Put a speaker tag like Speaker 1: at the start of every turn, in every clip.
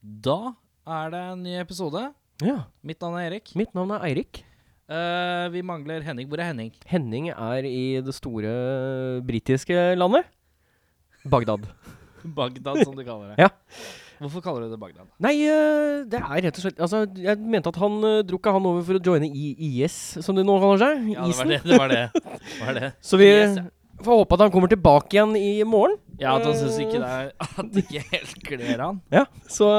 Speaker 1: da er det en ny episode.
Speaker 2: Ja.
Speaker 1: Mitt navn er Erik.
Speaker 2: Mitt navn er Eirik.
Speaker 1: Eh, vi mangler Henning. Hvor er Henning?
Speaker 2: Henning er i det store britiske landet. Bagdad.
Speaker 1: Bagdad, som du kaller det.
Speaker 2: Ja.
Speaker 1: Hvorfor kaller du det Bagdad?
Speaker 2: Nei, eh, det er rett og slett Altså, jeg mente at han eh, dro ikke han over for å joine I IS, som det nå kaller seg.
Speaker 1: Ja, det var
Speaker 2: Isen.
Speaker 1: det. det, var det. det, var det.
Speaker 2: Så vi
Speaker 1: IS, ja.
Speaker 2: får håpe at han kommer tilbake igjen i morgen.
Speaker 1: Ja, at han syns ikke det er At det ikke helt kler han.
Speaker 2: Ja, så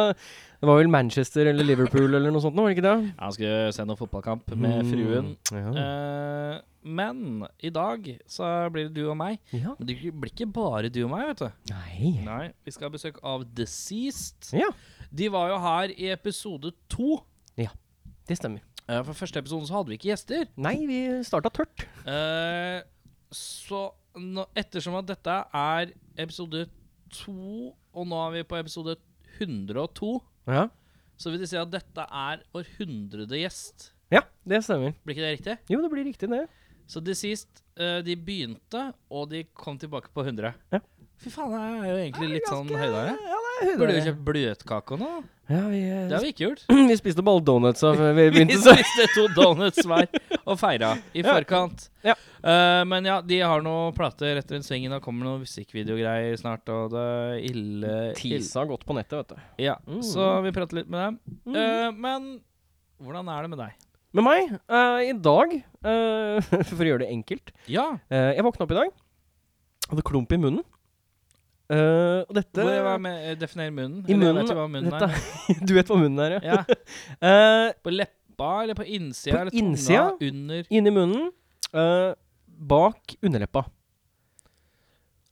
Speaker 2: det var vel Manchester eller Liverpool eller noe sånt nå, var det ikke det?
Speaker 1: Ja, han skulle se noen fotballkamp med
Speaker 2: Mm,
Speaker 1: fruen.
Speaker 2: Ja.
Speaker 1: Eh, men i dag så blir det du og meg.
Speaker 2: ja.
Speaker 1: Men det blir ikke bare du og meg, vet du.
Speaker 2: Nei.
Speaker 1: Nei, Vi skal ha besøk av Deceased.
Speaker 2: Ja,
Speaker 1: De var jo her i episode to.
Speaker 2: det stemmer.
Speaker 1: Eh, For første episoden så hadde vi ikke gjester.
Speaker 2: Nei, vi starta tørt.
Speaker 1: Eh, så nå, ettersom at dette er episode to, og nå er vi på episode 102,
Speaker 2: Ja.
Speaker 1: så vil det si at dette er vår hundrede gjest.
Speaker 2: ja, det stemmer.
Speaker 1: Blir ikke det riktig?
Speaker 2: Jo, det blir riktig, det.
Speaker 1: Så det sist eh, de begynte, og de kom tilbake på 100.
Speaker 2: Ja.
Speaker 1: Fy faen, jeg er jo egentlig litt sånn høydere.
Speaker 2: Ja, det er
Speaker 1: Burde vi kjøpt bløtkake og noe?
Speaker 2: Ja, vi, eh,
Speaker 1: Det har vi ikke gjort.
Speaker 2: vi spiste bare donuts av vi
Speaker 1: Vi
Speaker 2: begynte så
Speaker 1: spiste to donuts hver og feira i
Speaker 2: Ja.
Speaker 1: forkant.
Speaker 2: Ja.
Speaker 1: Eh, men ja, de har noen plater rett rundt svingen. Det kommer noen musikkvideogreier snart. Og det er ille, ille.
Speaker 2: Tisa godt på nettet, vet du.
Speaker 1: Ja,
Speaker 2: Mm.
Speaker 1: Så vi prater litt med dem. Eh, men hvordan er det med deg?
Speaker 2: Med meg, eh, i dag, eh, for å gjøre det enkelt
Speaker 1: Ja,
Speaker 2: eh, Jeg våkna opp i dag, hadde klump i munnen. Eh, og dette
Speaker 1: hvor var med, eh, Definer munnen.
Speaker 2: I
Speaker 1: Eller jeg
Speaker 2: munnen,
Speaker 1: vet ikke hva munnen
Speaker 2: dette-
Speaker 1: er.
Speaker 2: Du vet hva munnen er, ja.
Speaker 1: Ja,
Speaker 2: Eh,
Speaker 1: På leppa eller på innsida?
Speaker 2: På
Speaker 1: eller tunga,
Speaker 2: innsida?
Speaker 1: Under
Speaker 2: inni munnen, eh, bak underleppa.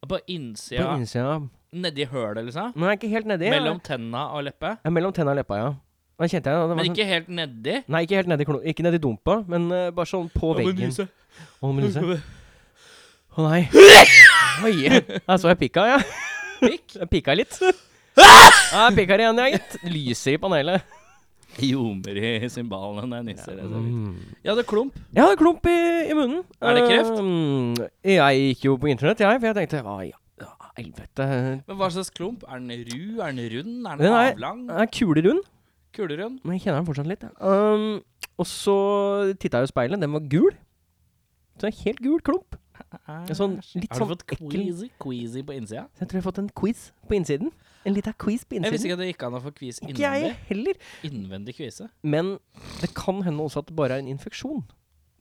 Speaker 1: På innsida?
Speaker 2: På innsida.
Speaker 1: Nedi hølet, liksom?
Speaker 2: Men jeg er ikke helt nedi. jeg-
Speaker 1: Mellom tenna og leppe?
Speaker 2: Ja, mellom tenna og leppa, ja. Da kjente jeg det var
Speaker 1: Men
Speaker 2: sånn-
Speaker 1: ikke helt nedi?
Speaker 2: Nei, ikke helt nedi, klo- ikke nedi dumpa, men eh, bare sånn på veggen. Å, men lyset. Å nei. Oi. Der så jeg pikka, ja.
Speaker 1: Pikk?
Speaker 2: Jeg pikka litt. Ja, jeg pikka igjen, jeg, gitt. Lyser i panelet.
Speaker 1: Ljomer i symbalene når jeg nisser. det ser
Speaker 2: Mm.
Speaker 1: ut. Jeg hadde klump.
Speaker 2: Jeg hadde klump i, i munnen.
Speaker 1: Mm. Er det kreft?
Speaker 2: Um, jeg gikk jo på internett, jeg, for jeg tenkte hva i ja, helvete
Speaker 1: Men hva slags klump? Er den ru? Er den rund? Er den
Speaker 2: Den er-
Speaker 1: avlang?
Speaker 2: Den er kulerund,
Speaker 1: Kulerund?
Speaker 2: men jeg kjenner den fortsatt litt. jeg. Um, og så titta jeg i speilet, den var gul. Så en helt gul klump. En Sånn, litt
Speaker 1: Har du
Speaker 2: sånn
Speaker 1: fått queasy, queasy på innsida?
Speaker 2: Så jeg tror jeg har fått en quiz på innsiden. En liten quiz på
Speaker 1: Jeg visste
Speaker 2: innsiden.
Speaker 1: ikke at det gikk an å få kvis
Speaker 2: Ikke jeg
Speaker 1: innvendig.
Speaker 2: heller.
Speaker 1: Innvendig kvise.
Speaker 2: Men det kan hende også at det bare er en infeksjon.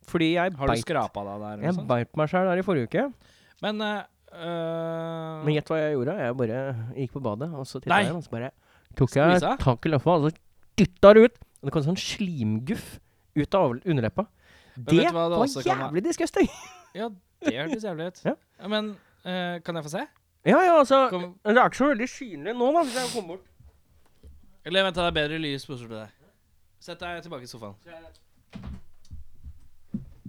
Speaker 2: Fordi jeg
Speaker 1: Har du liksom?
Speaker 2: beit,
Speaker 1: skrapa deg der? eller
Speaker 2: jeg
Speaker 1: noe sånt?
Speaker 2: beit meg sjøl der i forrige uke.
Speaker 1: Men eh,
Speaker 2: Men gjett hva jeg gjorde? Jeg bare gikk på badet, og så titta
Speaker 1: Nei.
Speaker 2: jeg, og så bare tok jeg
Speaker 1: Skvisa?
Speaker 2: tak i løffa, og så dytta det ut. Og det kom sånn slimguff ut av over- underleppa. Det
Speaker 1: vet du hva det
Speaker 2: var
Speaker 1: også kan være?
Speaker 2: jævlig disgusting!
Speaker 1: Ja, det hørtes jævlig ut.
Speaker 2: Ja.
Speaker 1: Ja, Men eh, kan jeg få se?
Speaker 2: Ja, ja, altså
Speaker 1: Kom-
Speaker 2: Det er ikke så veldig synlig nå, da, hvis jeg kommer bort.
Speaker 1: Eller vent, det er bedre lys bortsett fra deg. Sett deg tilbake i sofaen.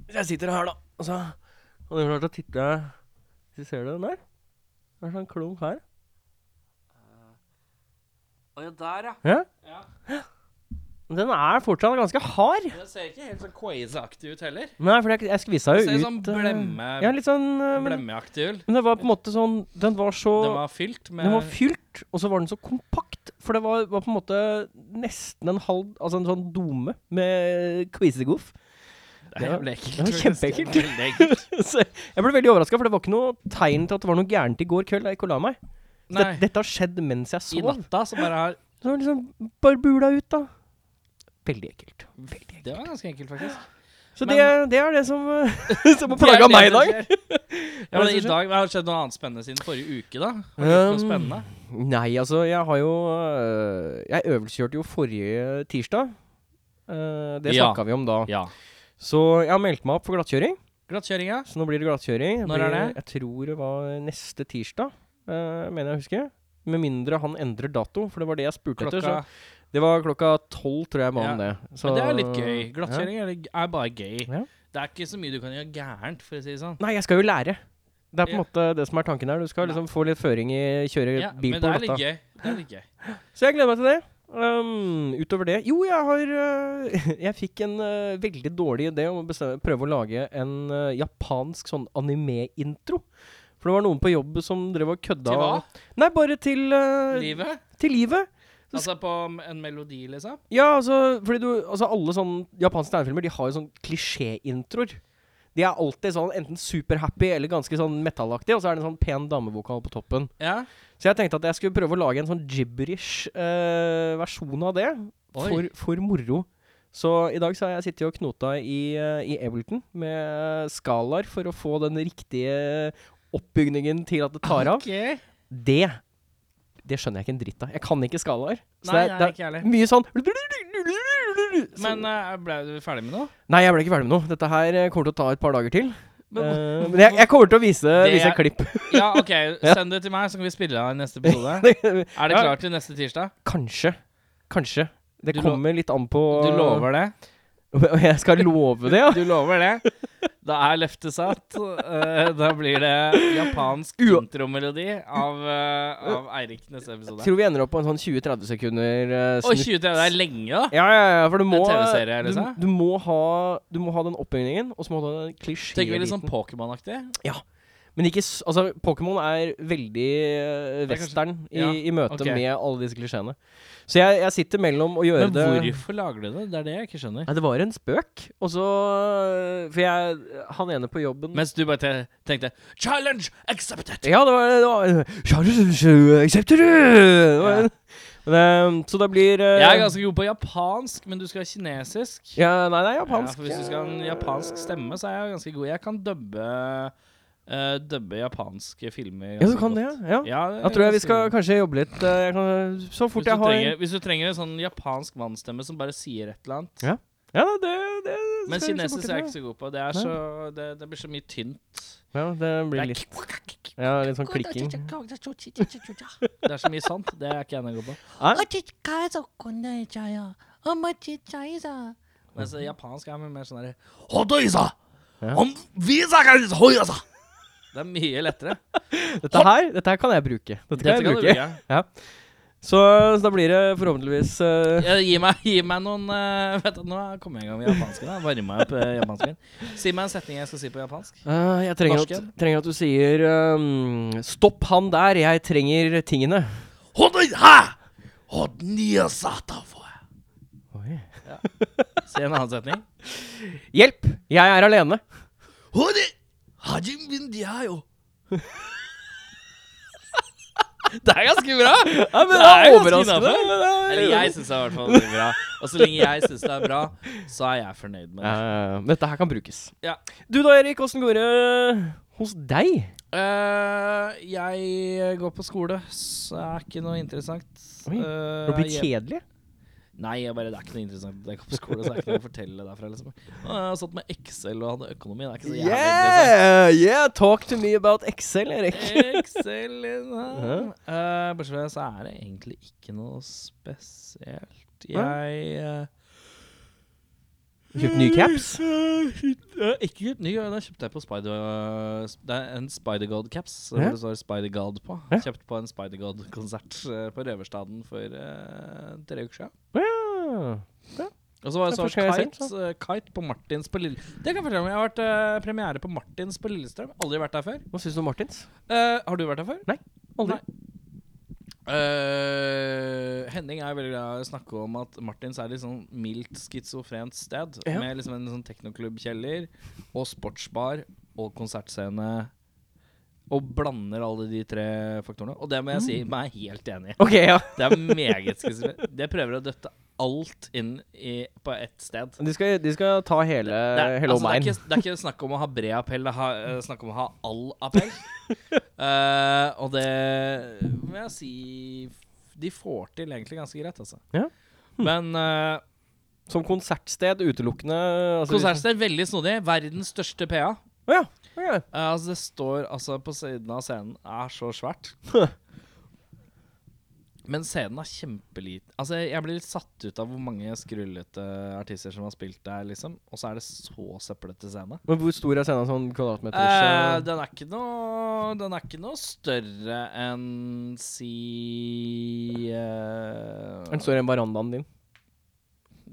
Speaker 2: Hvis jeg sitter her, da, og så Og det er klart å titte Hvis du ser det den der? Det er sånn klump her.
Speaker 1: Å ja, der, ja.
Speaker 2: Ja?
Speaker 1: ja.
Speaker 2: Den er fortsatt ganske hard.
Speaker 1: Det ser ikke helt sånn quaise-aktig ut heller.
Speaker 2: Nei, for jeg, jeg skvisa jo
Speaker 1: Det ser
Speaker 2: ut
Speaker 1: sånn
Speaker 2: eh,
Speaker 1: blemme-
Speaker 2: Ja, litt sånn eh, men,
Speaker 1: Blemmeaktig ull.
Speaker 2: men det var på en måte sånn Den var så
Speaker 1: Den var fylt med
Speaker 2: Den var fylt, og så var den så kompakt. For det var, var på en måte nesten en halv Altså en sånn dome med quizegoff.
Speaker 1: Det er jævlig ekkelt.
Speaker 2: Det var kjempeekkelt.
Speaker 1: faktisk. Veldig ekkelt.
Speaker 2: Så jeg ble veldig overraska, for det var ikke noe tegn til at det var noe gærent i går kveld da jeg ikke la meg. Så
Speaker 1: Nei,
Speaker 2: det, dette har skjedd mens jeg
Speaker 1: i
Speaker 2: sov.
Speaker 1: natta så bare har
Speaker 2: Så det var liksom bare bula ut, da. Veldig ekkelt. Veldig ekkelt.
Speaker 1: Det var ganske enkelt, faktisk.
Speaker 2: Så
Speaker 1: Men-
Speaker 2: det, det er det som, som har plaga meg i dag.
Speaker 1: Ja, men
Speaker 2: Det er det
Speaker 1: i
Speaker 2: som
Speaker 1: dag Har det skjedd noe annet spennende siden forrige uke, da? Har det gjort noe
Speaker 2: Um,
Speaker 1: spennende?
Speaker 2: Nei, altså, jeg har jo øh, Jeg øvelseskjørte jo forrige tirsdag. Eh, det
Speaker 1: Ja.
Speaker 2: snakka vi om da.
Speaker 1: Ja.
Speaker 2: Så jeg har meldt meg opp for glattkjøring.
Speaker 1: Glattkjøringa?
Speaker 2: Så nå blir det glattkjøring. Det
Speaker 1: Når er
Speaker 2: blir-
Speaker 1: det?
Speaker 2: Jeg tror det var neste tirsdag, eh, mener jeg å huske. Med mindre han endrer dato, for det var det jeg spurte
Speaker 1: Klokka
Speaker 2: etter. Så det var klokka tolv, tror jeg, jeg ba om
Speaker 1: Ja.
Speaker 2: det. Så,
Speaker 1: Men det er litt gøy. Glattkjøring er, er bare gøy.
Speaker 2: Ja.
Speaker 1: Det er ikke så mye du kan gjøre gærent, for å si det sånn.
Speaker 2: Nei, jeg skal jo lære. Det er på en
Speaker 1: Ja.
Speaker 2: måte det som er tanken her. Du skal
Speaker 1: Ja.
Speaker 2: liksom få litt føring i kjøre
Speaker 1: Ja,
Speaker 2: bil
Speaker 1: men det
Speaker 2: på
Speaker 1: er
Speaker 2: glatta.
Speaker 1: litt gøy. Det er litt gøy.
Speaker 2: Så jeg gleder meg til det. Um, utover det Jo, jeg har øh, Jeg fikk en øh, veldig dårlig idé om å bestemme, prøve å lage en øh, japansk sånn anime-intro. For det var noen på jobb som drev og kødda.
Speaker 1: Til hva?
Speaker 2: Nei, bare til øh,
Speaker 1: Livet?
Speaker 2: Til livet. Så
Speaker 1: Altså på en melodi, liksom?
Speaker 2: Ja, altså, fordi du, altså alle sånne japanske tegnefilmer De har jo sånn klisjéintroer. De er alltid sånn enten superhappy eller ganske sånn metallaktig, og så er det en sånn pen damevokal på toppen.
Speaker 1: Ja.
Speaker 2: Så jeg tenkte at jeg skulle prøve å lage en sånn gibberish eh, versjon av det,
Speaker 1: Oi.
Speaker 2: for, for moro. Så i dag så har jeg sittet og knota i, eh, i Ableton med eh, skalaer for å få den riktige oppbygningen til at det tar av.
Speaker 1: Ok.
Speaker 2: Det Det skjønner jeg ikke en dritt av. Jeg kan ikke skalaer. Så
Speaker 1: Nei,
Speaker 2: det,
Speaker 1: nei, ikke
Speaker 2: er-
Speaker 1: jeg
Speaker 2: det
Speaker 1: heller.
Speaker 2: er mye sånn
Speaker 1: Men eh, ble du ferdig med noe?
Speaker 2: Nei, jeg ble ikke ferdig med noe. Dette her eh, kommer til å ta et par dager til.
Speaker 1: Men,
Speaker 2: Eh, men jeg, jeg kommer til å vise,
Speaker 1: Det
Speaker 2: vise
Speaker 1: er-
Speaker 2: klipp.
Speaker 1: ja, OK. Send det til meg, så kan vi spille av i neste episode. Er det
Speaker 2: Ja.
Speaker 1: klart til neste tirsdag?
Speaker 2: Kanskje. Kanskje. Det
Speaker 1: Du lo-
Speaker 2: kommer litt an på
Speaker 1: Du lover det?
Speaker 2: Og jeg skal love det, ja?
Speaker 1: Du lover det? Da er løftet satt. Eh, Da blir det japansk
Speaker 2: Ua-
Speaker 1: intromelodi av, eh, av Eirik neste episode.
Speaker 2: Tror vi ender opp på en sånn 20-30 sekunder eh,
Speaker 1: Oi, 20
Speaker 2: snutt.
Speaker 1: det er lenge, da.
Speaker 2: Ja, ja, ja, for du må,
Speaker 1: TV-serie,
Speaker 2: du,
Speaker 1: liksom?
Speaker 2: du, må ha, du må ha den oppbyggingen, og så må du ha den
Speaker 1: Tenker vi litt sånn
Speaker 2: klisjé-biten.
Speaker 1: Pokémon-aktig?
Speaker 2: Men ikke s- Altså, Pokémon er veldig eh,
Speaker 1: Det er kanskje-
Speaker 2: western i,
Speaker 1: ja,
Speaker 2: i møte
Speaker 1: ok.
Speaker 2: med alle disse klisjeene. Så jeg, jeg sitter mellom å gjøre
Speaker 1: Men
Speaker 2: det
Speaker 1: hvorfor lager du det? Det er det jeg ikke skjønner.
Speaker 2: Nei, det var en spøk. Og så eh, For jeg Han ene på jobben
Speaker 1: Mens du bare te- tenkte 'challenge accepted'!
Speaker 2: Ja, det var, det var Charles, Aksepter du? Det var en- Men, eh, Så det blir eh,
Speaker 1: Jeg er ganske god på japansk, men du skal ha kinesisk.
Speaker 2: ja, Nei, det er
Speaker 1: Ja, for
Speaker 2: japansk.
Speaker 1: hvis du skal ha en japansk stemme, så er jeg ganske god. Jeg kan dubbe, eh, dubbe japanske filmer.
Speaker 2: Ja, du
Speaker 1: ganske
Speaker 2: kan det,
Speaker 1: godt.
Speaker 2: ja. ja.
Speaker 1: Ja, det er
Speaker 2: Jeg tror jeg vi
Speaker 1: ganske
Speaker 2: skal
Speaker 1: god.
Speaker 2: kanskje jobbe litt eh, jeg kan, Så fort
Speaker 1: hvis
Speaker 2: jeg
Speaker 1: du,
Speaker 2: har
Speaker 1: trenger, hvis du trenger en sånn japansk mannsstemme som bare sier et eller annet.
Speaker 2: Ja, Ja, nei, det, det skal
Speaker 1: Men
Speaker 2: vi se bort
Speaker 1: kinesisk er liksom jeg
Speaker 2: ifra.
Speaker 1: ikke så god på. Det, er
Speaker 2: Nei.
Speaker 1: så, det, det blir så mye tynt.
Speaker 2: Ja, det
Speaker 1: Det
Speaker 2: blir
Speaker 1: er,
Speaker 2: litt Ja, litt sånn klikking.
Speaker 1: det er så mye sant. Det er ikke jeg noe god på.
Speaker 2: Nei,
Speaker 3: おちっかいぞこんなちゃよおもちっちゃいぞ
Speaker 1: Mens japansk er mye mer sånn der
Speaker 2: Ja.
Speaker 1: Det er mye lettere.
Speaker 2: dette her, dette her kan jeg bruke. Dette kan
Speaker 1: Dette
Speaker 2: jeg
Speaker 1: kan du
Speaker 2: bruke.
Speaker 1: bruke.
Speaker 2: Så, så da blir det forhåpentligvis eh,
Speaker 1: Ja, gi, meg, gi meg noen eh, vet du, Nå kommer jeg i gang med japansken. Jeg varmer meg opp eh, japansken. Si meg en setning jeg skal si på japansk.
Speaker 2: Eh, jeg trenger at,
Speaker 1: Norsken.
Speaker 2: trenger at du sier ehm, 'Stopp han der, jeg trenger tingene'. Oi.
Speaker 1: Si en annen setning.
Speaker 2: Hjelp! Jeg er alene.
Speaker 1: Det er ganske bra!
Speaker 2: Ja, men
Speaker 1: det er ganske innenfor.
Speaker 2: det er-
Speaker 1: Eller jeg syns det er i hvert fall veldig bra. Og så lenge jeg syns det er bra, så er jeg fornøyd med
Speaker 2: Ja,
Speaker 1: det.
Speaker 2: ja, ja. Eh, Dette her kan brukes.
Speaker 1: Ja.
Speaker 2: Du da, Erik. Åssen går det hos deg?
Speaker 1: Eh, jeg går på skole, så det er ikke noe interessant.
Speaker 2: Oi,
Speaker 1: Eh,
Speaker 2: Har du blitt
Speaker 1: jeg-
Speaker 2: kjedelig?
Speaker 1: Nei, jeg bare, det er ikke noe interessant. Jeg går på skole, så det er ikke noe å fortelle derfra. Liksom. Og jeg har stått med Excel og hadde økonomi. Det er ikke så jævlig interessant.
Speaker 2: Yeah, yeah, talk to me about Excel, Erik.
Speaker 1: Eh. Excel liksom. Eh, Bortsett fra det, så er det egentlig ikke noe spesielt. Jeg eh,
Speaker 2: Kjøpt nye caps?
Speaker 1: Eh, shit, eh, Ikke kjøpt ny, den kjøpte jeg på Spider... eh, s- Det er en Spider-God-caps hvor
Speaker 2: Ja.
Speaker 1: det står Spider-God på.
Speaker 2: Ja.
Speaker 1: Kjøpt på en Spider-God-konsert eh, på Røverstaden for eh, tre uker siden.
Speaker 2: Ja.
Speaker 1: Og så var jeg
Speaker 2: Ja,
Speaker 1: så
Speaker 2: for skal jeg
Speaker 1: kite, eh, kite på Martins på Lille... Det kan jeg fortelle om. Jeg har vært eh, premiere på Martins på Lillestrøm. Aldri vært der før.
Speaker 2: Hva syns du om Martins?
Speaker 1: Eh, har du vært der før?
Speaker 2: Aldri.
Speaker 1: Eh, Henning er veldig glad i å snakke om at Martins er litt sånn mildt schizofrent sted.
Speaker 2: Ja.
Speaker 1: Med liksom en sånn teknoklubbkjeller og sportsbar og konsertscene. Og blander alle de tre faktorene. Og det må jeg si meg er helt enig i.
Speaker 2: Ok, ja.
Speaker 1: Det er meget schizofrent. Det prøver å døtte alt inn i, på ett sted.
Speaker 2: De skal, de skal ta hele,
Speaker 1: Det er, altså, det,
Speaker 2: hele
Speaker 1: er
Speaker 2: omegn.
Speaker 1: ikke, det er ikke snakk om å ha bred appell, det er ha- eh, snakk om å ha all appell. Eh, og det må jeg si De får til egentlig ganske greit, altså.
Speaker 2: Ja. Hm.
Speaker 1: Men eh,
Speaker 2: Som konsertsted utelukkende altså,
Speaker 1: konsertsted er veldig snodig. Verdens største PA.
Speaker 2: Å ja. ok.
Speaker 1: Eh, altså, det står altså på siden av scenen er så svært. Men scenen er kjempeliten. Altså, jeg blir litt satt ut av hvor mange skrullete artister som har spilt der, liksom. Og så er det så søppelete scene.
Speaker 2: Men hvor stor er scenen sånn kvadratmeter?
Speaker 1: Eh, den, er ikke noe, den er ikke noe større enn si eh,
Speaker 2: Den står i verandaen din.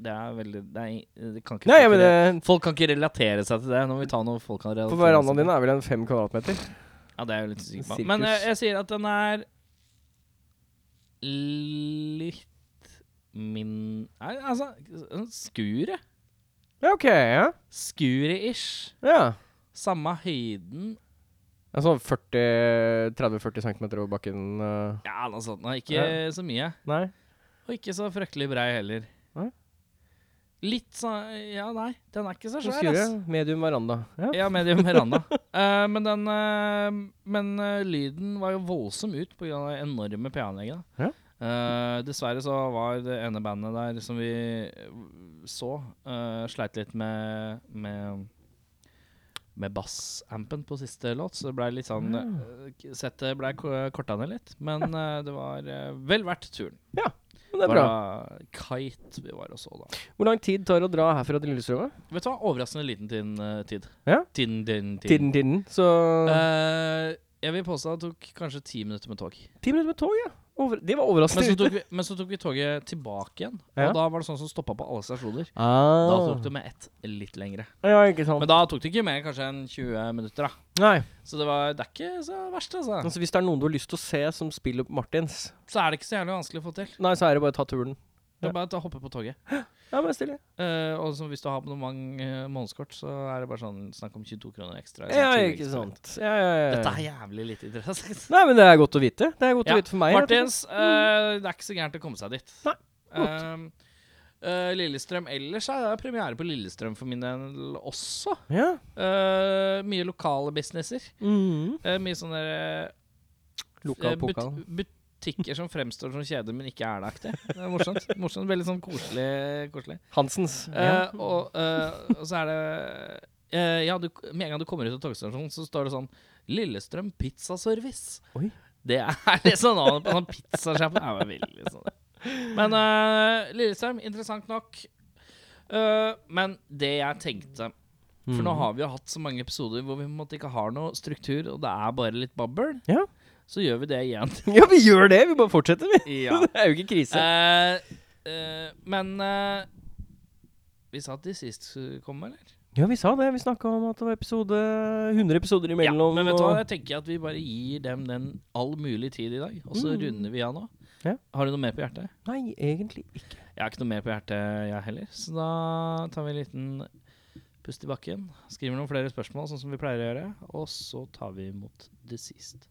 Speaker 1: Det er veldig Nei, det kan ikke,
Speaker 2: Nei,
Speaker 1: folk, kan
Speaker 2: men det,
Speaker 1: ikke folk kan ikke relatere seg til det. Nå må vi ta noe folk kan
Speaker 2: på
Speaker 1: relatere
Speaker 2: verandaen
Speaker 1: seg til.
Speaker 2: din er vel en fem kvadratmeter?
Speaker 1: Ja, det er jeg jo eh, litt usikker på.
Speaker 2: Sirkus.
Speaker 1: Men eh, jeg sier at den er litt min Nei, altså sånn Skuret.
Speaker 2: Ja, OK. Ja.
Speaker 1: Skuret-ish.
Speaker 2: ja.
Speaker 1: Samme høyden.
Speaker 2: Altså 40 30-40 cm over bakken eh,
Speaker 1: Ja, noe sånt. nå. Ikke
Speaker 2: Ja.
Speaker 1: så mye.
Speaker 2: Nei.
Speaker 1: Og ikke så fryktelig brei heller.
Speaker 2: Nei.
Speaker 1: Litt sånn Ja, nei, den er ikke så svær,
Speaker 2: Skure,
Speaker 1: ass.
Speaker 2: medium veranda. Ja.
Speaker 1: Ja, medium veranda. Eh, men den eh, Men eh, lyden var jo voldsom ut pga. det enorme PA-anlegget. da.
Speaker 2: Ja.
Speaker 1: Eh, dessverre så var det ene bandet der som vi eh, så, eh, sleit litt med med med bassampen på siste låt, så det blei litt sånn eh, k- Settet blei ko- korta ned litt. Men eh, det var eh, vel verdt turen.
Speaker 2: Men det er bra.
Speaker 1: var Kite vi var og så, da.
Speaker 2: Hvor lang tid tar det å dra herfra til Lillestrøm?
Speaker 1: Vet du hva? Overraskende liten tin, eh, tid.
Speaker 2: Ja.
Speaker 1: Tin, din, tin.
Speaker 2: Tiden, tiden. Så
Speaker 1: Eh, jeg vil påstå det tok kanskje ti minutter med tog.
Speaker 2: Ti minutter med tog, ja. Over, det var
Speaker 1: Men så
Speaker 2: overraskende.
Speaker 1: tok vi, men så tok vi toget tilbake igjen,
Speaker 2: Ja.
Speaker 1: og da var det sånn som stoppa på alle stasjoner.
Speaker 2: Ah.
Speaker 1: Da tok det med ett litt lengre.
Speaker 2: Ja, ikke sant.
Speaker 1: Men da tok det ikke mer enn kanskje en 20 minutter, da.
Speaker 2: Nei.
Speaker 1: Så det, var, det er ikke så verst, altså.
Speaker 2: Altså, hvis det er noen du har lyst til å se som spiller på Martins,
Speaker 1: Så er det ikke så jævlig vanskelig å få til.
Speaker 2: nei, så er det bare å ta turen.
Speaker 1: Det
Speaker 2: Ja.
Speaker 1: er bare å hoppe på toget.
Speaker 2: Ja, bare stille.
Speaker 1: Eh, og så hvis du har abonnement eh, månedskort, så er det bare sånn snakk om 22 kroner ekstra. i
Speaker 2: Ja,
Speaker 1: sånn
Speaker 2: ikke
Speaker 1: tilleggsbillett.
Speaker 2: sant. Ja, ja, ja.
Speaker 1: Dette er jævlig lite interessant.
Speaker 2: Nei, men det er godt å vite. Det er Eh. godt
Speaker 1: Ja,
Speaker 2: å vite for meg. rett og slett.
Speaker 1: Martins, eh, det er ikke så gærent å komme seg dit.
Speaker 2: Nei, godt.
Speaker 1: Ehm, eh, Lillestrøm ellers er det premiere på Lillestrøm for min del også.
Speaker 2: Ja.
Speaker 1: Eh, mye lokale businesser.
Speaker 2: Mm.
Speaker 1: Eh, mye sånne eh,
Speaker 2: Lokal
Speaker 1: eh, but-
Speaker 2: pokal.
Speaker 1: butikker som fremstår som kjeder, men ikke er det aktig. Det er morsomt. morsomt. Veldig sånn koselig. koselig.
Speaker 2: Hansens.
Speaker 1: Eh, og, eh, og så er det eh, Ja, du, med en gang du kommer ut av togstasjonen, så står det sånn Lillestrøm pizzaservice.
Speaker 2: Oi.
Speaker 1: Det er liksom navnet på sånn pizzasjappe. Det er jo veldig sånn. Men eh, Lillestrøm, interessant nok. Eh, men det jeg tenkte For
Speaker 2: Mm.
Speaker 1: nå har vi jo hatt så mange episoder hvor vi på en måte ikke har noe struktur, og det er bare litt babbel.
Speaker 2: Ja.
Speaker 1: Så gjør vi det igjen.
Speaker 2: Ja, vi gjør det! Vi bare fortsetter, vi. Det er jo ikke krise.
Speaker 1: Eh, eh, men eh, Vi sa at de sist skulle komme, eller?
Speaker 2: Ja, vi sa det. Vi snakka om at det var episode 100 episoder imellom.
Speaker 1: ja, men vet du hva,
Speaker 2: og-
Speaker 1: jeg tenker at vi bare gir dem den all mulig tid i dag, og så
Speaker 2: Mm.
Speaker 1: runder vi av nå.
Speaker 2: Ja.
Speaker 1: Har du noe mer på hjertet?
Speaker 2: Nei, egentlig ikke.
Speaker 1: Jeg har ikke noe mer på hjertet, jeg heller. Så da tar vi en liten pust i bakken. Skriver noen flere spørsmål, sånn som vi pleier å gjøre. Og så tar vi imot det sist.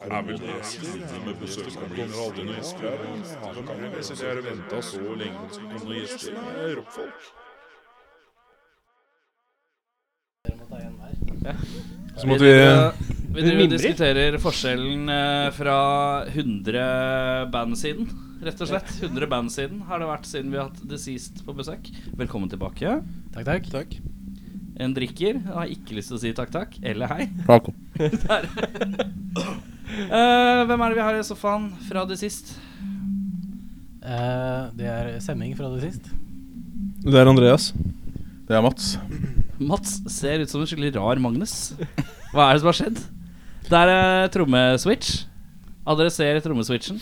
Speaker 4: Er vel det siste med besøkende kommer aldri noen gjester her. Hvem er det vi sitter her og venter så lenge på at det skal komme noen gjester? Det er rockfolk.
Speaker 5: Så måtte vi
Speaker 1: Vi
Speaker 2: Vi
Speaker 1: driver og
Speaker 2: mimrer.
Speaker 1: diskuterer forskjellen eh, fra 100 band siden. Rett og slett. 100 band siden har det vært siden vi har hatt det sist på besøk. Velkommen tilbake.
Speaker 2: Takk, takk.
Speaker 1: En drikker har ikke lyst til å si takk, takk. Eller hei. Der. Eh, hvem er det vi har i sofaen fra det sist?
Speaker 6: Eh, det er sending fra det sist.
Speaker 5: Det er Andreas. Det er Mats.
Speaker 1: Mats ser ut som en skikkelig rar Magnus. Hva er det som har skjedd? Der er trommeswitch. Adresser trommeswitchen.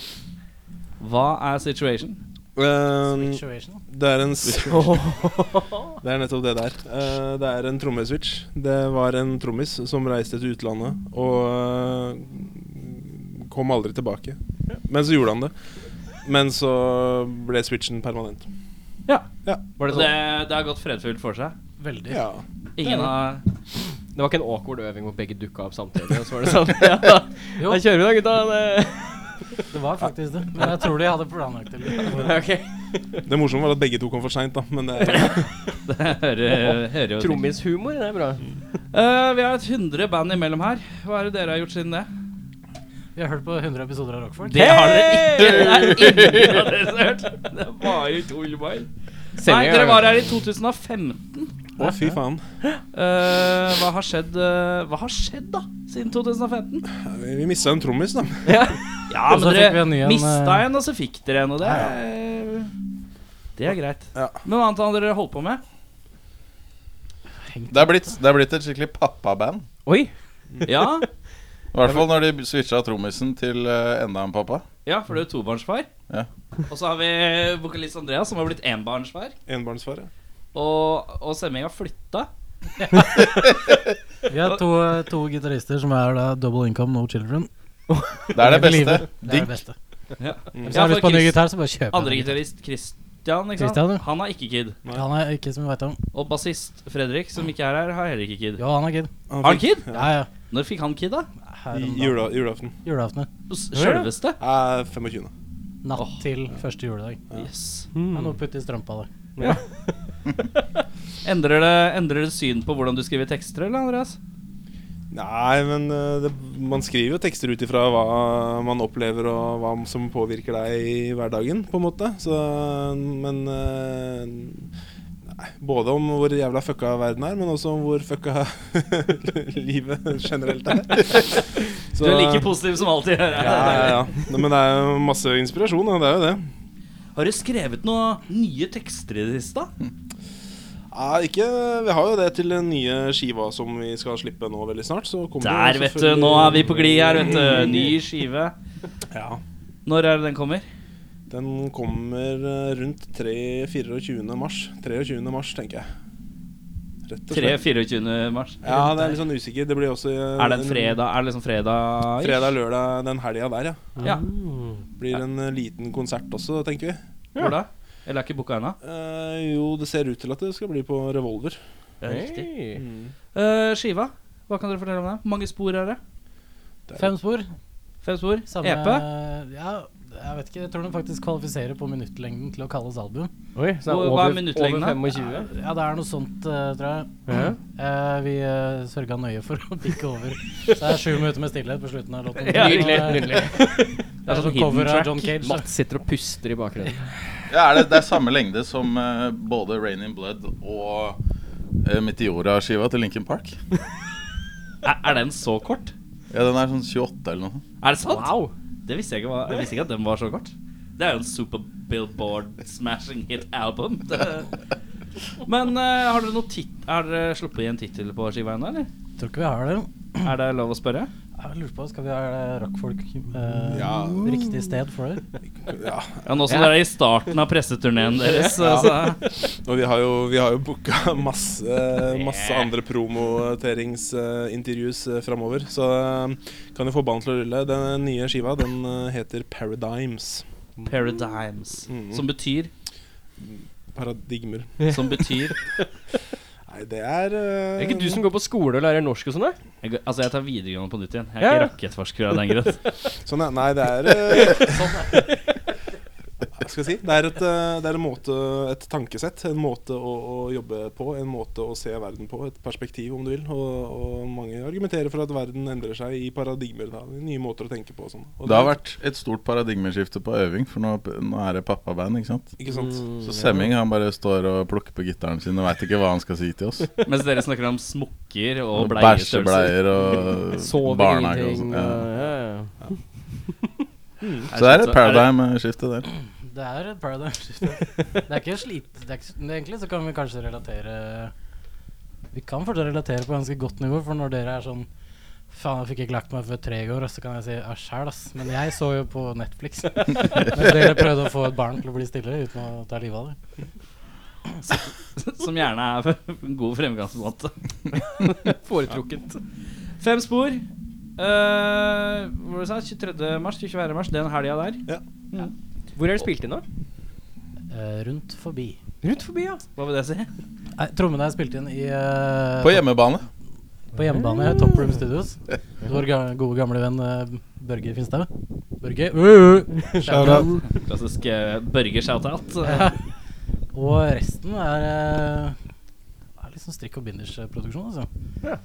Speaker 1: Hva er situation?
Speaker 6: Situation.
Speaker 5: Ehm, det er en s- Det er nettopp det der. Eh, det er en trommeswitch. Det var en trommis som reiste til utlandet og eh, kom aldri tilbake. Men så gjorde han det. Men så ble switchen permanent.
Speaker 1: Var det, det, har gått fredfullt for seg.
Speaker 6: Veldig.
Speaker 5: Ja.
Speaker 1: Ingen har
Speaker 2: Det var ikke en awkward øving hvor begge dukka opp samtidig. Og så var det sånn ja, da.
Speaker 6: Jo.
Speaker 2: da kjører vi da, gutta. Det-
Speaker 6: Det var faktisk det. Men jeg tror de hadde planlagt det litt.
Speaker 2: Ok.
Speaker 5: Det morsomme var at begge to kom for seint, da. Men det er,
Speaker 1: Det hører, hører jo til.
Speaker 2: Trommishumor, det er bra.
Speaker 1: Eh, vi har et 100 band imellom her. Hva er det dere har gjort siden det?
Speaker 6: Vi har hørt på 100 episoder av Rockford.
Speaker 1: Det har dere ikke. Det er ingen av dere som har hørt. Det var jo to ullbeil. Nei,
Speaker 2: Sending er-
Speaker 1: dere var her i 2015.
Speaker 5: Å, fy faen.
Speaker 1: Eh, hva har skjedd, eh, hva har skjedd da, siden 2015?
Speaker 5: Vi mista en trommis, da.
Speaker 1: Ja,
Speaker 6: Og så
Speaker 1: men
Speaker 6: fikk vi
Speaker 1: dere
Speaker 6: en ny en,
Speaker 1: mista
Speaker 6: eh,
Speaker 1: en, og så fikk dere en, og det er- Det er greit.
Speaker 5: Ja.
Speaker 1: Men hva annet har dere holdt på med?
Speaker 7: Det er blitt, det er blitt et skikkelig pappaband.
Speaker 2: Oi.
Speaker 1: Ja,
Speaker 7: I hvert fall når de switcha trommisen til eh, enda en pappa.
Speaker 1: ja for du er tobarnsfar.
Speaker 7: Ja.
Speaker 1: Og så har vi vokalist Andreas, som har blitt enbarnsfar.
Speaker 5: Enbarnsfar, ja.
Speaker 1: Og, og Semming har flytta.
Speaker 6: Vi har to, to gitarister som er da double income, no children.
Speaker 7: Det er det
Speaker 6: Livet. Det er
Speaker 7: beste.
Speaker 6: det
Speaker 7: Digg.
Speaker 6: beste. Hvis jeg har
Speaker 1: Ja,
Speaker 6: lyst på en ny
Speaker 1: Chris-
Speaker 6: gitar, så bare kjøper jeg den.
Speaker 1: Andregitarist Christian, ikke
Speaker 6: Christian, ja.
Speaker 1: sant? Han er ikke kid.
Speaker 6: Han er ikke som vi vet om.
Speaker 1: Og bassist Fredrik, som ikke er her, har heller ikke kid.
Speaker 6: Jo, han er kid.
Speaker 1: Har han kid?
Speaker 6: Ja, ja.
Speaker 1: Når fikk han kid, da?
Speaker 6: Her om
Speaker 5: I
Speaker 6: dagen.
Speaker 5: jula, julaften.
Speaker 6: Julaften.
Speaker 1: S- Sjølveste?
Speaker 5: Jeg er 25.
Speaker 6: Natt
Speaker 1: Åh.
Speaker 6: til første juledag.
Speaker 1: Yes.
Speaker 2: Mm.
Speaker 6: Det er noe å putte i strømpa, da.
Speaker 1: Endrer det, endrer det syn på hvordan du skriver tekster, eller, Andreas?
Speaker 5: Nei, men eh, det, man skriver jo tekster ut ifra hva man opplever og hva som påvirker deg i hverdagen, på en måte. Så, men eh, nei, Både om hvor jævla fucka verden er, men også om hvor fucka livet generelt er.
Speaker 1: Du
Speaker 5: Så-
Speaker 1: er like positiv som alltid.
Speaker 5: ja, ja, ja. Nei, Men det er jo masse inspirasjon, da. Det er jo det.
Speaker 1: Har du skrevet noen nye tekster i det siste? da?
Speaker 5: Ja, ikke, vi har jo det til den nye skiva som vi skal slippe nå veldig snart. Så kommer
Speaker 1: Der,
Speaker 5: jo
Speaker 1: vet du.
Speaker 5: altså, selvfølgelig- Mm.
Speaker 1: Nå er vi på glid her, vet du. Ny skive.
Speaker 5: Ja.
Speaker 1: Når er det den kommer?
Speaker 5: Den kommer eh, rundt 3-24. mars. 23. mars, tenker jeg. Rett og slett.
Speaker 1: 3-24. mars.
Speaker 5: Ja, det er litt sånn usikker. Det blir også eh,
Speaker 1: Er det en fredag? Er det liksom fredag?
Speaker 5: Fredag, lørdag, den helga der, ja.
Speaker 1: Ja.
Speaker 5: Blir en eh, liten konsert også, tenker vi.
Speaker 1: Hvor da? Eller er ikke booka ennå?
Speaker 5: Eh, jo, det ser ut til at det skal bli på Revolver.
Speaker 1: Ja, riktig.
Speaker 2: Hey.
Speaker 6: Mm.
Speaker 1: Eh, skiva, hva kan dere fortelle om det? Hvor mange spor er det?
Speaker 5: Det er-
Speaker 6: Fem spor.
Speaker 1: Fem spor? E
Speaker 6: Samme
Speaker 1: EP?
Speaker 6: Ja, jeg vet ikke. Jeg tror den faktisk kvalifiserer på minuttlengden til å kalles album.
Speaker 2: Oi, så det
Speaker 1: Hvor-
Speaker 2: er
Speaker 1: hva er
Speaker 2: over,
Speaker 1: minuttlengden, da?
Speaker 2: over 25?
Speaker 6: Ja, det er noe sånt, eh, tror jeg.
Speaker 2: Ja.
Speaker 6: Eh, vi uh, sørga nøye for å bikke over. Så det er sju minutter med stillhet på slutten av låten.
Speaker 1: Ja, riktig.
Speaker 6: Og, eh, Det er
Speaker 1: sånn
Speaker 6: sånn cover
Speaker 1: hidden track.
Speaker 6: av John Cage. så-
Speaker 2: Mats sitter og puster i bakgrunnen.
Speaker 7: Ja, er det, det er samme lengde som eh, både Rain in Blood og eh, Meteora-skiva til Linkin Park.
Speaker 1: Er, er den så kort?
Speaker 7: Ja, den er sånn 28 eller noe sånt.
Speaker 1: Er det sant? Det visste jeg ikke, var, jeg visste ikke at den var så kort. Det er jo en super billboard smashing hit album. Det. Men eh, har dere noe tit er dere sluppet i en tittel på skiva ennå, eller?
Speaker 6: Tror ikke vi har det.
Speaker 1: Er det lov å spørre?
Speaker 6: Jeg lurer på, Skal vi ha eh, rockfolk eh,
Speaker 5: Ja.
Speaker 6: riktig sted for det?
Speaker 5: Ja.
Speaker 1: Ja, Nå som dere er i starten av presseturneen deres, så, så
Speaker 5: Og vi har jo, vi har jo booka masse, masse andre promoteringsintervjues uh, framover. Så eh, kan jo få ballen til å rulle. Den nye skiva den eh, heter Paradigms.
Speaker 1: Paradigms.
Speaker 5: Mhm.
Speaker 1: Som betyr
Speaker 5: Paradigmer.
Speaker 1: Som betyr
Speaker 5: Nei, det er
Speaker 2: Er
Speaker 5: eh,
Speaker 2: det ikke du som går på skole og lærer norsk og sånn? da?
Speaker 1: jeg, går- Altså, jeg tar videregående på nytt igjen. Jeg er ikke
Speaker 2: Ja.
Speaker 1: rakettforsker av den grunn.
Speaker 5: Sånn, ja. Nei, det er eh,
Speaker 2: Sånn
Speaker 5: Hva skal jeg si? Det er, et, eh, det er en måte, et tankesett, en måte å, å jobbe på, en måte å se verden på, et perspektiv, om du vil. Og, og mange argumenterer for at verden endrer seg i paradigmer, da. Nye måter å tenke på og sånn. Og
Speaker 7: Det har vært et stort paradigmeskifte på øving, for nå, nå er det pappaband, ikke sant.
Speaker 5: Ikke sant?
Speaker 7: Så Semming han bare står og plukker på gitaren sin og veit ikke hva han skal si til oss.
Speaker 1: Mens dere snakker om smokker og bleiestørrelser.
Speaker 7: Bæsjebleier og
Speaker 2: Sover
Speaker 7: barnehage og
Speaker 2: ingenting.
Speaker 7: sånn. Ja.
Speaker 2: og- ja, ja, ja.
Speaker 7: Så det er et paradigm-skifte der.
Speaker 6: Det er et paradigm shift. Det er ikke slit... Det er ikke, men egentlig så kan vi kanskje relatere Vi kan fortsatt relatere på ganske godt nivå, for når dere er sånn Faen, jeg fikk ikke lagt meg før tre i går, og så kan jeg si ja, sjæl, ass. Men jeg så jo på Netflix. Mens dere prøvde å få et barn til å bli stille uten å ta livet av det.
Speaker 1: Som gjerne er en god fremgangsmåte.
Speaker 2: Foretrukket.
Speaker 1: Fem spor. Eh, hvor du sa 23. mars, 24. mars, den helga der.
Speaker 2: Hvor er det spilt inn, da?
Speaker 6: Eh, rundt forbi.
Speaker 2: Rundt forbi, ja.
Speaker 1: Hva vil det si?
Speaker 6: Nei, trommene er spilt inn i eh,
Speaker 7: På hjemmebane.
Speaker 6: På hjemmebane, Top Room Studios. Vår ga gode gamle venn eh, Børge Finstad. Børge uh, shout out.
Speaker 1: Klassisk eh, burger-shoutout.
Speaker 6: Ja. Og resten er, eh, er liksom strikk- og bindersproduksjon, altså.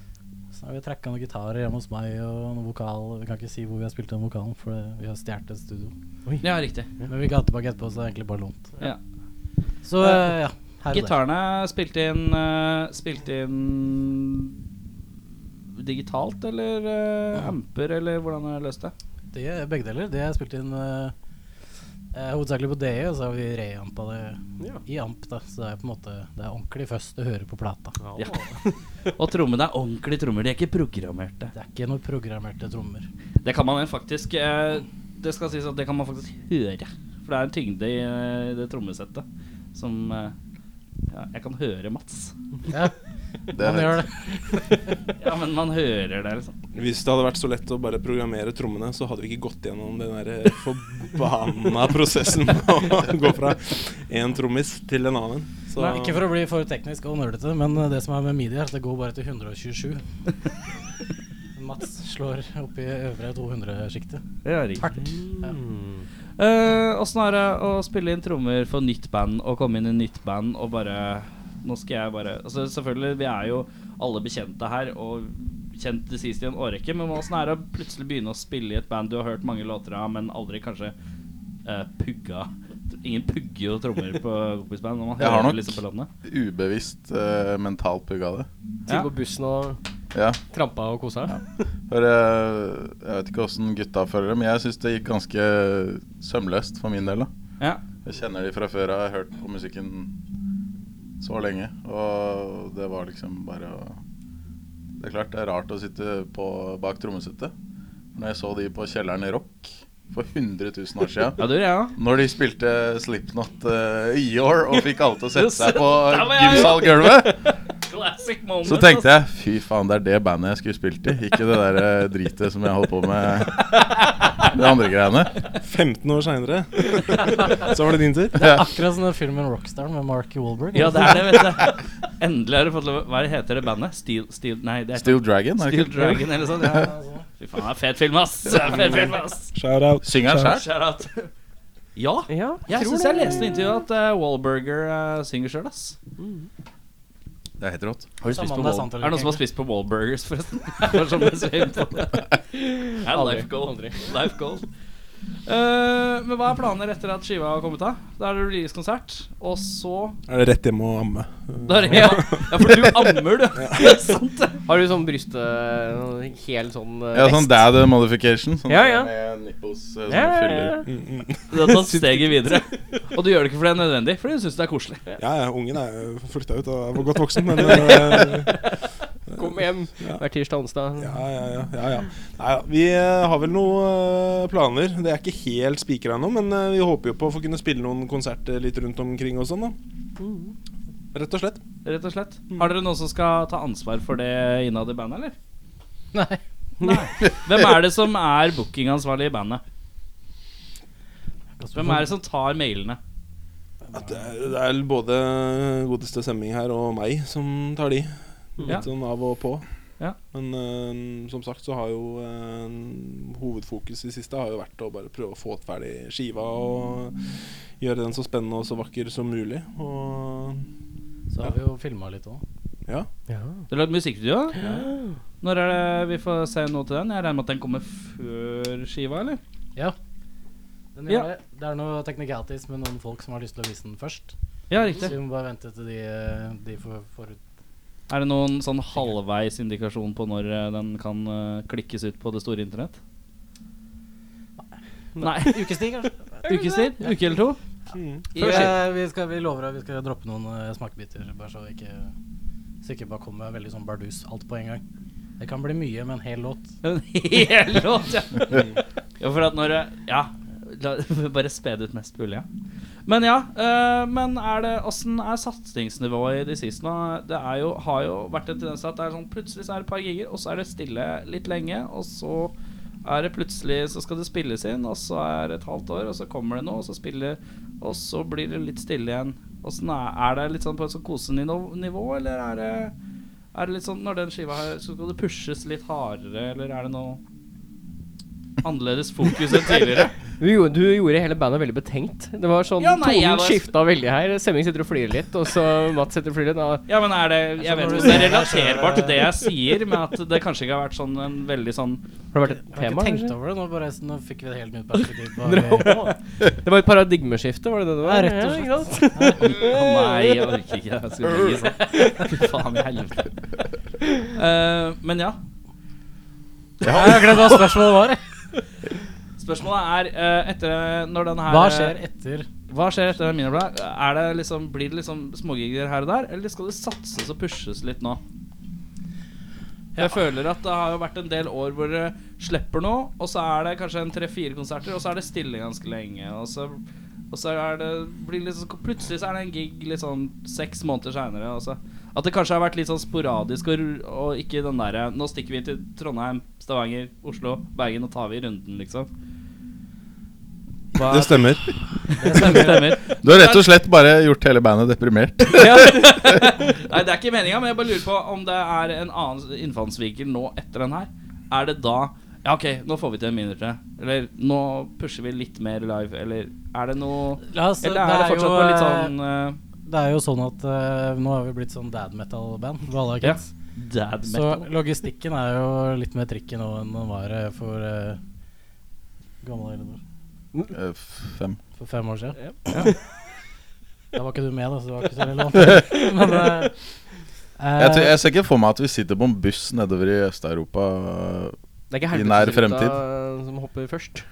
Speaker 6: Så har vi trekka noen gitarer hjemme hos meg og noen vokal. Vi kan ikke si hvor vi har spilt den vokalen, for det- vi har stjålet et studio.
Speaker 1: Ja, riktig.
Speaker 6: Men vi ga tilbake etterpå, så det er egentlig bare lånt.
Speaker 1: Ja.
Speaker 6: Så eh, ja. Her og der.
Speaker 1: Gitarene spilte inn eh, Spilte inn digitalt, eller eh, amper, eller hvordan har dere løst det?
Speaker 6: Det er begge deler. Det er spilt inn eh, eh, hovedsakelig på DE, og så har vi reampa det i amp. da Så det er på en måte Det er ordentlig først du hører på plata.
Speaker 1: Ja. Og trommene er ordentlige trommer. De er ikke programmerte.
Speaker 6: Det er ikke noen programmerte trommer.
Speaker 1: Det kan man faktisk eh, Det skal sies at det kan man faktisk høre. For det er en tyngde i eh, det trommesettet som eh, Ja, jeg kan høre Mats.
Speaker 7: Det
Speaker 6: Man gjør det.
Speaker 1: Ja, men man hører det, liksom.
Speaker 5: Hvis det hadde vært så lett å bare programmere trommene, så hadde vi ikke gått gjennom den der eh, forbanna prosessen å gå fra én trommis til en annen. Så
Speaker 6: Nei, ikke for å bli for teknisk og nerdete, men eh, det som er med midi, er at det går bare til 127. Mats slår opp i øvre 200-sjiktet.
Speaker 1: Det er riktig.
Speaker 6: Tvert. Ja.
Speaker 1: Åssen er det å spille inn trommer for nytt band og komme inn i nytt band og bare Nå skal jeg bare altså Selvfølgelig, vi er jo alle bekjente her og kjent det sist i en årrekke, men åssen er det å plutselig begynne å spille i et band du har hørt mange låter av, men aldri kanskje eh, pugga Ingen pugger jo trommer på kompisband når man
Speaker 7: Jeg har
Speaker 1: hører
Speaker 7: nok-
Speaker 1: liksom på låtene.
Speaker 7: Ubevisst eh, mentalt pugga det.
Speaker 2: Til
Speaker 1: Ja.
Speaker 2: på bussen og
Speaker 7: Ja.
Speaker 2: trampa og kosa.
Speaker 7: For eh, jeg vet ikke åssen gutta føler det, men jeg syns det gikk ganske sømløst for min del. da
Speaker 1: Ja.
Speaker 7: Jeg kjenner de fra før av, jeg har hørt på musikken så lenge. Og det var liksom bare å Det er klart det er rart å sitte på, bak trommesettet. Når jeg så de på Kjelleren i Rock for 100 000 år siden
Speaker 1: ja, det gjør jeg òg.
Speaker 7: Når de spilte Slipknot uh, Eeyore og fikk alle til å sette seg på
Speaker 1: Der var jeg, ja.
Speaker 7: gymsalgulvet,
Speaker 1: Classic moment.
Speaker 7: så tenkte jeg
Speaker 2: altså.
Speaker 7: fy faen, det er det bandet jeg skulle spilt i, ikke det der eh, dritet som jeg holdt på med de andre greiene.
Speaker 5: 15 år seinere, så var det din tur.
Speaker 6: Akkurat som den filmen 'Rockstar' med Mark Wahlberg.
Speaker 1: Ja, det er det, vet du. Endelig har du fått lov Hva heter det bandet? Steel, Steel Nei, det er
Speaker 7: Steel Dragon. er det
Speaker 1: Steel
Speaker 7: ikke?
Speaker 1: Dragon eller sånn. Ja. Fy faen, det er fet film, ass! Det er fet film, ass.
Speaker 5: Shout-out.
Speaker 7: Synger han sjæl?
Speaker 1: Shout out. Ja,
Speaker 2: Ja,
Speaker 1: jeg
Speaker 2: tror
Speaker 1: syns
Speaker 2: det.
Speaker 1: jeg leste i intervjuet at eh, Wahlburger eh, synger sjøl, ass.
Speaker 7: Det er helt rått.
Speaker 6: Har du spist på
Speaker 1: Er det noen som har spist på Wahlburgers, forresten? Bare sånn med svim på det. Det er life goal. Life goal. Eh, men hva er planer etter at skiva har kommet av? Da er det releasekonsert, og så
Speaker 5: Er det rett hjem og amme?
Speaker 1: da er det, ja. ja, for du ammer, du. Det er sant, det.
Speaker 2: Har du sånn bryst øh, Hel sånn øh,
Speaker 7: Ja, sånn
Speaker 2: vest?
Speaker 7: dad modification. Sånn
Speaker 2: Ja, ja.
Speaker 7: Med nipples eh, som
Speaker 2: Ja, ja,
Speaker 7: fyller.
Speaker 2: ja.
Speaker 1: Du har tatt steget videre. Og du gjør det ikke fordi det er nødvendig, fordi du syns det er koselig.
Speaker 5: Ja, ja, ungen er jo flytta ut og er for godt voksen, men eh,
Speaker 2: Kom hjem
Speaker 5: Ja.
Speaker 2: hver tirsdag og onsdag.
Speaker 5: Ja, ja, ja. ja, ja. Nei, ja, vi eh, har vel noen eh, planer. Det er ikke helt spikra ennå, men eh, vi håper jo på å få kunne spille noen konserter litt rundt omkring og sånn, da. Rett og slett.
Speaker 1: Rett og slett. Har dere noen som skal ta ansvar for det innad i bandet, eller?
Speaker 6: Nei.
Speaker 1: Nei. Hvem er det som er bookingansvarlig i bandet? Hvem er det som tar mailene?
Speaker 5: At det, er, det er både godeste Semming her og meg som tar de. Litt
Speaker 1: Mm. Ja.
Speaker 5: sånn av og på.
Speaker 1: Ja.
Speaker 5: Men eh, som sagt så har jo eh, hovedfokus i siste har jo vært å bare prøve å få ferdig skiva og gjøre den så spennende og så vakker som mulig. Og
Speaker 6: Så har vi jo filma litt òg.
Speaker 5: ja.
Speaker 1: Du har lagd musikkvideo? Når er det vi får se noe til den? Jeg regner med at den kommer før skiva, eller?
Speaker 6: Ja. Den gjør
Speaker 1: Ja.
Speaker 6: det. det er noe teknikalitis med noen folk som har lyst til å vise den først.
Speaker 1: Ja,
Speaker 6: Så
Speaker 1: riktig.
Speaker 6: vi må bare vente til de, eh, de får, får ut
Speaker 1: Er det noen sånn halvveis indikasjon på når eh, den kan eh, klikkes ut på det store internett? Nei.
Speaker 6: ukestig, kanskje.
Speaker 1: Ukestid? Uke eller to? Mm.
Speaker 6: I, eh, vi, skal, vi lover at vi skal droppe noen eh, smakebiter, bare så vi ikke så ikke bare kommer veldig sånn bardus alt på en gang. Det kan bli mye med en hel låt.
Speaker 1: En hel låt, ja. ja for at når det- Ja. La, bare sped ut mest mulig, ja. Men ja. eh, men er det åssen er satsingsnivået i de siste nå? Det er jo, har jo vært en tendens til at det er sånn plutselig så er det et par gigger, og så er det stille litt lenge, og så er det plutselig så skal det spilles inn, og så er det et halvt år, og så kommer det noe, og så spiller Og så blir det litt stille igjen. Åssen er, er det litt sånn på et sånn kosenivå, nivå, eller er det er det litt sånn når den skiva her så Skal det pushes litt hardere, eller er det noe annerledes fokus enn tidligere?
Speaker 2: Du, gjorde- du gjorde hele bandet veldig betenkt. Det var sånn
Speaker 1: Ja, nei, jeg
Speaker 2: Tonen
Speaker 1: var-
Speaker 2: skifta veldig her. Semming sitter og flirer litt, og så Mats sitter og flirer litt. Da.
Speaker 1: Ja, men er det Jeg vet ikke om det er relaterbart til det jeg sier, men at det kanskje ikke har vært sånn en veldig sånn
Speaker 2: Har det vært et
Speaker 6: Jeg har
Speaker 2: tema?
Speaker 6: ikke tenkt
Speaker 2: kanskje?
Speaker 6: over det, nå, bare, nå fikk vi et helt nytt perspektiv. På
Speaker 2: Det var et paradigmeskifte, var det det det var?
Speaker 6: Ja, rett og
Speaker 2: Ja, ikke sant?
Speaker 1: Å nei, jeg orker ikke. Jeg skulle ligge sånn. Fy faen i helvete. Eh, men ja.
Speaker 6: Jeg har glemt hva spørsmålet var. jeg.
Speaker 1: Spørsmålet er eh, etter når den her
Speaker 6: Hva skjer etter
Speaker 1: Hva skjer etter den minibladet? Er det liksom, blir det liksom smågigger her og der, eller skal det satses og pushes litt nå? Jeg føler at det har jo vært en del år hvor det slipper noe, og så er det kanskje en tre-fire konserter, og så er det stille ganske lenge, og så Og så er det, blir det litt sånn, plutselig så er det en gig litt sånn seks måneder seinere. Altså. At det kanskje har vært litt sånn sporadisk og, ru- og ikke den derre Nå stikker vi til Trondheim, Stavanger, Oslo, Bergen og tar vi runden, liksom. Hva
Speaker 5: Det stemmer.
Speaker 1: stemmer.
Speaker 7: Du har rett og slett bare gjort hele bandet deprimert.
Speaker 1: Nei, det er ikke meninga, men jeg bare lurer på om det er en annen innfallsvinkel nå etter den her. Er det da Ja, ok, nå får vi til en minutre. Eller nå pusher vi litt mer live, eller er det noe
Speaker 6: La oss,
Speaker 1: Eller er det fortsatt på litt
Speaker 6: eh,
Speaker 1: sånn eh,
Speaker 6: Det er jo sånn at eh, nå har vi blitt sånn dad metal-band. Valla
Speaker 1: Ja.
Speaker 6: Kids.
Speaker 1: dad
Speaker 6: Så
Speaker 1: metal?
Speaker 6: logistikken er jo litt mer tricky nå enn den var eh, for eh, gammel Elinor.
Speaker 7: Eh, f- Fem.
Speaker 6: For fem år siden. Da var ikke du med, da, så det var ikke så relevant. Men eh, eh,
Speaker 7: Jeg, tror- jeg ser ikke for meg at vi sitter på en buss nedover i Øst-Europa.
Speaker 2: Det er ikke
Speaker 7: I nær fremtid.
Speaker 2: helvetesruta som hopper først.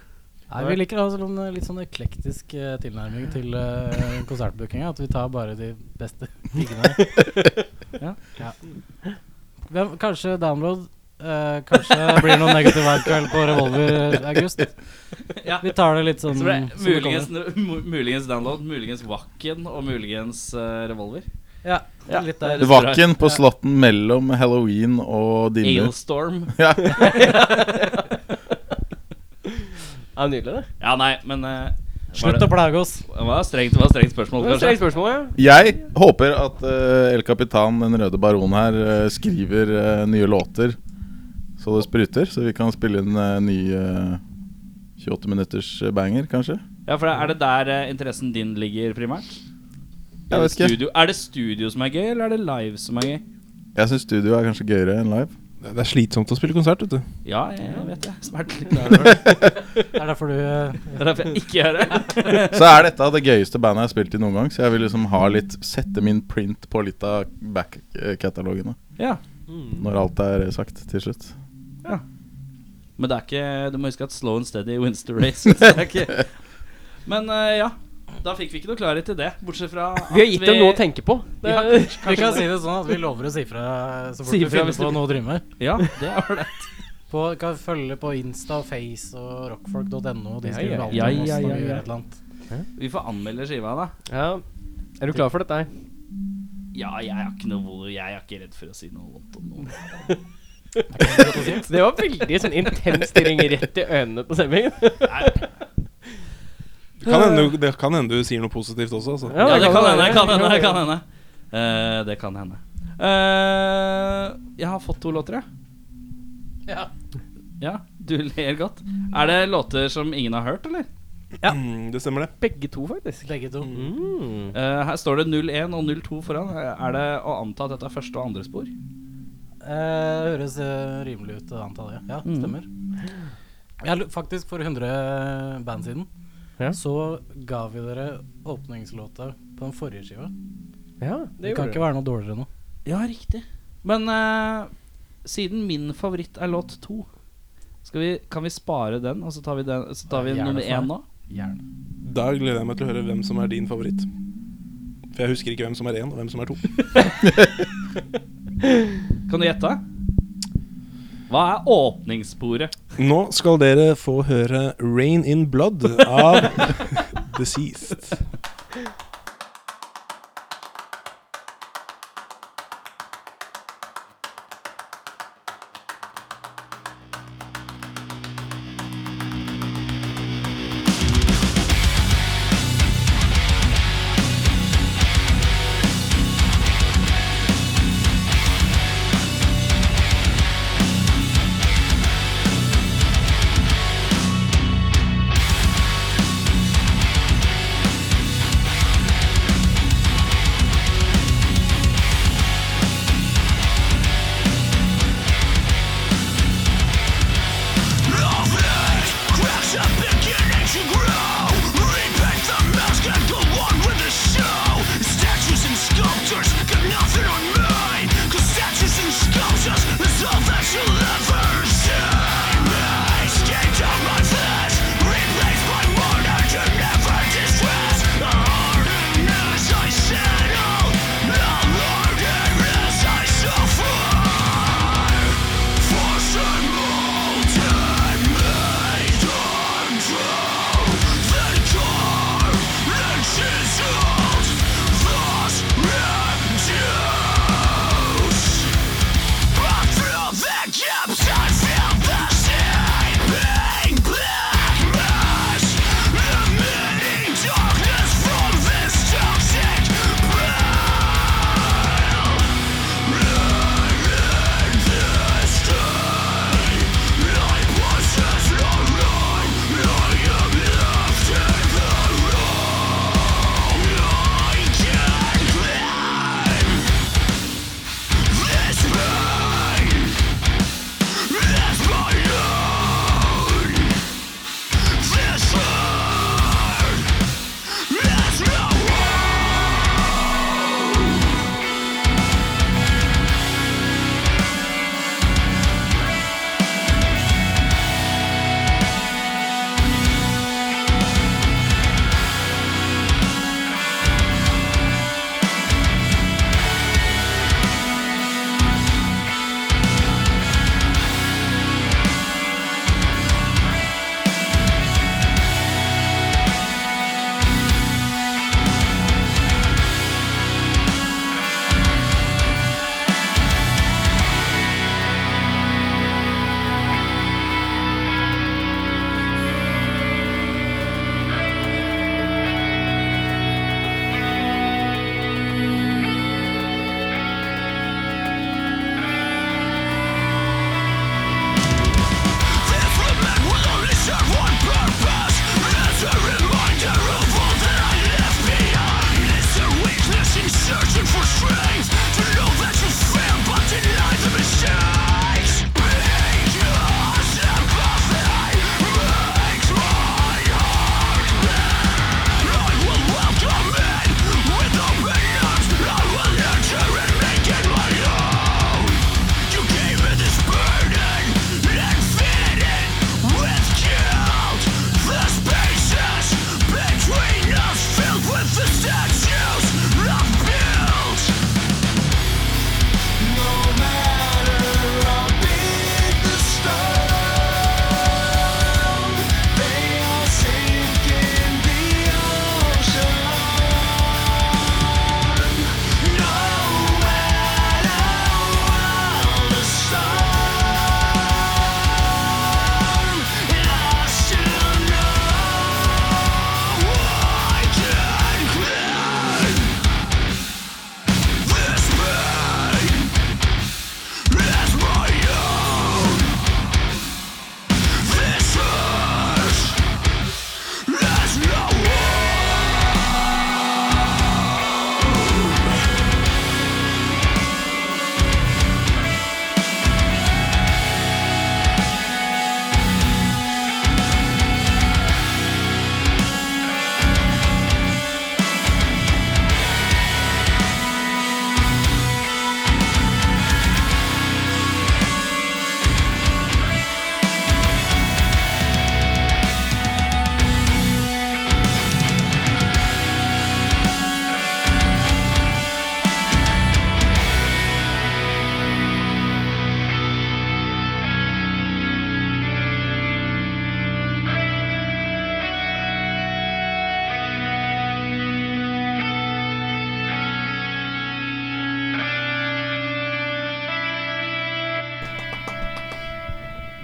Speaker 6: Nei, Vi liker å ha sånn, eh, litt sånn eklektisk eh, tilnærming til uh, konsertbookinga. At vi tar bare de beste tingene. ja. Ja. Hvem, kanskje download. eh, kanskje det blir noen negativ kveld på Revolver i august.
Speaker 1: Ja.
Speaker 6: Vi tar det litt sånn
Speaker 1: Så ble det
Speaker 6: som det
Speaker 1: muligens, mu- muligens download, muligens Wacken og muligens eh, revolver.
Speaker 6: kommer. ja,
Speaker 1: Ja.
Speaker 6: Litt der.
Speaker 7: Vaken på Slotten mellom halloween og dimmer.
Speaker 1: Ailstorm.
Speaker 7: Ja.
Speaker 2: Det er nydelig, det.
Speaker 1: Ja, nei, men eh, var
Speaker 6: Slutt å
Speaker 1: det,
Speaker 6: plage oss.
Speaker 1: det var strengt, det var strengt spørsmål,
Speaker 2: Det er
Speaker 1: kanskje.
Speaker 2: et spørsmål, ja.
Speaker 7: Jeg håper at eh, El Capitan, den røde baron her, eh, skriver eh, nye låter så det spruter, så vi kan spille inn eh, ny eh, 28 minutters eh, banger, kanskje.
Speaker 1: Ja, for Er det der eh, interessen din ligger primært?
Speaker 7: Jeg
Speaker 1: Er det
Speaker 7: vet ikke.
Speaker 1: Studio, er det studio som er gøy, eller er det live som er gøy?
Speaker 7: Jeg syns studio er kanskje gøyere enn live.
Speaker 5: Det det er slitsomt å spille konsert, vet du.
Speaker 1: Ja, jeg vet det. Smertelig klar over det.
Speaker 6: Det er derfor du eh,
Speaker 1: Det er derfor jeg ikke gjør det.
Speaker 7: Så er dette det gøyeste bandet jeg har spilt i noen gang, så jeg vil liksom ha litt sette min print på litt av back-katalogene.
Speaker 1: Ja,
Speaker 7: Når alt er eh, sagt til slutt.
Speaker 1: Men det er ikke Du må huske at slow and steady wins the race. så det er ikke. Men eh, ja. Da fikk vi ikke noe klarhet i det, bortsett fra at
Speaker 2: Vi har gitt dem noe å tenke på. Det
Speaker 1: Ja,
Speaker 2: er,
Speaker 6: Vi kan si det sånn at vi lover å si fra eh, så fort
Speaker 2: Si
Speaker 6: vi
Speaker 2: fra
Speaker 6: finner
Speaker 2: hvis det-
Speaker 6: på noe å drive med.
Speaker 1: Ja, det er ålreit.
Speaker 6: På, kan følge på Insta og Face og rockfolk.no. De
Speaker 2: Ja,
Speaker 6: skriver
Speaker 2: ja,
Speaker 6: alltid
Speaker 1: ja,
Speaker 6: om oss
Speaker 1: ja,
Speaker 6: når
Speaker 1: ja, ja.
Speaker 6: vi gjør et eller annet.
Speaker 1: Vi får anmelde skiva, da.
Speaker 2: ja. er du klar for dette her?
Speaker 1: Ja, jeg er ikke noe vo- Jeg er ikke redd for å si noe vondt om noen.
Speaker 2: Det var veldig sånn intens stirring rett i øynene på Semming.
Speaker 5: Det kan hende, det kan hende du sier noe positivt også, altså.
Speaker 1: Ja, det kan hende.
Speaker 2: være.
Speaker 1: Kan hende, kan hende. Eh, det kan hende. Eh, jeg har fått to låter, jeg.
Speaker 6: Ja.
Speaker 1: Ja, du ler godt. Er det låter som ingen har hørt, eller?
Speaker 5: Mm, Det stemmer, det.
Speaker 2: Begge to, faktisk.
Speaker 6: Begge to.
Speaker 2: Mm.
Speaker 1: Eh, her står det 01 og 02 foran. Eh, Er det å anta at dette er første og andre spor?
Speaker 6: Eh, høres eh, rimelig ut, antallet. Ja, ja
Speaker 1: Mm.
Speaker 6: stemmer. Jeg, lu- faktisk, for 100 band siden
Speaker 2: Ja.
Speaker 6: så ga vi dere åpningslåta på den forrige skiva.
Speaker 2: Ja,
Speaker 6: Det
Speaker 2: det
Speaker 6: kan
Speaker 2: gjorde
Speaker 6: ikke være noe dårligere nå.
Speaker 1: Ja, riktig. Men eh, siden min favoritt er låt to, skal vi, kan vi spare den, og så tar vi, den, så tar vi
Speaker 6: Gjerne
Speaker 1: nummer
Speaker 6: for
Speaker 1: én
Speaker 6: meg.
Speaker 1: nå?
Speaker 6: Gjerne.
Speaker 5: Da gleder jeg meg til å høre hvem som er din favoritt. For jeg husker ikke hvem som er én, og hvem som er to.
Speaker 1: Kan du gjette? Hva er åpningssporet?
Speaker 5: Nå skal dere få høre 'Rain In Blood' av Deceased.
Speaker 8: Rain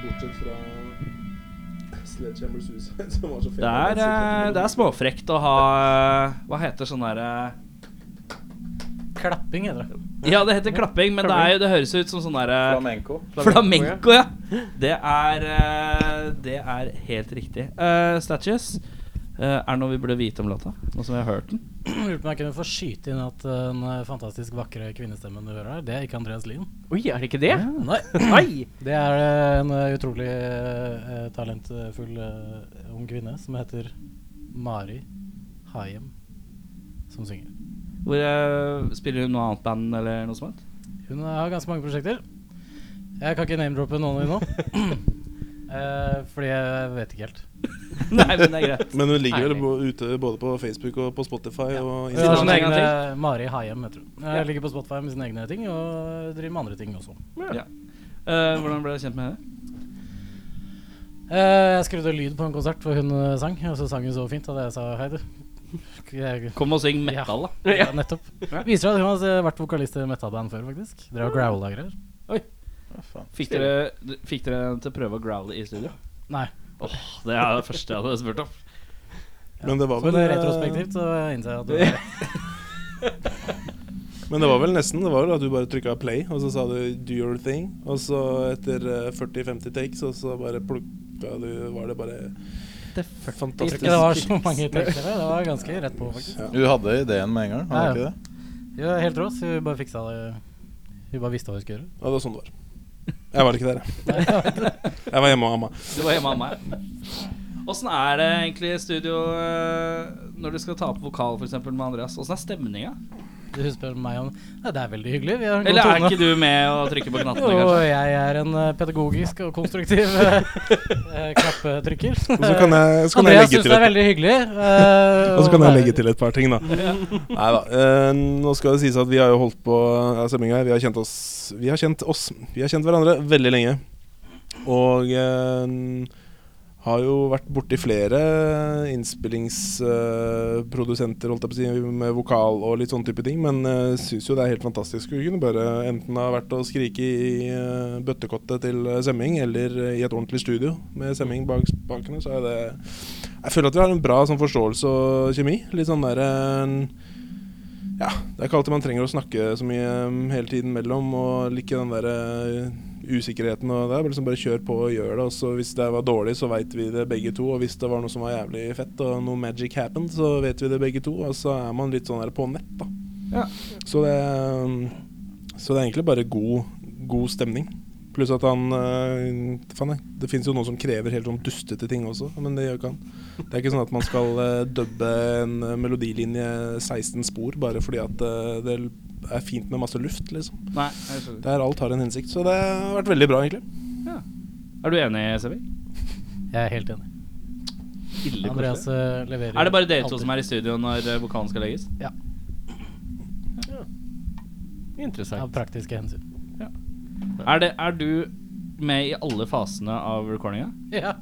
Speaker 5: bortsett fra Sledgehammer Suicide, som var så fet.
Speaker 1: Det er, eh, det er småfrekt å ha eh, Hva heter sånn derre
Speaker 6: Klapping heter det.
Speaker 1: Ja, det heter klapping, men det, er jo, det høres ut som sånn derre
Speaker 7: Flamenco.
Speaker 1: Flamenco, ja. Det er eh, Det er helt riktig. Eh, statues. eh, er det noe vi burde vite om låta? Nå som vi har hørt den?
Speaker 6: Lurte på om jeg kunne få skyte inn at den eh, fantastisk vakre kvinnestemmen du hører her, det er ikke Andreas Lien.
Speaker 2: Oi, er det ikke det?
Speaker 6: Nei.
Speaker 2: Nei!
Speaker 6: Det er eh, en eh, utrolig eh, talentfull eh, ung kvinne som heter Mari Hayem, som synger.
Speaker 1: Hvor eh, Spiller hun noe annet band eller noe sånt?
Speaker 6: Hun har ganske mange prosjekter. Jeg kan ikke name-droppe noen av dem nå. Eh, fordi jeg vet ikke helt.
Speaker 1: Nei, men det er greit.
Speaker 5: Men hun ligger vel bo- ute både på Facebook og på Spotify og
Speaker 6: Hun har
Speaker 1: sånn
Speaker 5: Instagram.
Speaker 6: sine
Speaker 1: egen
Speaker 6: egne, Mari Hayem, heter hun. Jeg ligger på Spotify med sine egne ting, og driver med andre ting også.
Speaker 1: Eh, hvordan ble du kjent med henne?
Speaker 6: Eh, jeg skrudde lyd på en konsert hvor hun eh, sang, og så sang hun så fint at jeg sa hei, du. Jeg,
Speaker 1: Kom og syng metal, da.
Speaker 6: ja, nettopp. Viser at hun har eh, vært vokalist i metaband før, faktisk. Drev og growla og greier.
Speaker 7: Hva faen.
Speaker 1: Fikk dere, fikk dere henne til å prøve å growle i studio?
Speaker 6: Nei.
Speaker 1: Åh, Det er det første jeg hadde spurt om.
Speaker 5: Men det var
Speaker 6: Men
Speaker 5: vel
Speaker 6: eh,
Speaker 5: eh,
Speaker 6: retrospektivt så innser jeg at det
Speaker 5: Men det var vel nesten. Det var vel at du bare trykka play, og så sa du 'do your thing'. Og så etter eh, 40-50 takes, og så bare plukka du Var det bare
Speaker 6: Jeg tror ikke det var så mange tekster der. Det var ganske rett på, faktisk.
Speaker 5: Ja.
Speaker 7: Du hadde ideen med en gang, hadde du
Speaker 6: Ja, ja.
Speaker 7: ikke det?
Speaker 6: Vi var helt rå, så vi bare fiksa det. Vi bare visste hva vi skulle gjøre.
Speaker 5: Ja, det var sånn det var. Jeg var ikke der, jeg. Jeg var hjemme og amma.
Speaker 1: Du var hjemme av meg. Åssen er det egentlig i studio eh, når du skal ta opp vokal for eksempel, med Andreas? Åssen er stemninga?
Speaker 6: Du husker meg om Nei, det er veldig hyggelig. Vi har en god
Speaker 1: Eller er
Speaker 6: tone.
Speaker 1: ikke du med og trykker på knappene,
Speaker 6: Jo,
Speaker 1: kanskje?
Speaker 6: jeg er en eh, pedagogisk og konstruktiv eh, eh, klappetrykker.
Speaker 5: Og så kan jeg, så kan jeg
Speaker 6: Andreas
Speaker 5: legge til
Speaker 6: syns det er
Speaker 5: et,
Speaker 6: veldig hyggelig. eh,
Speaker 5: og så kan jeg legge til et par ting, da. Nei da. eh, nå skal det sies at vi har jo holdt på ja, stemminga. Vi har kjent oss Vi har kjent oss Vi har kjent hverandre veldig lenge. Og eh, har jo vært borti flere innspillingsprodusenter, holdt jeg på å si, med vokal og litt sånn type ting. Men uh, syns jo det er helt fantastisk å kunne bare enten ha vært og skrike i eh, bøttekottet til Semming, eller eh, i et ordentlig studio med Semming bak spakene, så er det Jeg føler at vi har en bra sånn forståelse og kjemi. Litt sånn derre ja, det er ikke alltid man trenger å snakke så mye um, hele tiden mellom, og ikke den der uh, usikkerheten og det. er bare Liksom bare kjør på og gjør det. Og så hvis det var dårlig, så veit vi det begge to. Og hvis det var noe som var jævlig fett, og noe magic happened, så vet vi det begge to. Og så er man litt sånn der på nett, da. Så det um, Så det er egentlig bare god, god stemning. Pluss at han uh, Faen, jeg. Det fins jo noen som krever helt sånn dustete ting også, men det gjør ikke han. Det er ikke sånn at man skal eh, dubbe en eh, melodilinje 16 spor bare fordi at eh, det er fint med masse luft, liksom.
Speaker 1: Nei, jeg skjønner.
Speaker 5: Der alt har en hensikt. Så det har vært veldig bra, egentlig.
Speaker 1: Er du enig, Sevi?
Speaker 6: Jeg er helt enig.
Speaker 1: Ille
Speaker 6: Andreas
Speaker 1: koselig.
Speaker 6: eh, leverer
Speaker 1: Er det bare dere to som er i studio når eh, vokalen skal legges?
Speaker 6: Av
Speaker 2: Interessant.
Speaker 6: praktiske hensyn.
Speaker 1: Er, det, er du med i alle fasene av recordinga?
Speaker 6: Ja,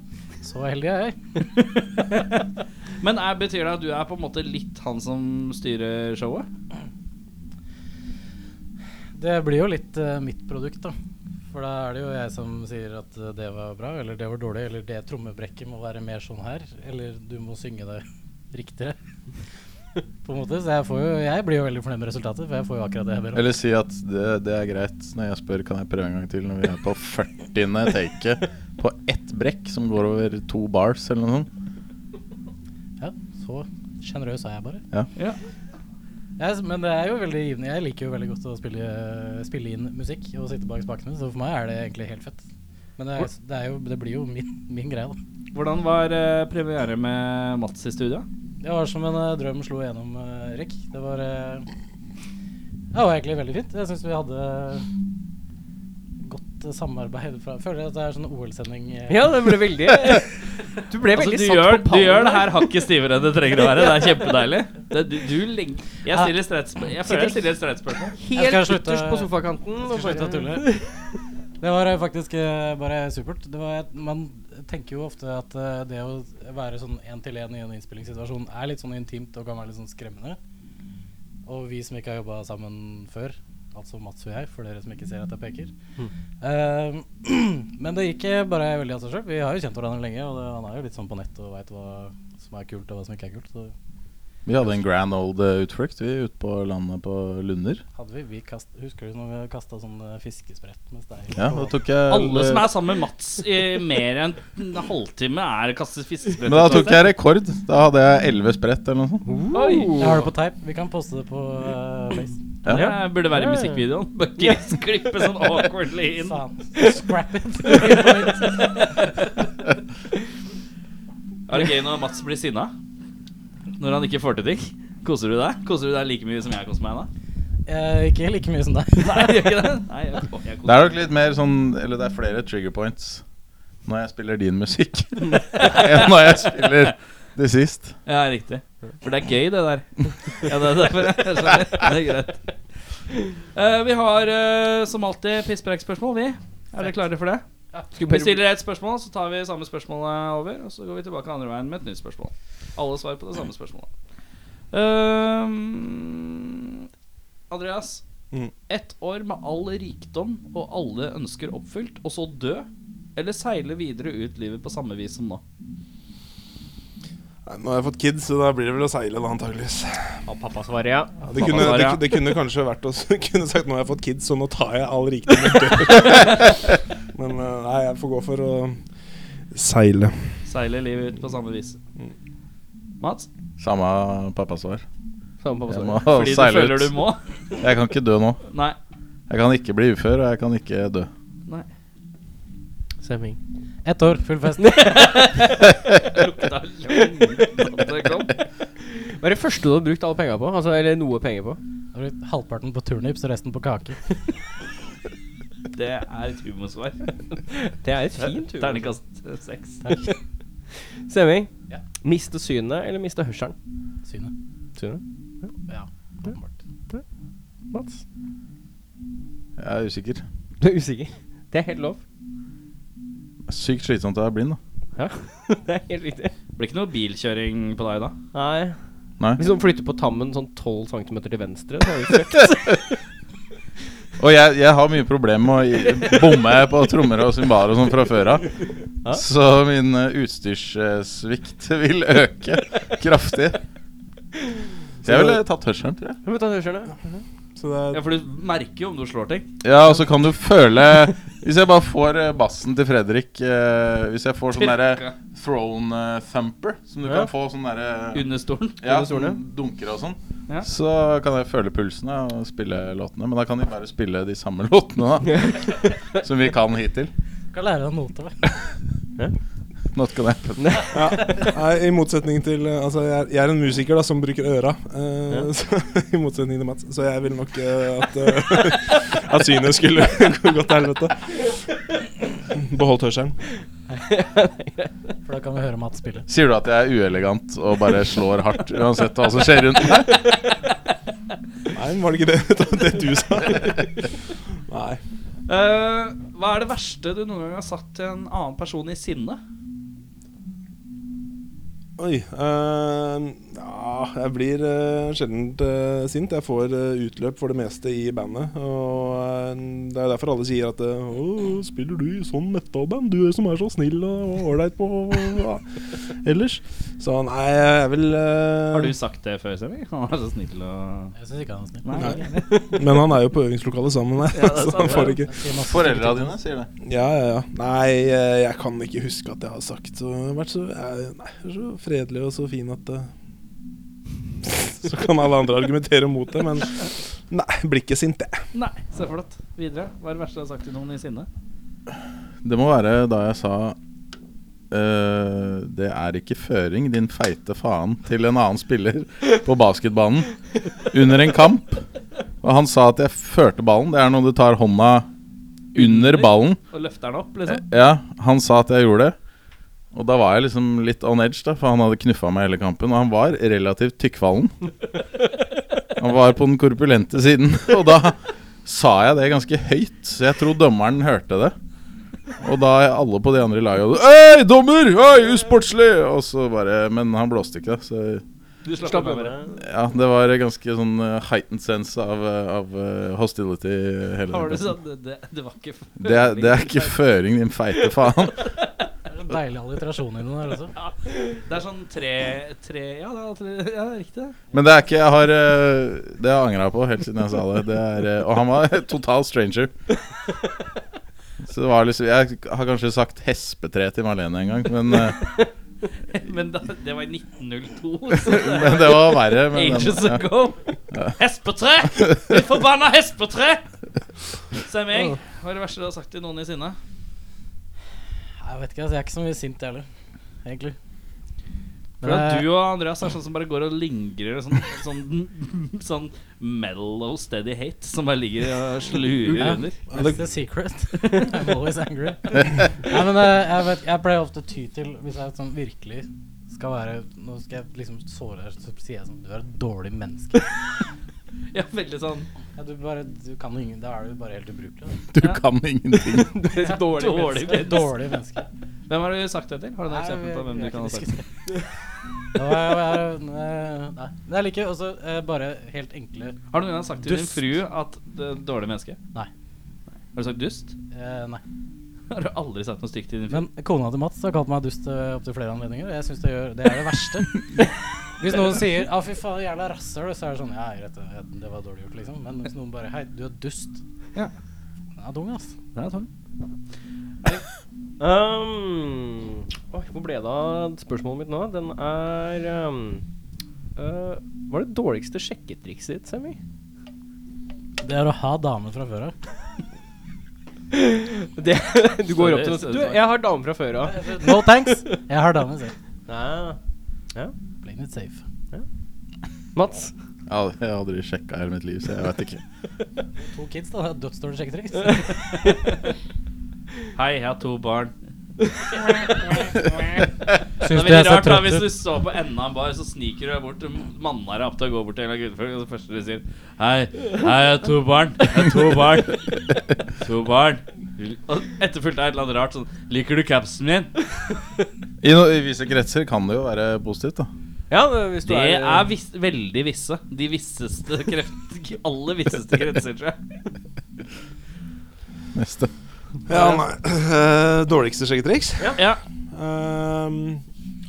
Speaker 6: så heldig er jeg.
Speaker 1: Men er, betyr det at du er på en måte litt han som styrer showet?
Speaker 6: Det blir jo litt eh, mitt produkt, da. For da er det jo jeg som sier at eh, det var bra, eller det var dårlig, eller det trommebrekket må være mer sånn her, eller du må synge det riktigere. På en måte, Så jeg, får jo, jeg blir jo veldig fornøyd med resultatet, for jeg får jo akkurat det jeg ber om.
Speaker 7: Eller si at det, det er greit når jeg spør kan jeg prøve en gang til når vi er på 40. take på ett brekk som går over to bars eller noe sånt.
Speaker 6: Ja, så sjenerøs er jeg bare.
Speaker 7: Ja.
Speaker 1: Ja.
Speaker 6: Jeg s- men det er jo veldig givende. Jeg liker jo veldig godt å spille, eh, spille inn musikk og sitte bak spakene, så for meg er det egentlig helt fett. Men det, er, det, er jo, det blir jo min, min greie, da.
Speaker 1: Hvordan var eh, premiere med Mats i studio?
Speaker 6: Det var som en eh, drøm slo gjennom, eh, Erik. Det var eh, Det var egentlig veldig fint. Jeg syns vi hadde godt eh, samarbeid fra Føler at det er sånn OL-sending. eh.
Speaker 2: Ja, det ble veldig Du ble
Speaker 1: Altså,
Speaker 2: veldig
Speaker 1: du,
Speaker 2: satt
Speaker 1: gjør,
Speaker 2: på
Speaker 1: du
Speaker 2: pallen
Speaker 1: gjør det
Speaker 2: der.
Speaker 1: her hakket stivere enn det trenger å være. Det er kjempedeilig. Det, du, du ling- jeg
Speaker 6: Ja.
Speaker 1: stiller et streit sp- Jeg føler jeg stiller et streit spørsmål.
Speaker 6: Jeg skal
Speaker 2: Helt
Speaker 6: slutte-
Speaker 2: ytterst på sofakanten. og
Speaker 6: Jeg skal slutte å
Speaker 2: bare-
Speaker 6: tulle. Det var eh, faktisk eh, bare supert. Det var, man tenker jo ofte at eh, det å være sånn én-til-én i en innspillingssituasjon er litt sånn intimt og kan være litt sånn skremmende. Og vi som ikke har jobba sammen før, altså Mats og jeg, for dere som ikke ser at jeg peker. Eh, men det gikk eh, bare veldig av seg sjøl. Vi har jo kjent hverandre lenge, og det, han er jo litt sånn på nett og veit hva som er kult, og hva som ikke er kult. Så
Speaker 7: Vi hadde en grand old eh, utflukt, vi, ute på landet på Lunder.
Speaker 6: hadde vi, vi kast, Husker du når vi kasta sånn eh, fiskesprett med stein?
Speaker 7: Ja, da tok jeg
Speaker 1: Alle som er sammen med Mats i mer enn en halvtime, er kastet fiskesprøyte.
Speaker 7: Men da tok jeg rekord. Da hadde jeg elleve sprett eller noe sånt.
Speaker 6: Jeg har det på teip. Vi kan poste det på eh, Face.
Speaker 1: Ja. Det burde være i musikkvideoen. Bare ikke klippe sånn awkwardly inn.
Speaker 6: Faen. Scrap it.
Speaker 1: Er det gøy når Mats blir sinna? Når han ikke får til ting? Koser du deg? Koser du deg like mye som jeg koser meg da?
Speaker 6: Eh, ikke like mye som deg.
Speaker 1: Nei, gjør ikke det? Nei, jeg, jeg koser
Speaker 7: Det er nok litt mer sånn Eller det er flere trigger points når jeg spiller din musikk enn når jeg spiller det sist.
Speaker 1: Ja, riktig. For det er gøy, det der. Ja, det er derfor jeg skjønner. Det er greit. Eh, vi har eh, som alltid pisspreikspørsmål, vi. Er dere klare for det? Vi stiller et spørsmål, så tar vi samme spørsmålet over. Og så går vi tilbake andre veien med et nytt spørsmål. Alle svarer på det samme spørsmålet. Ehm, Andreas.
Speaker 5: Mm.
Speaker 1: Ett år med all rikdom og alle ønsker oppfylt, og så dø? Eller seile videre ut livet på samme vis som nå?
Speaker 5: Nei, Nå har jeg fått kids, så da blir det vel å seile, da, antageligvis.
Speaker 8: Og pappa svarer ja.
Speaker 5: Det kunne,
Speaker 1: Pappa,
Speaker 5: det,
Speaker 1: ja.
Speaker 5: det kunne kanskje vært å kunne sagt 'nå har jeg fått kids, så nå tar jeg all rikdommen'. Men eh, nei, jeg får gå for å seile.
Speaker 1: Seile livet ut på samme vis.
Speaker 7: Mm.
Speaker 1: Mats?
Speaker 7: Samme pappasvar.
Speaker 2: Samme pappa
Speaker 7: Jeg
Speaker 2: svarer.
Speaker 7: må
Speaker 1: Fordi du
Speaker 7: seile
Speaker 1: føler
Speaker 7: ut.
Speaker 1: du må?
Speaker 7: Jeg kan ikke dø nå.
Speaker 1: Nei.
Speaker 7: Jeg kan ikke bli ufør, og jeg kan ikke dø.
Speaker 2: Semming.
Speaker 6: Ett år, full fest.
Speaker 1: Lukta langt at det kom.
Speaker 2: Hva er det første du har brukt alle penga på? Altså, eller noe penger på?
Speaker 6: Da blir Halvparten på turnips og resten på kake.
Speaker 1: Det er et humorsvar.
Speaker 2: Det er et fint tur.
Speaker 1: Terningkast seks.
Speaker 2: Semming.
Speaker 6: Ja.
Speaker 2: Miste synet eller miste hørselen?
Speaker 6: Synet.
Speaker 2: Synet?
Speaker 6: Ja, åpenbart.
Speaker 2: Mats?
Speaker 7: Jeg er usikker.
Speaker 2: Du er usikker? Det er helt lov.
Speaker 7: Sykt slitsomt å være blind, da.
Speaker 2: Det er helt riktig.
Speaker 1: Blir ikke noe bilkjøring på deg da?
Speaker 2: Nei.
Speaker 7: Nei.
Speaker 2: Hvis noen flytter på tammen sånn 12 cm til venstre, så er det ikke
Speaker 7: Og jeg, jeg har mye problemer med å i- bomme på trommer og cymbaler og sånn fra før av. Så min eh, utstyrssvikt vil øke kraftig. Så jeg ville tatt hørselen, tror jeg.
Speaker 2: Hvem vet, hørselen?
Speaker 5: Så det er
Speaker 1: Ja, For du merker jo om du slår ting.
Speaker 7: Ja, og så kan du føle Hvis jeg bare får eh, bassen til Fredrik eh, Hvis jeg får sånn derre throne eh, thumper, som du
Speaker 2: Ja.
Speaker 7: kan få sånn derre
Speaker 1: Under stolen.
Speaker 7: ja,
Speaker 2: under
Speaker 7: som
Speaker 2: stolen,
Speaker 7: dunker og sånn,
Speaker 1: Ja.
Speaker 7: så kan jeg føle pulsen ja, og spille låtene. Men da kan de bare spille de samme låtene, da. som vi kan hittil.
Speaker 6: Skal lære deg noter, da.
Speaker 7: Not gonna happen.
Speaker 5: ja, nei, I motsetning til eh, Altså, jeg er, jeg er en musiker da som bruker øra. eh, så, I motsetning til Mats. Så jeg ville nok eh, at, eh, at synet skulle gå til helvete. Beholdt hørselen.
Speaker 6: For da kan vi høre Mats spille.
Speaker 7: Sier du at jeg er uelegant og bare slår hardt uansett hva som skjer rundt meg?
Speaker 5: Nei, men var det ikke det, det du sa? Nei.
Speaker 1: Eh, hva er det verste du noen gang har sagt til en annen person i sinne?
Speaker 5: Oi. eh, ja, jeg blir uh, sjelden sint. Jeg får eh, utløp for det meste i bandet. Og eh, det er jo derfor alle sier at eh, Å, spiller du i sånn metal-band? Du som er så snill og og ålreit på ja. ellers. Så nei, jeg vil eh,
Speaker 1: Har du sagt det før, Semi? Han er så snill og
Speaker 6: Jeg syns ikke han er snill.
Speaker 1: Nei.
Speaker 5: Men han er jo på øvingslokalet sammen med meg,
Speaker 1: Ja, det er
Speaker 5: så han
Speaker 1: sant,
Speaker 5: får
Speaker 1: ja.
Speaker 5: ikke
Speaker 6: Sier Mats.
Speaker 7: Foreldra dine sier det.
Speaker 5: Ja, ja, ja. Nei, eh, jeg kan ikke huske at jeg har sagt så jeg har vært så, jeg, nei, jeg er så fredelig og så fin at eh, Så kan alle andre argumentere mot det, men nei, blir ikke sint, jeg.
Speaker 1: Nei, så flott. Videre. Hva er det verste du har sagt til noen i sinne?
Speaker 7: Det må være da jeg sa eh, det er ikke føring, din feite faen, til en annen spiller på basketbanen under en kamp. Og han sa at jeg førte ballen. Det er når du tar hånda under ballen.
Speaker 1: Og løfter den opp,
Speaker 7: Eh,
Speaker 1: liksom?
Speaker 7: Ja, han sa at jeg gjorde det. Og da var jeg liksom litt on edge, da, for han hadde knuffa meg hele kampen. Og han var relativt tykkfallen. Han var på den korpulente siden. Og da sa jeg det ganske høyt, så jeg tror dommeren hørte det. Og da alle på de andre i laget Hei, dommer! Hei, usportslig! Og så bare Men han blåste ikke, da. Så
Speaker 1: Du
Speaker 2: Slapp av med det.
Speaker 7: Ja, det var ganske sånn eh, heightened sense av, eh, av eh, hostility hele
Speaker 1: Har du
Speaker 7: tiden.
Speaker 1: sånn det, det, det var ikke
Speaker 7: Det er, det er ikke føring, din feite faen.
Speaker 6: Det er en deilig alliterasjon i den her, altså.
Speaker 1: Det er sånn tre, tre Ja, det er, tre, ja, det er riktig, det.
Speaker 7: Men det er ikke Jeg har eh, Det har jeg angra på helt siden jeg sa det. det er, eh, og han var total stranger. Så det var liksom Jeg har kanskje sagt hespetre til Marlene en gang, men, eh,
Speaker 1: Men da, det var i 1902. Så
Speaker 7: men det var verre. Men,
Speaker 1: Ages
Speaker 7: den- ja.
Speaker 1: ago. Hespetre! Ditt forbanna hespetre! Se meg. Hva er det verste du har sagt til noen i sinne?
Speaker 6: Jeg vet ikke, altså, jeg er ikke så mye sint heller, egentlig. eh,
Speaker 1: For at du og Andreas er sånn som bare går og lingrer sånn, sånn, sånn mellow steady hate som bare ligger og slurer
Speaker 6: Ja.
Speaker 1: under.
Speaker 6: That's the secret. I'm always angry. Nei, men eh, jeg, vet, jeg pleier ofte å ty til, hvis jeg sånn virkelig skal være Nå skal jeg liksom såre deg, så sier jeg sånn Du er et dårlig menneske.
Speaker 1: Ja, veldig sånn
Speaker 6: Ja, du bare Du kan ingen Da er du bare helt ubrukelig. da.
Speaker 7: Du kan ingenting.
Speaker 1: dårlig.
Speaker 6: Du er et dårlig menneske.
Speaker 1: Hvem har du sagt det til? Har du noe
Speaker 6: Nei,
Speaker 1: eksempel
Speaker 6: vi-
Speaker 1: på hvem
Speaker 6: vi
Speaker 1: du
Speaker 6: har
Speaker 1: kan
Speaker 6: ikke
Speaker 1: ha sagt det til?
Speaker 6: Det var- var- Nei. nei. Men jeg liker også eh, bare helt enkle
Speaker 1: Har du noen gang sagt til din
Speaker 6: Dust.
Speaker 1: fru at det er et dårlig menneske?
Speaker 6: Nei.
Speaker 1: Har du sagt dust?
Speaker 6: eh, Nei.
Speaker 1: Har du aldri sagt noe stygt til din fru?
Speaker 6: Men kona til Mats har kalt meg dust eh, opptil flere anledninger. og Jeg synes det, gjør, det er det verste. Hvis noen sier 'Å, fy faen, jævla rasshøl', så er det sånn Ja, greit, det, det var dårlig gjort, liksom. Men hvis noen bare 'Hei, du er dust'.
Speaker 1: Ja.
Speaker 6: Den er tung, ass.
Speaker 1: Nei, Tom.
Speaker 2: Um, oi, hvor ble det av spørsmålet mitt nå? Den er um, øh, Hva er det dårligste sjekketrikset ditt, Sammy?
Speaker 6: Det er å ha dame fra før av.
Speaker 2: Det, du går opp til noen
Speaker 1: Sorry,
Speaker 2: Du, jeg har dame fra før av.
Speaker 6: No thanks! Jeg har dame selv.
Speaker 2: Ja.
Speaker 6: Playing it safe.
Speaker 2: Mats?
Speaker 7: Jeg har jeg har aldri sjekka hele mitt liv, så jeg vet ikke.
Speaker 6: To kids, da. det er Dødsdårlig sjekketriks.
Speaker 1: Hei, jeg har to barn. Det
Speaker 6: Syns
Speaker 1: er
Speaker 6: du jeg
Speaker 1: veldig
Speaker 6: ser
Speaker 1: rart da Hvis
Speaker 6: trøtt
Speaker 1: du
Speaker 6: ut?
Speaker 1: står på enden av en bar, så sniker du deg bort til mannere opp til å gå bort til en av guttfolk, og det første du sier Hei, hei, jeg har to barn. Jeg har to barn. To barn. Og etterfulgt av et eller annet rart sånn Liker du capsen min?
Speaker 7: I, no, I visse kretser kan det jo være positivt, da.
Speaker 2: Ja, hvis du
Speaker 1: Det
Speaker 2: er,
Speaker 1: er vis veldig visse. De visseste kreft... Aller visseste grenser, tror jeg.
Speaker 7: Neste.
Speaker 5: Ja, nei. Eh, dårligste sjekketriks?
Speaker 1: Ja.
Speaker 5: Ehm,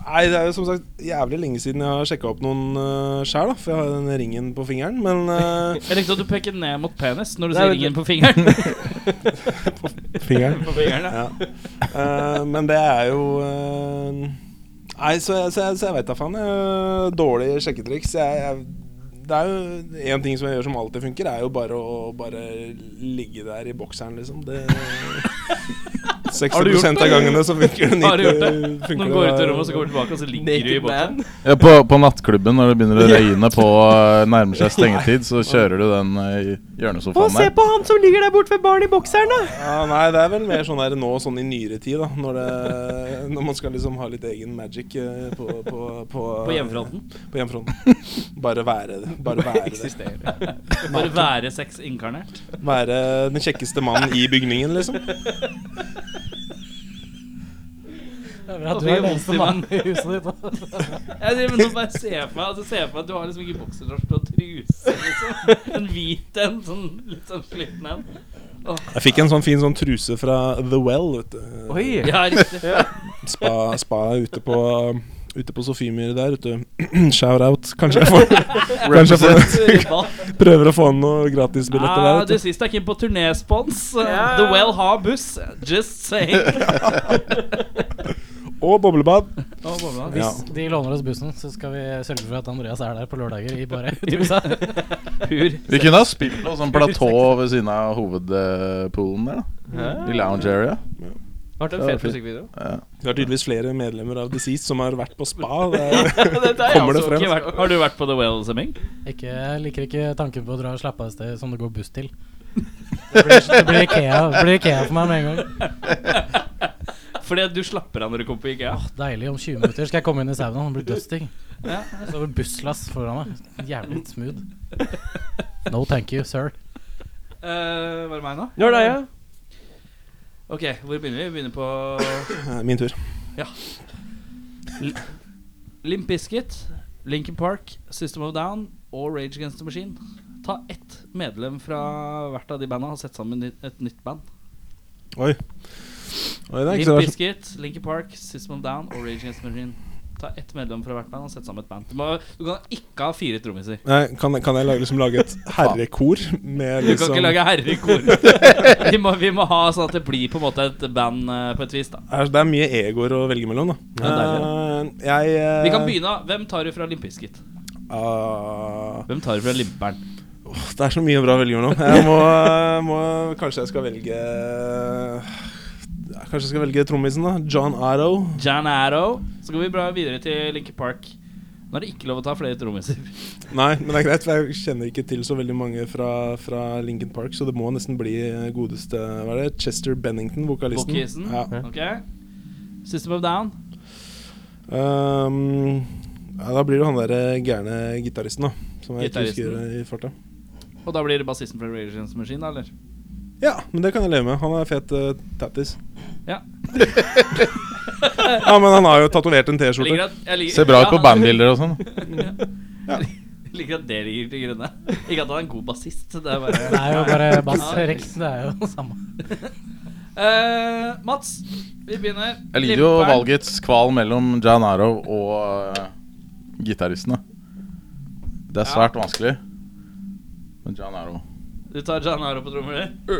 Speaker 5: nei, det er jo som sagt jævlig lenge siden jeg har sjekka opp noen uh, sjæl, da. For jeg har jo den ringen på fingeren. Men eh,
Speaker 1: Jeg likte at du peker ned mot penis når du
Speaker 2: Nei,
Speaker 1: sier
Speaker 2: men-
Speaker 1: ringen på fingeren.
Speaker 5: Fingeren?
Speaker 1: på fingeren ja.
Speaker 5: Ja. Eh, men det er jo eh, Nei, så, jeg- så, jeg- så jeg veit da faen. jeg. Dårlig sjekketriks. Jeg, jeg, det er jo én ting som jeg gjør som alltid funker, er jo bare å bare ligge der i bokseren, liksom. Det 60 av gangene så funker det.
Speaker 1: Har du gjort det?
Speaker 5: 90, funker
Speaker 1: Når du går ut av
Speaker 5: det.
Speaker 1: rommet, og så går du tilbake, og så ligger du i
Speaker 2: Naked
Speaker 1: boksen.
Speaker 2: man.
Speaker 7: Ja, på, på nattklubben når det begynner å røyne på eh, nærmer seg stengetid, så kjører du den eh, i hjørnesofaen der.
Speaker 2: på han som ligger der borte ved baren i bokseren, da!
Speaker 5: Ja, nei, det er vel mer sånn der nå, sånn i nyere tid, da. Når, det, når man skal liksom ha litt egen magic eh, på På, på,
Speaker 1: På hjemmefronten.
Speaker 5: På hjemmefronten. Bare være det. Bare være det.
Speaker 1: Bare være sex inkarnert.
Speaker 5: Være den kjekkeste mannen i bygningen, liksom.
Speaker 6: Det er bra at
Speaker 1: Det
Speaker 6: Du er
Speaker 1: gjør
Speaker 6: den
Speaker 1: vondt i
Speaker 6: eneste mannen i huset ditt. da.
Speaker 1: Ja, det, men nå bare se for meg altså, se for meg at du har liksom ikke boksedrosj og truse. Liksom. En hvit en, sånn, litt sånn sliten en.
Speaker 5: Jeg fikk en sånn fin sånn truse fra The Well, vet du.
Speaker 2: Oi!
Speaker 1: Ja, riktig.
Speaker 5: Spa, spa ute på Ute på Sofiemyr der, vet du. Shout-out. Kanskje jeg får, kanskje jeg
Speaker 1: Ribba.
Speaker 5: får prøver å få noen gratisbilletter
Speaker 1: Ah,
Speaker 5: der.
Speaker 1: du
Speaker 5: Vet du.
Speaker 1: siste er ikke på turnéspons. The Well har buss. Just saying.
Speaker 5: Og boblebad.
Speaker 1: Å, bobla.
Speaker 5: Ja.
Speaker 6: Hvis de låner oss bussen, så skal vi sørge for at Andreas er der på lørdager i bare trusa.
Speaker 1: Pur.
Speaker 7: Vi kunne ha spilt på sånn platå ved siden av hovedpoolen der, da. I lounge area.
Speaker 2: Har du en fet musikkvideo?
Speaker 7: Ja.
Speaker 5: Vi har tydeligvis flere medlemmer av Disease som har vært på spa. Det er,
Speaker 1: Har
Speaker 5: kommer
Speaker 1: du
Speaker 5: det frem.
Speaker 1: altså ikke vært- Har du vært på The Well, Semming?
Speaker 6: Ikke, jeg liker ikke tanken på å dra og slappe av et sted som det går buss til. Det blir, det blir, Ikea, det blir Ikea for meg med en gang.
Speaker 1: Fordi at du slapper av når du kommer på IKEA.
Speaker 6: Åh, deilig. Om 20 minutter skal jeg komme inn i saunaen. Det blir dusting. Så har vi busslass foran meg. Jævlig smooth. No thank you, sir.
Speaker 1: Eh, var det meg nå?
Speaker 2: Når det er jeg?
Speaker 1: Ok, hvor begynner vi? Vi begynner på
Speaker 5: Min tur.
Speaker 1: Limp Bizkit Linkin Park, System of a Down og Rage Against the Machine. Ta ett medlem fra hvert av de banda og sett sammen i- et nytt band.
Speaker 5: Oi. Oi, det er ikke så
Speaker 1: Limp
Speaker 5: verst.
Speaker 1: Bizkit, Linkin Park, System of a Down og Rage Against the Machine. Ta ett medlem fra hvert band og sett sammen et band. Du, må, du kan ikke ha fire trommiser.
Speaker 5: Nei, kan, kan jeg lage, liksom, lage et herrekor med
Speaker 1: Du kan
Speaker 5: liksom
Speaker 1: ikke lage herrekor. Vi må, vi må ha sånn at det blir på en måte et band eh, på et vis, da.
Speaker 5: Er- Det er mye egoer å velge mellom, da. Eh, jeg eh,
Speaker 1: Vi kan begynne. Hvem tar du fra Limp Bizkit?
Speaker 5: ah,
Speaker 1: Hvem tar du fra Limperen?
Speaker 5: åh, det er så mye bra å velge mellom. Jeg må, eh, må Kanskje jeg skal velge eh, Kanskje jeg skal velge trommisen, da. John Arrow.
Speaker 1: Jan Arrow. Så går vi bra videre til Linkin Park. Nå er det ikke lov å ta flere trommiser.
Speaker 5: Nei, men det er greit, for jeg kjenner ikke til så veldig mange fra, fra Lincoln Park, så det må nesten bli godeste Hva er det? Chester Bennington, vokalisten.
Speaker 1: Vokalisten.
Speaker 5: Ja.
Speaker 1: Ok System of Down.
Speaker 5: Um, ja, da blir det han der eh, gærne gitaristen, da. Som jeg ikke husker
Speaker 1: Gitaristen.
Speaker 5: i farta.
Speaker 1: Og da blir det bassisten fra Rage Against the Machine, da, eller?
Speaker 5: Ja, men det kan jeg leve med. Han er fet uh, tattis.
Speaker 1: Ja.
Speaker 5: Ja, men han har jo tatovert en
Speaker 1: Jeg
Speaker 5: T-skjorte.
Speaker 1: liker at, jeg liker,
Speaker 7: Ser bra ut
Speaker 1: Ja,
Speaker 7: på
Speaker 1: han-
Speaker 7: bandbilder og sånn.
Speaker 1: Jeg liker at det ligger til grunne. Ikke at han er en god bassist. Det er bare
Speaker 6: Det er jo bare Bass
Speaker 1: Ja.
Speaker 6: Rex, det er jo samme.
Speaker 1: Eh, Mats, vi begynner.
Speaker 7: Jeg lider jo
Speaker 1: Limperen.
Speaker 7: valgets kval mellom Gianaro og eh, gitaristene. Det er svært vanskelig. Men Gianaro
Speaker 1: Du tar Jan Arrow på trommer. du.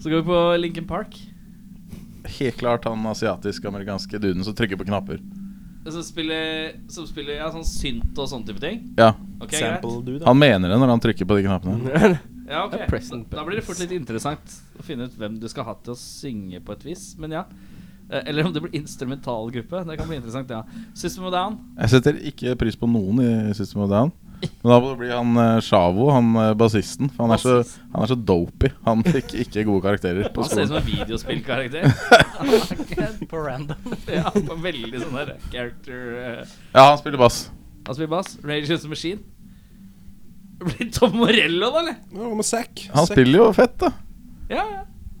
Speaker 1: Så går vi på Linkin Park.
Speaker 7: Helt klart han asiatisk-amerikanske duden som trykker på knapper.
Speaker 1: Som spiller, som spiller ja, sånn synt og sånn type ting.
Speaker 7: Ja,
Speaker 1: Ok, greit.
Speaker 5: Sample du, da.
Speaker 7: Han mener det når han trykker på de knappene.
Speaker 1: Ja, ok
Speaker 2: Det er present
Speaker 1: da, da blir det fort litt interessant å finne ut hvem du skal ha til å synge på et vis. Men ja Eh, Eller om det blir instrumental gruppe. Det kan bli interessant, ja. System of a Down.
Speaker 7: Jeg setter ikke pris på noen i System of a Down. Men da må det bli han eh, Sjavo, han eh, bassisten. For han er, så, han er så dopey. Han fikk ikke gode karakterer på
Speaker 1: Han ser ut
Speaker 7: skolen.
Speaker 1: som en videospillkarakter.
Speaker 6: På random.
Speaker 1: ja, på veldig sånn der character eh.
Speaker 7: Ja, han spiller bass.
Speaker 1: Han spiller bass. Rage Against the Machine. Det blir Tom Morello, da, eller?
Speaker 5: Hva med Zack?
Speaker 7: Han
Speaker 5: Zack.
Speaker 7: spiller jo fett, da.
Speaker 1: Ja, ja.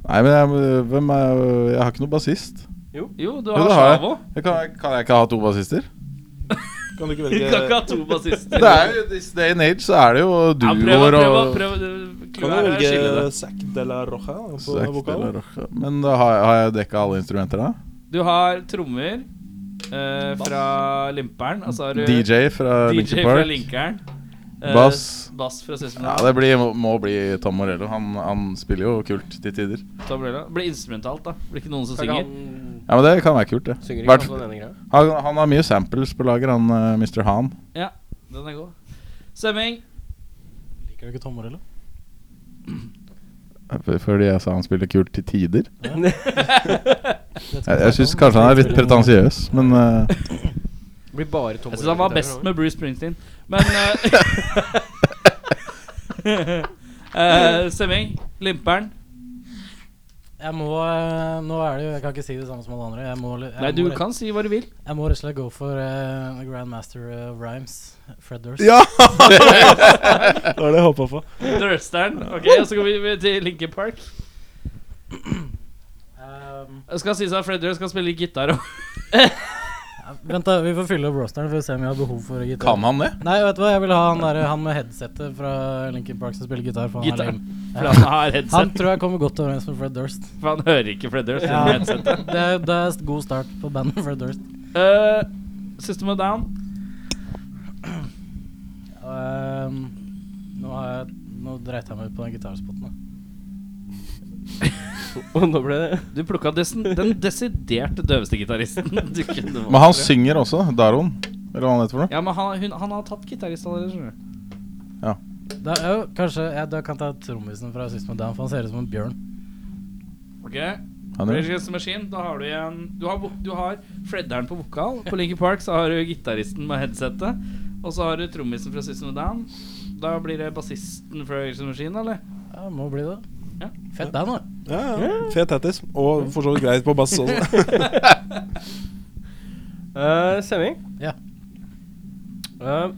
Speaker 7: Nei, men jeg, hvem er, jeg har ikke noen bassist.
Speaker 1: Jo, du
Speaker 7: Jo,
Speaker 1: har
Speaker 7: det har jeg.
Speaker 1: Sjavo.
Speaker 7: Jeg Kan, kan jeg ikke ha to bassister?
Speaker 5: Kan du ikke
Speaker 1: Du kan ikke
Speaker 5: velge
Speaker 1: ha to bassister.
Speaker 7: Det er jo, This day and age så er det jo
Speaker 1: ja, prøv,
Speaker 7: duoer
Speaker 1: prøv, prøv,
Speaker 7: og
Speaker 5: Kan du
Speaker 1: prøv, prøv,
Speaker 5: velge Zack de la Roja da, på
Speaker 7: Sex
Speaker 5: vokal?
Speaker 7: eller rock. Men da har jeg, har jeg dekka alle instrumenter, da?
Speaker 1: Du har trommer eh, fra Limperen. Og så har du
Speaker 7: DJ fra Linkin
Speaker 1: DJ fra
Speaker 7: Park.
Speaker 1: Linkeren. Eh,
Speaker 7: Bass.
Speaker 1: Bass fra Søsteren.
Speaker 7: Ja, det blir, må, må bli Tom Morello. Han, han spiller jo kult til tider.
Speaker 1: Da blir det blir instrumentalt, da. Blir ikke noen som
Speaker 2: Synger.
Speaker 1: synger.
Speaker 7: Ja, men det kan være kult, det.
Speaker 2: Synger ikke
Speaker 7: Hvert-
Speaker 2: han på denne greia?
Speaker 7: han, han har mye samples på lager, han eh, Mr. Han.
Speaker 1: Ja, den er god. Stemming.
Speaker 6: Liker du ikke Tom Morello?
Speaker 7: F- Fordi jeg sa han spiller kult til tider.
Speaker 6: Det skal vi snakke
Speaker 7: Jeg, jeg syns
Speaker 6: om.
Speaker 7: kanskje han er litt pretensiøs, men eh,
Speaker 2: Blir bare Tom
Speaker 1: Jeg syns han var
Speaker 2: Morello
Speaker 1: best
Speaker 2: der,
Speaker 1: med Bruce Springsteen, men eh, eh, Stemming. Limperen.
Speaker 6: Jeg må eh, Nå er det jo Jeg kan ikke si det samme som alle andre. Jeg må, jeg
Speaker 1: Nei,
Speaker 6: må
Speaker 1: du
Speaker 6: rett-
Speaker 1: kan si hva du vil.
Speaker 6: Jeg må rett og slett gå for eh, Grand Master of Rhymes, Fred Durst.
Speaker 5: Ja! det var det jeg håpa på.
Speaker 1: Dørsteren. Ok, og så går vi til Linkin Park.
Speaker 6: Ehm,
Speaker 1: Jeg skal sies at Fred Durst kan spille gitar òg.
Speaker 6: vent, da. Vi får fylle opp rosteren for å se om vi har behov for gitar.
Speaker 7: kan han det?
Speaker 6: Nei, vet du hva? Jeg vil ha han, der, han med headsetet fra Linkin Park som spiller gitar. For han,
Speaker 1: Gitar.
Speaker 6: Er lame.
Speaker 1: For han har
Speaker 6: han
Speaker 1: headset.
Speaker 6: tror jeg kommer godt overens med Fred Durst.
Speaker 1: For han hører ikke Fred Durst.
Speaker 6: Ja,
Speaker 1: gjennom
Speaker 6: det,
Speaker 1: headsetet.
Speaker 6: er, det er god start på bandet Fred Durst.
Speaker 1: Eh, System of Down.
Speaker 6: Ehm, nå har jeg Nå dreit jeg meg ut på den gitarspotten. da.
Speaker 2: Og nå ble det
Speaker 1: Du plukka desen, den desidert døveste gitaristen. du kunne valgt,
Speaker 7: Men han
Speaker 1: tror jeg.
Speaker 7: synger også, Daron. Eller hva han heter for noe.
Speaker 1: Ja, men han, hun, han har tatt gitarist allerede, skjønner du.
Speaker 6: Da, er jo, kanskje jeg da kan ta trommisen fra System of a Down, for han ser ut som en bjørn.
Speaker 1: Ok,
Speaker 7: Han
Speaker 1: Rage
Speaker 7: er,
Speaker 1: Against the Machine, da har du igjen Du har, vo- du har Fredderen på vokal. På Linkin Park så har du gitaristen med headsetet. Og så har du trommisen fra System of a Down. Da blir det bassisten fra Rage Against the Machine, eller?
Speaker 6: Ja, det må bli det.
Speaker 1: Ja.
Speaker 6: Fett band, da.
Speaker 5: Ja, ja. Fet tattis. Og for så vidt greit på bass også.
Speaker 2: Eh, Semming?
Speaker 6: Ja.
Speaker 2: Eh,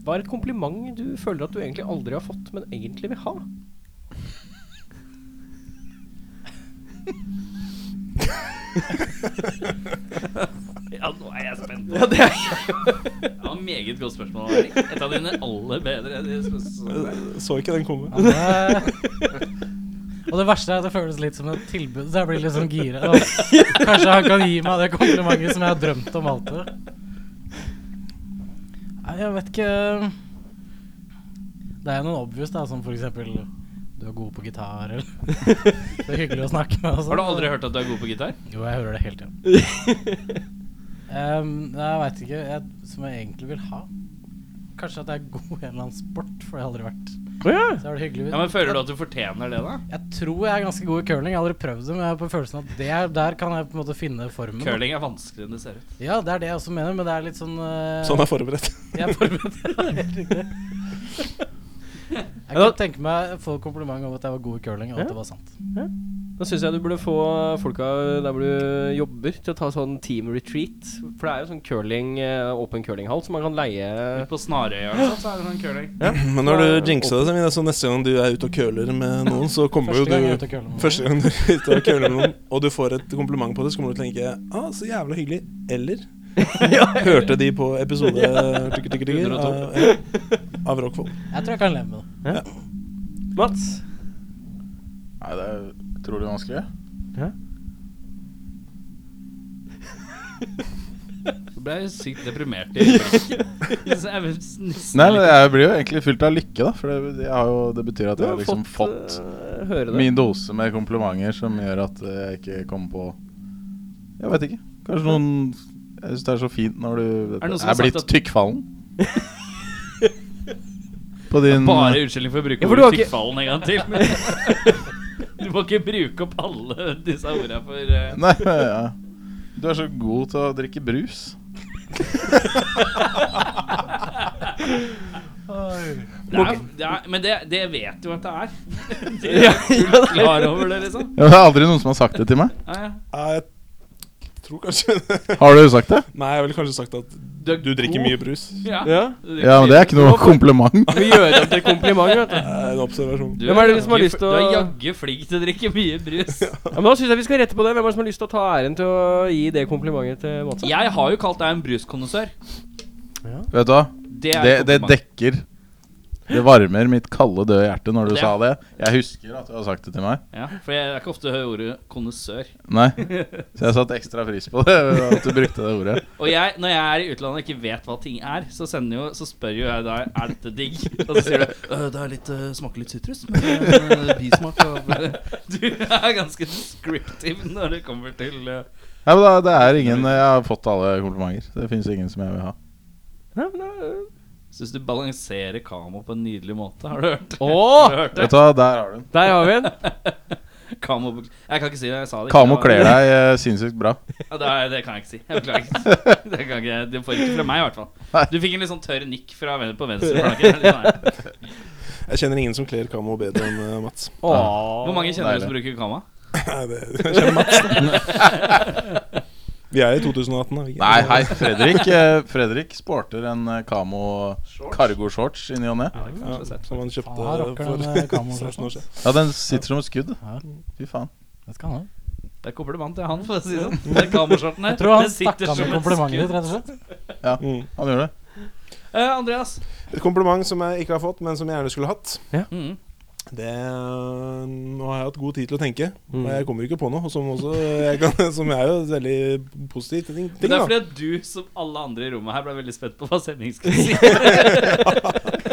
Speaker 2: hva er et kompliment du føler at du egentlig aldri har fått, men egentlig vil ha?
Speaker 1: Ja, nå er jeg spent.
Speaker 2: Ja, det er
Speaker 1: Det var meget godt spørsmål. Erik. Et av dine aller bedre. de spørsmålene.
Speaker 5: Så ikke den komme.
Speaker 6: Ja, det- Og det verste er at det føles litt som et tilbud, så jeg blir litt sånn gira. Og Kanskje han kan gi meg det komplimentet som jeg har drømt om alltid. Nei, jeg vet ikke Det er jo noen obvious, da, som for eksempel Du er god på gitar, eller Det er hyggelig å snakke med. og sånn.
Speaker 1: Har du aldri hørt at du er god på gitar?
Speaker 6: Jo, jeg hører det hele tiden. Ehm, nei, jeg veit ikke. Jeg, som jeg egentlig vil ha. Kanskje at jeg er god i en eller annen sport, for det har jeg aldri vært. Så er det hyggelig
Speaker 1: Ja, men Føler du at du fortjener det, da?
Speaker 6: Jeg tror jeg er ganske god i curling. Jeg har aldri prøvd det, men jeg har på følelsen at det er, der kan jeg på en måte finne formen. da.
Speaker 1: Curling er vanskeligere enn det ser ut.
Speaker 6: Ja, det er det jeg også mener, men det er litt sånn eh,
Speaker 5: Sånn er forberedt.
Speaker 6: Jeg er forberedt. Ja, det er helt riktig. Jeg kan tenke meg å få kompliment om at jeg var god i curling, og
Speaker 2: Ja.
Speaker 6: at det var sant.
Speaker 2: Da syns jeg du burde få folka der hvor du jobber, til å ta sånn team retreat. For det er jo sånn curling, eh, åpen curlinghall som man kan leie
Speaker 1: På Snarøya og sånt, så er det sånn curling.
Speaker 5: Men når du jinxa det, så mener jeg, så neste gang du er ute og køler med noen, så kommer jo
Speaker 6: Første gang jeg er
Speaker 5: du
Speaker 6: ute og curler. med
Speaker 5: Første gang du er ute og køler med noen, og du får et kompliment på det, så kommer du til å tenke ah, så jævla hyggelig. Eller Hørte de på episode tykker, tykker, tykker, av, ja, av Rockfold.
Speaker 6: noen. Jeg tror jeg kan leve med det.
Speaker 2: Mats.
Speaker 7: Nei, det er utrolig vanskelig.
Speaker 1: Du ble sykt deprimert. i øyeblikket. Så jeg vil nesten
Speaker 7: Nei, men jeg blir jo egentlig fylt av lykke, da. For det, jeg har jo, det betyr at
Speaker 2: Du
Speaker 7: jeg
Speaker 2: har
Speaker 7: har liksom fått,
Speaker 2: eh, høre det.
Speaker 7: min dose med komplimenter som gjør at eh, jeg ikke kommer på Jeg vet ikke. Kanskje noen Jeg syns det er så fint når du
Speaker 1: Er det noen som
Speaker 7: er
Speaker 1: har sagt
Speaker 7: blitt
Speaker 1: at-
Speaker 7: tykkfallen. På din
Speaker 1: Bare unnskyldning for å bruke
Speaker 2: um, Ja, for
Speaker 1: ordet
Speaker 2: du har ikke-
Speaker 1: tykkfallen en gang til. Men du må ikke bruke opp alle disse ordene for eh,
Speaker 7: Nei, ja. Du er så god til å drikke brus.
Speaker 1: det er, det er, Men det, det vet du at det er. Det er fullt klar over det, liksom.
Speaker 7: Ja, det er aldri noen som har sagt det til meg.
Speaker 1: Ja, ja.
Speaker 5: Ja, jeg tror kanskje
Speaker 7: Har du sagt det?
Speaker 5: Nei, jeg ville kanskje sagt at
Speaker 1: Du, er
Speaker 5: du drikker
Speaker 1: god.
Speaker 5: mye brus.
Speaker 1: Ja.
Speaker 2: Ja.
Speaker 7: Ja, men det er ikke noe kompliment.
Speaker 2: Vi gjør det til kompliment, vet du.
Speaker 5: Det er en observasjon.
Speaker 1: Du
Speaker 2: Hvem er det som har
Speaker 1: jaggu-
Speaker 2: lyst til å-
Speaker 1: Du er jaggu flink til å drikke mye brus.
Speaker 2: Ja, men da syns jeg vi skal rette på det. Hvem er det som har lyst til å ta æren til å gi det komplimentet til Mats?
Speaker 1: Jeg har jo kalt deg en bruskondisør.
Speaker 7: Vet du hva?
Speaker 1: Det er
Speaker 7: Det,
Speaker 1: et
Speaker 7: det
Speaker 1: kompliment.
Speaker 7: dekker Det varmer mitt kalde, døde hjerte når du
Speaker 1: Ja.
Speaker 7: sa det. Jeg husker at du har sagt det til meg.
Speaker 1: Ja, for jeg er ikke ofte hører ordet kondisør.
Speaker 7: Nei. Så jeg satte ekstra pris på det, at du brukte det ordet.
Speaker 1: Og jeg, når jeg er i utlandet og ikke vet hva ting er, så, sender jo, så spør jo jeg deg er dette digg. Og så sier du «Øh, det er litt, øh, smaker litt sitrus, men øh, bismak av Du er ganske descriptive når det kommer til øh,
Speaker 7: Ja, men da, det er ingen Jeg har fått alle komplimenter. Det fins ingen som jeg vil ha.
Speaker 2: Ja, men eh, da-
Speaker 1: Syns du balanserer Kamo på en nydelig måte, har du hørt? Har
Speaker 2: Åh,
Speaker 1: du hørt det?
Speaker 7: Vet du hva, der har du den.
Speaker 2: der har vi den.
Speaker 1: Kamo Jeg kan ikke si det, jeg sa det.
Speaker 7: Kamo kler deg eh, sinnssykt bra.
Speaker 1: Ja, det, er- det kan jeg ikke si. Jeg beklager. Det kan ikke, du får ikke fra meg, i hvert
Speaker 7: Nei.
Speaker 1: fall. Du fikk en litt sånn tørr nikk fra ven- på venstre flanke. Litt sånn her.
Speaker 5: Jeg kjenner ingen som kler Kamo bedre enn eh, Mats.
Speaker 1: Hvor mange kjenner du som bruker Kama?
Speaker 5: Nei, det jeg kjenner Mats da. Vi er i 2018, da. vi ikke?
Speaker 7: Nei, hei, Fredrik eh, Fredrik sporter en eh, Kamo cargo-shorts i ny og ne.
Speaker 5: Ja, som han kjøpte
Speaker 6: Faen, her rocker den, eh,
Speaker 5: for
Speaker 6: Kamo
Speaker 5: 16 år siden.
Speaker 7: Ja, den sitter som et skudd. Fy faen.
Speaker 6: Det skal han ha.
Speaker 1: Det er kompliment til han, for å si det sånn. Det er Kamo-skjorten her.
Speaker 6: Jeg tror han
Speaker 1: Den sitter
Speaker 6: stakk av
Speaker 1: som
Speaker 6: med
Speaker 1: et
Speaker 6: komplimentet
Speaker 1: skudd.
Speaker 6: ditt, rett og slett.
Speaker 5: Mm.
Speaker 7: Han gjør det.
Speaker 1: Eh, Andreas.
Speaker 5: Et kompliment som jeg ikke har fått, men som jeg gjerne skulle hatt.
Speaker 1: Mm.
Speaker 5: Det øh, Nå har jeg hatt god tid til å tenke,
Speaker 2: Mm.
Speaker 5: og jeg kommer ikke på noe. Som, også, jeg kan, som er jo et veldig positiv ting. ting,
Speaker 1: Det er
Speaker 5: da.
Speaker 1: fordi at du, som alle andre i rommet her, ble veldig spent på hva sendingen skulle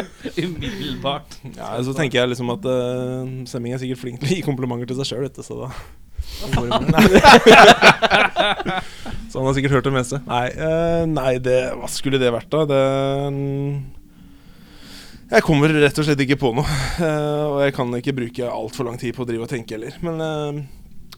Speaker 1: si. Umiddelbart.
Speaker 5: Ja, så tenker jeg liksom at øh, Semming er sikkert flink til å gi komplimenter til seg sjøl, dette, så da Så han har sikkert hørt det meste. Nei, øh, nei det, hva skulle det vært, da? Det mm, jeg kommer rett og slett ikke på noe. øh, og jeg kan ikke bruke altfor lang tid på å drive og tenke heller. Men øh,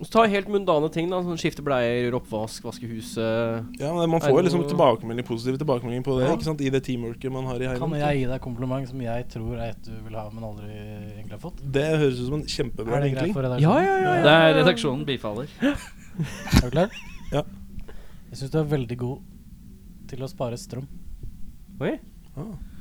Speaker 2: Og så Ta helt mundane ting, da. Sånn Skifte bleier, gjøre oppvask, vaske huset.
Speaker 5: Ja, men Man
Speaker 2: Er
Speaker 5: får jo
Speaker 2: det
Speaker 5: liksom
Speaker 2: noe-
Speaker 5: tilbakemelding, positive tilbakemeldinger på det.
Speaker 2: Ja.
Speaker 5: ikke sant? I det teamworket man har i
Speaker 6: Kan
Speaker 5: Heimen.
Speaker 6: jeg gi deg kompliment som jeg tror er et du vil ha, men aldri egentlig har fått?
Speaker 5: Det høres ut som en
Speaker 6: Er
Speaker 5: kjempebra
Speaker 6: det greit
Speaker 5: vinkling.
Speaker 6: for redaksjonen?
Speaker 2: Ja, ja, ja.
Speaker 1: Det er redaksjonen bifaller.
Speaker 6: Er du klar?
Speaker 5: Ja.
Speaker 6: Jeg syns du er veldig god til å spare strøm.
Speaker 2: Oi.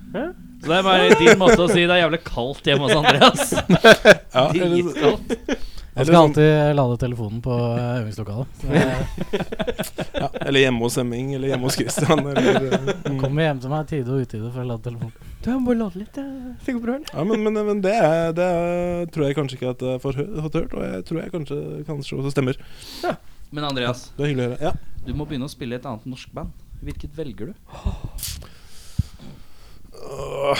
Speaker 1: Så det er bare din måte å si det er jævlig kaldt hjemme hos Andreas.
Speaker 5: Ja, eller-
Speaker 1: Dritkaldt.
Speaker 5: jeg
Speaker 6: Han skal alltid lade telefonen på eh, øvingslokalet. Så jeg
Speaker 5: Ja, eller hjemme hos Hemming, eller hjemme hos Christian. Eller, eh, mm.
Speaker 6: kommer hjem til meg i tide og utide for å lade telefonen.
Speaker 2: Du, jeg må bare lade litt, jeg. Det går bra, eller?
Speaker 5: Ja, men, men, men det, er, det er, tror jeg kanskje ikke at jeg får hø- fått hørt, og jeg tror jeg kanskje, kanskje også stemmer.
Speaker 1: Men Andreas,
Speaker 5: Det er hyggelig å høre. Ja.
Speaker 1: du må begynne å spille i et annet norsk band. Hvilket velger du?
Speaker 5: Åh,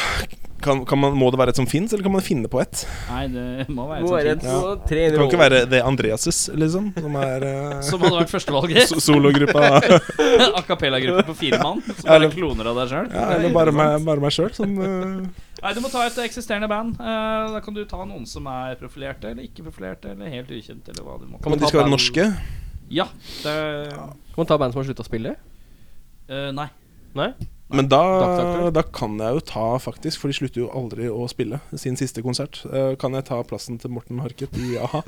Speaker 5: Kan, kan man, må det være et som fins, eller kan man finne på et?
Speaker 1: Nei, det må være
Speaker 2: Må være
Speaker 1: et
Speaker 2: et
Speaker 5: Ja.
Speaker 2: så tre under
Speaker 5: Det kan ikke
Speaker 2: rollen.
Speaker 5: være The Andreases, liksom, som er eh,
Speaker 1: som hadde vært førstevalget.
Speaker 5: so- sologruppa.
Speaker 1: A cappella-gruppe på fire mann. Som bare kloner av deg sjøl.
Speaker 5: Ja, eller bare meg, bare meg sjøl, som eh,
Speaker 1: Nei, du må ta et eksisterende band. Eh, da kan du ta noen som er profilerte eller ikke profilerte eller helt ukjent. Eller hva du må.
Speaker 5: Men de skal være norske.
Speaker 1: Ja. Det,
Speaker 2: Kan man ta band som har slutta å spille?
Speaker 1: eh, nei.
Speaker 2: Nei?
Speaker 5: Men da,
Speaker 2: Dagsaktuelt.
Speaker 5: da kan jeg jo ta, faktisk, for de slutter jo aldri å spille sin siste konsert, eh, kan jeg ta plassen til Morten Harket i a-ha.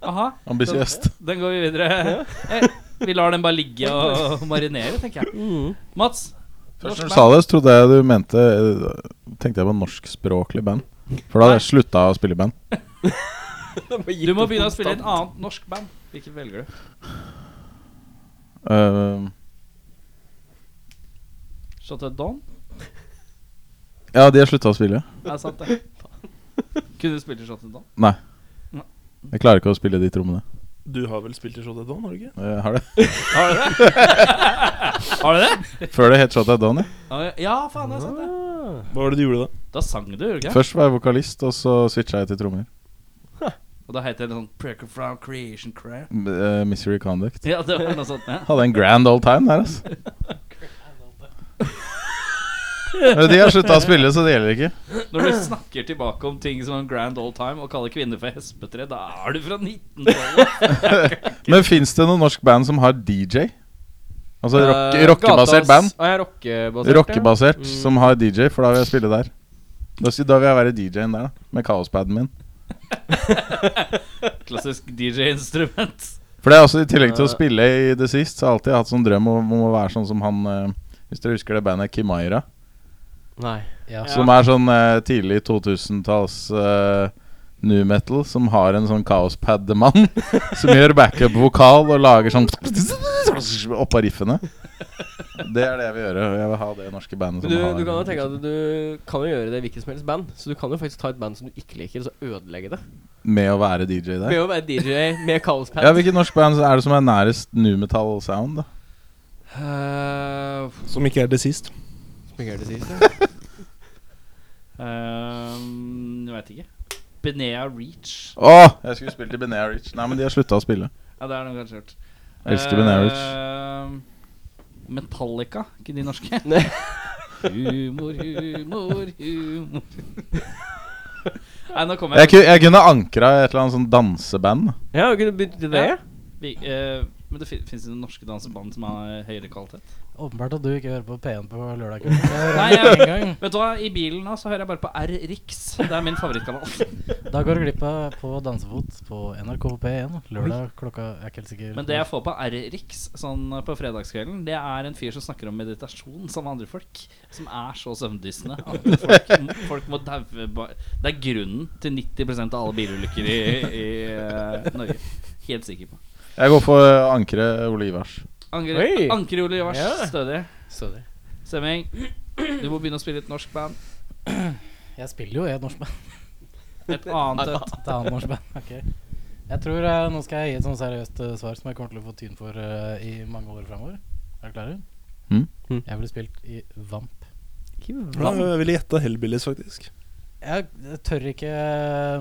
Speaker 1: Aha,
Speaker 7: Ambisiøst.
Speaker 1: den går vi videre. Eh, vi lar den bare ligge og marinere, tenker jeg. Mats?
Speaker 7: Først
Speaker 1: norsk
Speaker 7: når du sa det, så trodde jeg du mente eh, Tenkte jeg på norskspråklig band. For da hadde jeg slutta å spille i band.
Speaker 1: band. Du må begynne å spille i et annet norsk band. Hvilket velger du?
Speaker 7: Eh,
Speaker 1: Shot at Dawn?
Speaker 7: ja, de har slutta å spille.
Speaker 1: Er sant, det. Kunne du spilt i Shot at Dawn?
Speaker 7: Nei.
Speaker 1: Nei.
Speaker 7: Jeg klarer ikke å spille de trommene.
Speaker 5: Du har vel spilt i Shot at Dawn, har du ikke?
Speaker 7: Jeg har det.
Speaker 1: Har du det? Har du det?
Speaker 7: Før det het Shot at Dawn. Ja.
Speaker 1: Ja, faen, det er sant, det.
Speaker 5: Hva var det du gjorde da?
Speaker 1: Da sang du, gjorde du ikke? det?
Speaker 7: Først var jeg vokalist, og så switcha jeg til trommer.
Speaker 1: Og da het det sånn Precker from Creation Craft.
Speaker 7: M- eh, Misery Conduct.
Speaker 1: Ja, det var noe sånt, ja.
Speaker 7: Hadde en grand old time der, altså. Men De har slutta å spille, så det gjelder ikke.
Speaker 1: Når du snakker tilbake om ting som en grand old time og kaller kvinner for hespetre, da er du fra 1912.
Speaker 7: Men fins det noe norsk band som har DJ? Altså rock,
Speaker 2: Eh,
Speaker 7: rockebasert
Speaker 2: gatas-
Speaker 7: band?
Speaker 2: Ah, ja, rockebasert.
Speaker 7: Rockebasert,
Speaker 2: ja.
Speaker 7: som har DJ, for da vil jeg spille der. Da, si- da vil jeg være DJ-en der, da. Med kaospaden min.
Speaker 1: Klassisk DJ-instrument.
Speaker 7: For det er også I tillegg
Speaker 2: Eh.
Speaker 7: til å spille i The Sist, så har jeg alltid hatt sånn drøm om, om å være sånn som han eh, Hvis dere husker det bandet Kimaira?
Speaker 2: Nei.
Speaker 6: Ja.
Speaker 7: Som er sånn eh, tidlig 2000-talls eh, nu metal, som har en sånn kaospad-mann. som gjør backup-vokal og lager sånn oppå riffene. Det er det jeg vil gjøre. Jeg vil ha det norske bandet
Speaker 2: Du,
Speaker 7: som har
Speaker 2: du kan jo tenke at du kan jo gjøre det i hvilket som helst band. Så du kan jo faktisk ta et band som du ikke liker, og så ødelegge det.
Speaker 7: Med å være DJ der.
Speaker 2: Med å være DJ med kaospad.
Speaker 7: Ja, Hvilket norsk band er det som er nærest nu metal sound? da?
Speaker 1: Uh,
Speaker 5: Som ikke er det sist.
Speaker 2: Fungerer det sist, ja.
Speaker 1: Ehm, jeg veit ikke. Benea Reach.
Speaker 7: Åh, jeg skulle spilt i Benea Rich. Nei, men de har slutta å spille.
Speaker 1: Ja, det er noe kanskje hørt.
Speaker 7: Jeg elsker Benea Rich.
Speaker 1: Eh, Metallica, ikke de norske?
Speaker 2: Nei.
Speaker 1: humor, humor, humor Nei, nå kommer jeg.
Speaker 7: Jeg, ku- jeg kunne ankra et eller annet sånn danseband. da.
Speaker 2: Ja, du kunne begynt i det.
Speaker 1: Ja. Vi, eh, men det fins det noen norske danseband som har høyere kvalitet?
Speaker 6: Åpenbart at du ikke hører på P1 på lørdag kveld.
Speaker 1: Nei,
Speaker 6: Det hører jeg en gang.
Speaker 1: Vet du hva, i bilen nå så hører jeg bare på R-Rix. Det er min favorittkanal.
Speaker 6: Da går du glipp av På dansefot på NRK P1 lørdag klokka Jeg er ikke helt sikker.
Speaker 1: Men det jeg får på R-Rix sånn på fredagskvelden, det er en fyr som snakker om meditasjon sammen med andre folk. Som er så søvndyssende at folk, folk må daue ba- Det er grunnen til 90 av alle bilulykker i, i eh, Norge. Helt sikker på.
Speaker 7: Jeg går for å ankre Ole Ivars.
Speaker 1: Anker,
Speaker 2: Oi.
Speaker 1: Anker Ole Ivars,
Speaker 2: Ja.
Speaker 1: stødig.
Speaker 2: Så det.
Speaker 1: Semming, du må begynne å spille i et norsk band.
Speaker 6: Jeg spiller jo i et norsk band.
Speaker 1: Et annet et.
Speaker 6: Et annet norsk band. Ok. Jeg tror eh, Nå skal jeg gi et sånn seriøst eh, svar som jeg kommer til å få tyn for eh, i mange år framover. Er du klare?
Speaker 7: Mm.
Speaker 2: Mm.
Speaker 6: Jeg ville spilt i Vamp.
Speaker 5: Ja, jeg ville gjette Hellbillies, faktisk.
Speaker 6: Jeg tør ikke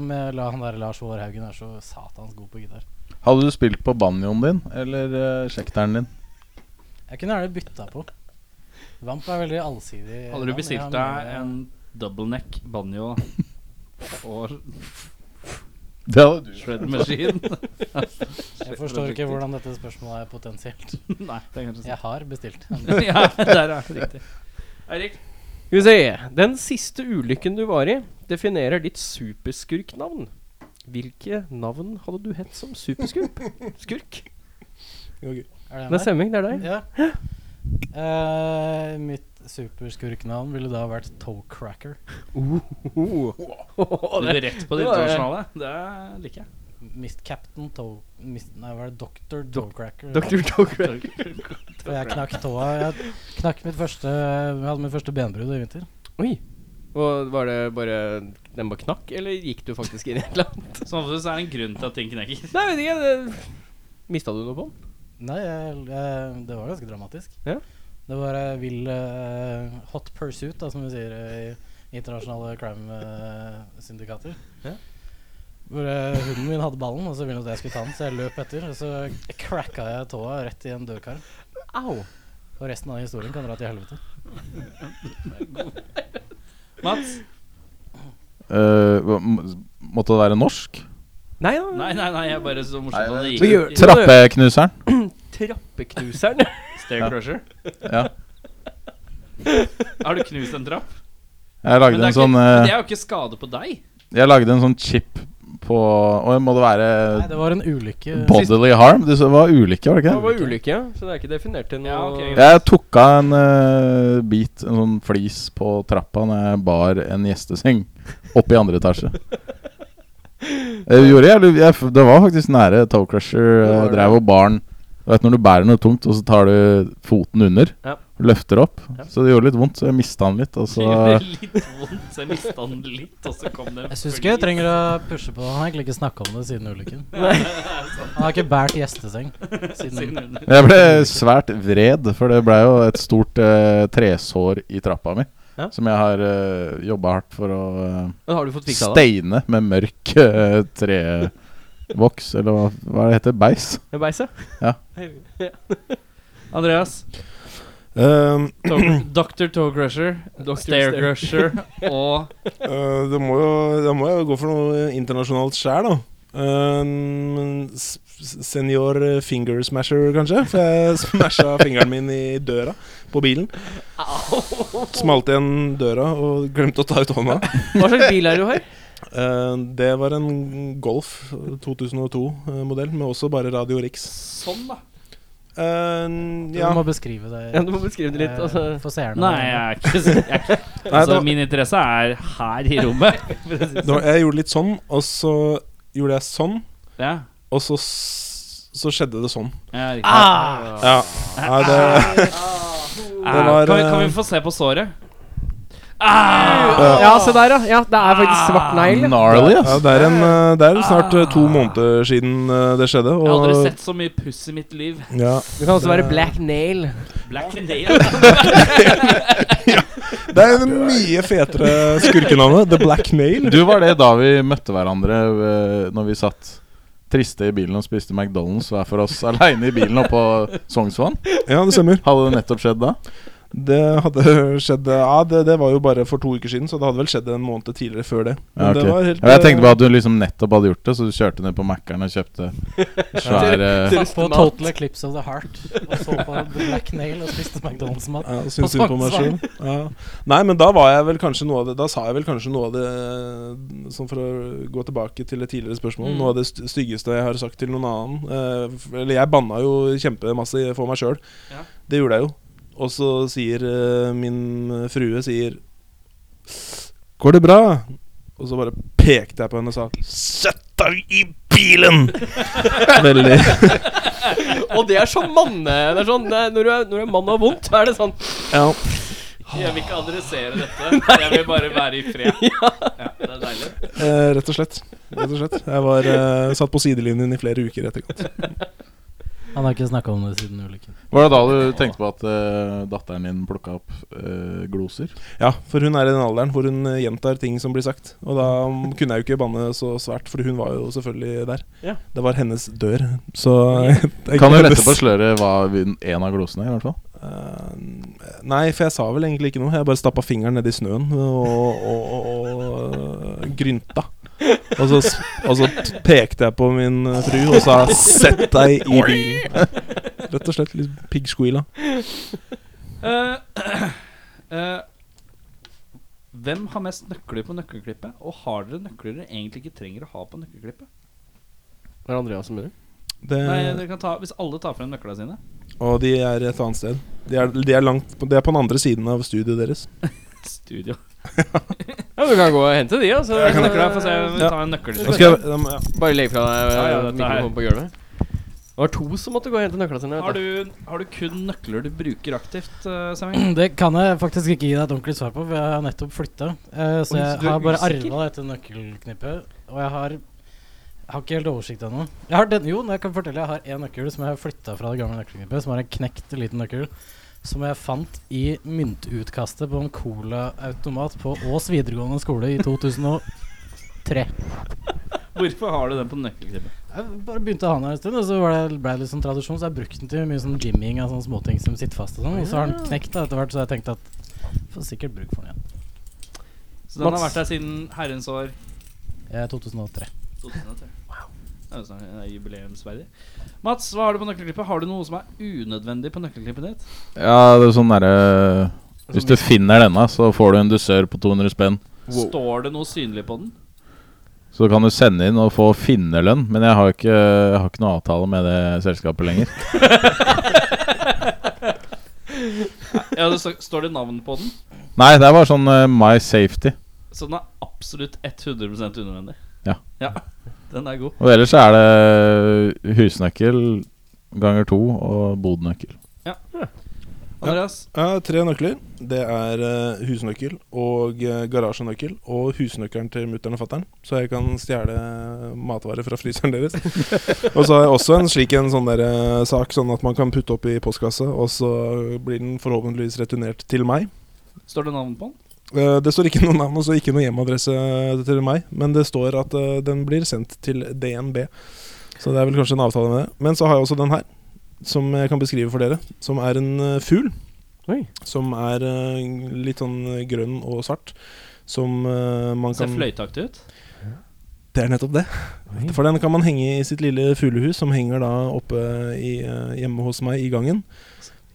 Speaker 6: med la han der Lars Vårhaugen er så satans god på gitar.
Speaker 7: Hadde du spilt på banjoen din eller uh, sjekteren din?
Speaker 6: Jeg kunne gjerne bytta på. Vamp er veldig allsidig.
Speaker 1: Hadde du
Speaker 6: band. Jeg har
Speaker 1: bestilt deg
Speaker 6: mye-
Speaker 1: en double neck banjo og
Speaker 7: Det hadde du.
Speaker 1: shred machine?
Speaker 6: Jeg forstår ikke hvordan dette spørsmålet er potensielt.
Speaker 1: Nei, det er kanskje
Speaker 6: Jeg har bestilt.
Speaker 1: sånn. ja, der er det riktig. Eirik?
Speaker 2: Skal vi se. Den siste ulykken du var i, definerer ditt superskurknavn. Hvilke navn hadde du hett som superskurk? Skurk?
Speaker 5: Ok.
Speaker 6: Er det
Speaker 2: Det er
Speaker 6: meg?
Speaker 2: Semming, det er deg.
Speaker 6: Ja. Eh, mitt superskurkenavn ville da vært Toecracker.
Speaker 1: Du er rett på det
Speaker 6: det var-
Speaker 1: internasjonale. Det er- liker jeg.
Speaker 6: Mist Captain Toe... Mist, nei, hva er det? Doctor Toecracker.
Speaker 2: Dr. Dogcrack.
Speaker 6: Og jeg knakk tåa. Jeg knakk mitt første Jeg hadde mitt første benbrudd i vinter.
Speaker 2: Oi. Og var det bare Den bare knakk, eller gikk du faktisk inn i et eller annet?
Speaker 1: Som oftest er det en grunn til at ting knekker.
Speaker 2: Nei, vet ikke. Det... Mista du noe på den?
Speaker 6: Nei, jeg, jeg, det var ganske dramatisk.
Speaker 2: Ja.
Speaker 6: Det var uh, vill eh, hot pursuit, da, som vi sier eh, i internasjonale crime-syndikater.
Speaker 2: Ja.
Speaker 6: Hvor eh, hunden min hadde ballen, og så ville hun at jeg skulle ta den, så jeg løp etter. Og så cracka jeg tåa rett i en dørkarm.
Speaker 2: Au.
Speaker 6: Og resten av historien kan dra til helvete.
Speaker 1: Mats?
Speaker 7: Eh, hva- m- måtte det være norsk?
Speaker 2: Nei da.
Speaker 1: Nei, nei, nei, jeg er bare så morsomt at det
Speaker 2: Men
Speaker 1: gikk.
Speaker 2: gjør-
Speaker 7: Trappeknuseren.
Speaker 2: Trappeknuseren.
Speaker 1: Stair crusher.
Speaker 7: Ja.
Speaker 1: Har du knust en trapp?
Speaker 7: Jeg
Speaker 1: Men
Speaker 7: lagde
Speaker 1: det
Speaker 7: en
Speaker 1: er, ikke,
Speaker 7: sånn
Speaker 1: men
Speaker 7: eh,
Speaker 1: det er jo ikke skade på deg.
Speaker 7: Jeg lagde en sånn chip på Oi, må det
Speaker 6: Nei,
Speaker 7: være
Speaker 6: det var en ulykke.
Speaker 7: bodily harm? Det var ulykke, var det
Speaker 2: Det
Speaker 7: ikke?
Speaker 2: var ulykke, ja. Så det er ikke definert til noe
Speaker 1: Ja, ok, greit.
Speaker 7: Jeg tok av en eh, bit, en sånn flis, på trappa når jeg bar en gjesteseng opp i andre etasje. Jeg gjorde jeg, jeg, f- Det var faktisk nære Toe Crusher.
Speaker 2: Det var
Speaker 7: Jeg
Speaker 2: det.
Speaker 7: drev og bar den. Du vet når du bærer noe tungt, og så tar du foten under.
Speaker 2: Ja.
Speaker 7: Løfter opp.
Speaker 2: Ja.
Speaker 7: Så det gjorde litt vondt, så jeg mista den litt. Og
Speaker 1: Det
Speaker 7: så
Speaker 1: gjorde litt vondt, så jeg mista den litt, og så kom det
Speaker 6: Jeg syns ikke jeg trenger å pushe på. Han har egentlig ikke snakka om det siden ulykken. Han har ikke båret gjesteseng siden
Speaker 1: Siden-
Speaker 7: Jeg ble svært vred, for det ble jo et stort eh, tresår i trappa mi.
Speaker 2: Ja.
Speaker 7: Som jeg har uh, jobba hardt for å eh,
Speaker 2: Men har du fått fiksa det?
Speaker 7: Steine med mørk eh, trevoks, eller hva, hva er det heter? Beis?
Speaker 2: Med beise?
Speaker 1: Andreas,
Speaker 5: Ehm,
Speaker 1: Toe- Dr. Toe Crusher,
Speaker 2: Dr.
Speaker 1: Stair
Speaker 2: Stair.
Speaker 1: Crusher og
Speaker 5: Eh, det må jo, da må jeg jo gå for noe internasjonalt sjæl, da. Um, s- s- senior eh, finger smasher, kanskje? For jeg smasha fingeren min i døra på bilen. Smalt igjen døra og glemte å ta ut hånda.
Speaker 2: Hva slags bil er det du har?
Speaker 5: Eh, det var en Golf 2002-modell, eh, med også bare Radio Rix.
Speaker 1: sånn, da.
Speaker 5: Eh,
Speaker 6: Du
Speaker 5: ja.
Speaker 6: må beskrive det
Speaker 2: Ja, du må beskrive det litt.
Speaker 6: eh,
Speaker 2: Altså.
Speaker 6: for seerne.
Speaker 1: Nei, jeg er ikke så jeg er ikke-
Speaker 5: Nei, det
Speaker 1: Altså,
Speaker 5: var-
Speaker 1: min interesse er her i rommet.
Speaker 5: det var- jeg gjorde litt sånn, og så gjorde jeg sånn,
Speaker 1: Ja,
Speaker 5: og så, s- så skjedde det sånn.
Speaker 1: ja riktig.
Speaker 5: Ja. Nei, det
Speaker 1: Eh,
Speaker 5: var,
Speaker 1: kan, vi, kan
Speaker 5: eh,
Speaker 1: vi få se på såret?
Speaker 2: Ja, se der, ja. ja. Det er faktisk svart negl.
Speaker 7: Gnarly,
Speaker 5: Ja,
Speaker 7: ass.
Speaker 5: det er, en, eh, det er snart eh, to måneder siden eh, det skjedde.
Speaker 1: Ah. Jeg har aldri sett så mye puss i mitt liv.
Speaker 5: ja,
Speaker 2: Det kan også være black nail.
Speaker 1: Black altså. Nail.
Speaker 5: Det er det mye fetere skurkenavnet. The Black Nail.
Speaker 7: Du var det da vi møtte hverandre eh, når vi satt triste i bilen og spiste McDonald's hver for oss aleine i bilen oppå Sognsvann.
Speaker 5: Ja, det stemmer.
Speaker 7: Hadde det nettopp skjedd da?
Speaker 5: Det hadde skjedd Ja, det, det var jo bare for to uker siden, så det hadde vel skjedd en måned tidligere før det.
Speaker 7: Ja,
Speaker 5: Men
Speaker 7: ok.
Speaker 5: det var helt,
Speaker 7: ja, jeg tenkte
Speaker 5: eh,
Speaker 7: bare at du liksom nettopp hadde gjort det, så du kjørte ned på Mækkern og kjøpte svær eh,
Speaker 6: Satt på Total Eclipse of the Heart og så på The Black Nail og spiste McDonald's-mat.
Speaker 5: ja, syns synd på meg selv. Ja. Nei, men da var jeg vel kanskje noe av det Da sa jeg vel kanskje noe av det eh, Sånn for å gå tilbake til et tidligere spørsmål
Speaker 6: Mm.
Speaker 5: Noe av det st- styggeste jeg har sagt til noen annen eh, f- Eller jeg banna jo kjempemasse for meg sjøl.
Speaker 1: Ja.
Speaker 5: Det gjorde jeg jo. Og så sier eh, min frue sier Går det bra? Og så bare pekte jeg på henne og sa Sett deg i bilen! Veldig
Speaker 2: Og det er sånn manne... Det er sånn, det er, når, du er, når du er mann og har vondt, så er det sånn
Speaker 5: Ja.
Speaker 1: Jeg vil ikke adressere dette. Jeg vil bare være i fred. Ja, det er deilig.
Speaker 5: Eh, rett og slett. Rett og slett. Jeg var eh, satt på sidelinjen i flere uker etterkant.
Speaker 6: Han har ikke snakka om det siden ulykken.
Speaker 7: Var det da du tenkte på at eh, datteren din plukka opp eh, gloser?
Speaker 5: Ja, for hun er i den alderen hvor hun eh, gjentar ting som blir sagt. Og da mm, kunne jeg jo ikke banne så svært, for hun var jo selvfølgelig der.
Speaker 2: Ja.
Speaker 5: Det var hennes dør, så det er
Speaker 7: Kan du
Speaker 5: ikke
Speaker 7: lette
Speaker 5: hennes-
Speaker 7: på sløret hva vi- en av glosene er, i hvert fall?
Speaker 5: Eh, Nei, for jeg sa vel egentlig ikke noe. Jeg bare stappa fingeren nedi snøen og, og, og, og grynta. Og så, s- og så t- pekte jeg på min eh, fru og sa 'sett deg i bilen'. Rett og slett litt piggsqueala.
Speaker 1: Eh, eh, hvem har mest nøkler på nøkkelklippet? Og har dere nøkler dere egentlig ikke trenger å ha på nøkkelklippet?
Speaker 2: Hva er det Andreas som mener?
Speaker 5: Det,
Speaker 1: Nei, dere kan ta, Hvis alle tar frem nøklene sine
Speaker 5: og de er et annet sted. De er, de er, langt, på- de er på den andre siden av studioet deres.
Speaker 1: Studio.
Speaker 2: Ja, du kan gå og hente de, altså.
Speaker 1: Jeg kan nøkla, få se, vi
Speaker 5: Ja.
Speaker 1: tar en nøkkel.
Speaker 5: Nå skal jeg, da må jeg-
Speaker 2: Bare legg fra deg eh,
Speaker 1: Ja, ja, dette
Speaker 2: mikrofonen på gulvet. Det var to som måtte gå og hente nøklene sine.
Speaker 1: Har
Speaker 2: Vet du.
Speaker 1: du, har du kun nøkler du bruker aktivt, eh, Semming?
Speaker 6: Det kan jeg faktisk ikke gi deg et ordentlig svar på, for jeg har nettopp flytta. så
Speaker 2: Oi,
Speaker 6: jeg
Speaker 2: så du er
Speaker 6: har bare
Speaker 2: usikker?
Speaker 6: arva dette nøkkelknippet, og jeg har jeg har ikke helt oversikt ennå. Jeg har den, jo, jeg kan fortelle Jeg har en nøkkel som jeg har flytta fra det gamle nøkkelknippet, som er en knekt liten nøkkel, som jeg fant i myntutkastet på en colaautomat på Ås videregående skole i 2003.
Speaker 1: Hvorfor har du den på nøkkelknippet?
Speaker 6: Jeg bare begynte å ha den her en stund, og så var det, ble det litt sånn tradisjon. Så jeg brukte den til mye sånn jimming av sånne småting som sitter fast og sånn. Og så har den knekt da etter hvert, så jeg tenkte at får sikkert bruk for den igjen.
Speaker 1: Så den har
Speaker 2: Mats.
Speaker 1: vært der siden herrens år
Speaker 6: Eh, 2003.
Speaker 1: 2003. Det er jo snart- det er jubileumsverdig. Mats, hva har du på nøkkelklippet? Har du noe som er unødvendig på nøkkelklippet ditt?
Speaker 7: Ja, det er sånn derre Hvis du finner denne, så får du en dusør på 200 spenn.
Speaker 1: Står det noe synlig på den?
Speaker 7: Så kan du sende inn og få finnerlønn, men jeg har ikke, jeg har ikke noe avtale med det selskapet lenger.
Speaker 1: Ja, det står, står det navn på den?
Speaker 7: Nei, det var sånn eh, My Safety.
Speaker 1: Så den er absolutt 100 unødvendig.
Speaker 7: Ja.
Speaker 1: ja. Den er god.
Speaker 7: Og ellers så er det eh, husnøkkel ganger to og bodnøkkel.
Speaker 1: Andreas,
Speaker 5: jeg har tre nøkler. Det er eh, husnøkkel og eh, garasjenøkkel og husnøkkelen til mutter'n og fatter'n, så jeg kan stjele matvarer fra fryseren deres. og så har jeg også en slik en sånn der, eh, sak, sånn at man kan putte opp i postkasse, og så blir den forhåpentligvis returnert til meg.
Speaker 1: står det navn på den?
Speaker 5: Eh, Det står ikke noe navn og så ikke noe hjemadresse til meg, men det står at eh, den blir sendt til DNB. Så det er vel kanskje en avtale med det. Men så har jeg også den her, som jeg kan beskrive for dere. Som er en eh, fugl.
Speaker 2: Oi.
Speaker 5: Som er eh, litt sånn grønn og svart. Som eh, man
Speaker 1: Ser
Speaker 5: kan
Speaker 1: fløyteaktig ut.
Speaker 5: Det er nettopp det.
Speaker 2: Oi.
Speaker 5: For den kan man henge i sitt lille fuglehus, som henger da oppe i, eh, hjemme hos meg i gangen.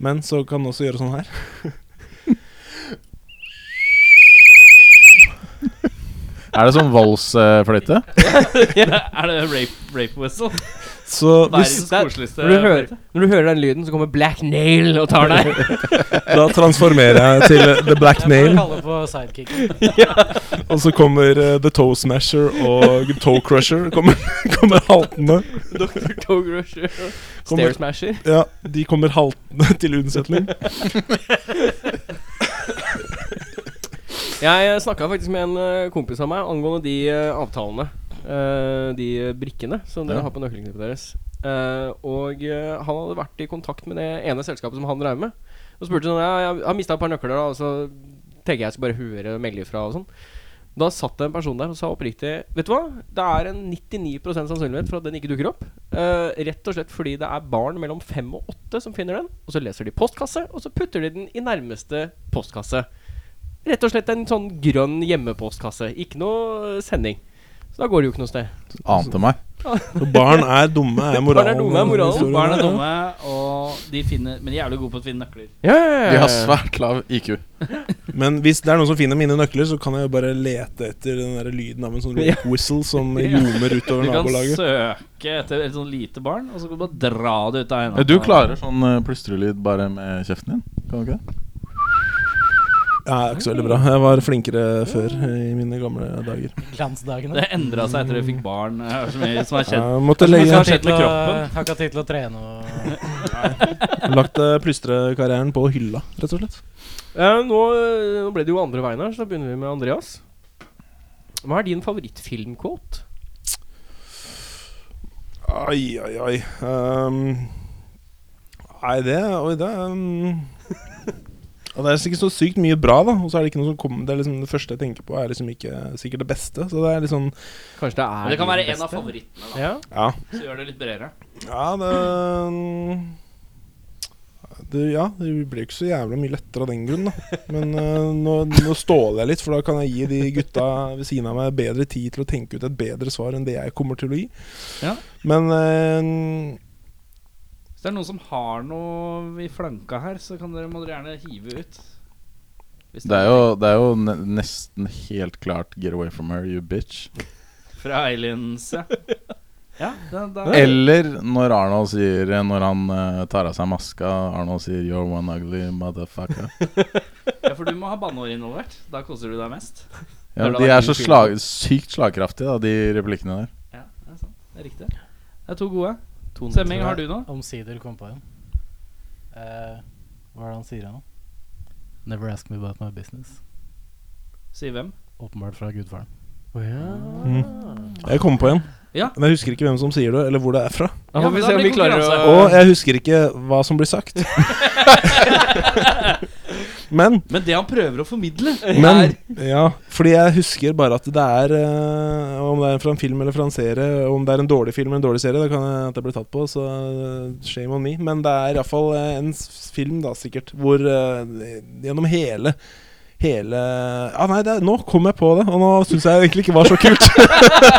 Speaker 5: Men så kan den også gjøre sånn her.
Speaker 7: Er det sånn voldsfløyte?
Speaker 1: er det rape, rape whistle?
Speaker 5: Så hvis,
Speaker 1: Verdens koseligste
Speaker 2: Når du, hører,
Speaker 1: fløyte.
Speaker 2: når du hører den lyden, så kommer Black Nail og tar deg.
Speaker 5: da transformerer jeg til eh, The Black
Speaker 6: Jeg
Speaker 5: Nail.
Speaker 6: får kalle på sidekick.
Speaker 5: Og så kommer eh, The Toe Smasher og Toe Crusher. Kommer, kommer haltende.
Speaker 2: Dr. Toe Rusher.
Speaker 5: Kommer-
Speaker 2: Stair Smasher.
Speaker 5: Ja, de kommer haltende til unnsetning.
Speaker 2: Jeg snakka faktisk med en eh, kompis av meg angående de eh, avtalene. eh, de eh, brikkene som dere
Speaker 7: Ja.
Speaker 2: har på nøkkelknippet deres. Eh, og eh, han hadde vært i kontakt med det ene selskapet som han drev med. Og spurte sånn Ja, jeg har mista et par nøkler, da, og så tenker jeg jeg skal bare høre og melde ifra og sånn. Da satt det en person der og sa oppriktig Vet du hva? Det er en 99 sannsynlighet for at den ikke dukker opp. Eh, rett og slett fordi det er barn mellom fem og åtte som finner den. Og så leser de postkasse, og så putter de den i nærmeste postkasse. Rett og slett en sånn grønn hjemmepostkasse. Ikke noe eh, sending. Så da går det jo ikke noe sted.
Speaker 7: Ante meg.
Speaker 5: Barn er dumme, er moralen.
Speaker 2: Barn er dumme, er moralen.
Speaker 5: i historien.
Speaker 1: Barn er dumme, og de finner, men de er jævlig gode på å finne nøkler.
Speaker 2: Ja, ja,
Speaker 7: De har svært lav IQ.
Speaker 5: Men hvis det er noen som finner mine nøkler, så kan jeg jo bare lete etter den der lyden av en sånn
Speaker 2: Ja.
Speaker 5: rope whistle som ljomer
Speaker 1: Du
Speaker 5: utover
Speaker 1: kan
Speaker 5: nabolaget.
Speaker 1: søke etter et sånt lite barn, og så kan du bare dra det ut av henda.
Speaker 7: Du klarer sånn eh, plystrelyd bare med kjeften din? Kan du ikke det?
Speaker 5: Ja, ikke så veldig bra. Jeg var flinkere før eh, i mine gamle dager.
Speaker 6: Glansdagene.
Speaker 1: Det endra seg etter at du fikk barn. Jeg har så mye som er kjent.
Speaker 5: Jeg måtte
Speaker 6: Jeg
Speaker 5: legge
Speaker 6: har
Speaker 1: skjedd med
Speaker 6: ikke tid til å-
Speaker 1: kroppen.
Speaker 6: jeg har ikke tid til å trene og
Speaker 5: lagt eh, plystrekarrieren på hylla, rett og slett.
Speaker 2: Eh, nå, eh, nå ble det jo andre veien her, så da begynner vi med Andreas. Hva er din favorittfilmkåt?
Speaker 5: Ai, ai, ai. Ehm, nei, det Oi, det ehm, og Det er sikkert så sykt mye bra, da. Og så er det ikke noe som kommer Det er liksom det første jeg tenker på, er liksom ikke sikkert det beste. Så det er litt sånn
Speaker 2: Kanskje det er
Speaker 1: Men det kan
Speaker 2: din
Speaker 1: være en av
Speaker 2: beste?
Speaker 1: favorittene. da
Speaker 2: Ja.
Speaker 5: Ja.
Speaker 1: Så gjør det litt bredere.
Speaker 5: Ja, det ehm, det, ja, det blir ikke så jævla mye lettere av den grunn, da. Men eh, nå, nå ståler jeg litt, for da kan jeg gi de gutta ved siden av meg bedre tid til å tenke ut et bedre svar enn det jeg kommer til å gi.
Speaker 1: Ja.
Speaker 5: Men eh,
Speaker 1: Hvis det er noen som har noe i flanka her, så kan dere, må dere gjerne hive ut. Hvis
Speaker 7: Det er jo, det er jo ne nesten helt klart 'Get away from her, you bitch'.
Speaker 1: Fra aliens, ja. Ja, da, da,
Speaker 7: Eller når Arnold sier Når han eh, tar av seg maska Arnold sier 'You're one ugly motherfucker'.
Speaker 1: ja, for du må ha banneord involvert. Da koser du deg mest.
Speaker 7: Ja,
Speaker 1: Det hadde
Speaker 7: de
Speaker 1: vært
Speaker 7: er
Speaker 1: en
Speaker 7: så
Speaker 1: fin
Speaker 7: slag, sykt slagkraftige, da, de replikkene der.
Speaker 1: Ja, det er sant. Det er riktig. Det er to gode. Semming, har du noe?
Speaker 6: Omsider kom på en. Eh, hva er det han sier her nå? Never ask me about my business.
Speaker 1: Si hvem.
Speaker 6: Åpenbart fra gudfaren.
Speaker 5: Mm. Jeg kom på en.
Speaker 1: Ja.
Speaker 5: Men jeg husker ikke hvem som sier det, eller hvor det er fra.
Speaker 2: Da
Speaker 1: Ja,
Speaker 2: får
Speaker 1: men
Speaker 2: vi
Speaker 1: da
Speaker 2: se om
Speaker 1: blir
Speaker 2: vi klarer å
Speaker 1: konkurranse.
Speaker 5: Og jeg husker ikke hva som blir sagt. Men
Speaker 1: Men det han prøver å formidle,
Speaker 5: Men, ja, fordi jeg husker bare at det er eh, Om det er fra en film eller fra en serie Om det er en dårlig film eller en dårlig serie Det kan jeg at jeg blir tatt på, så eh, shame on me Men det er i hvert fall eh, en s- film da, sikkert Hvor eh, gjennom hele Hele Ja, nei, det er, nå kom jeg på det Og nå synes jeg egentlig ikke var så kult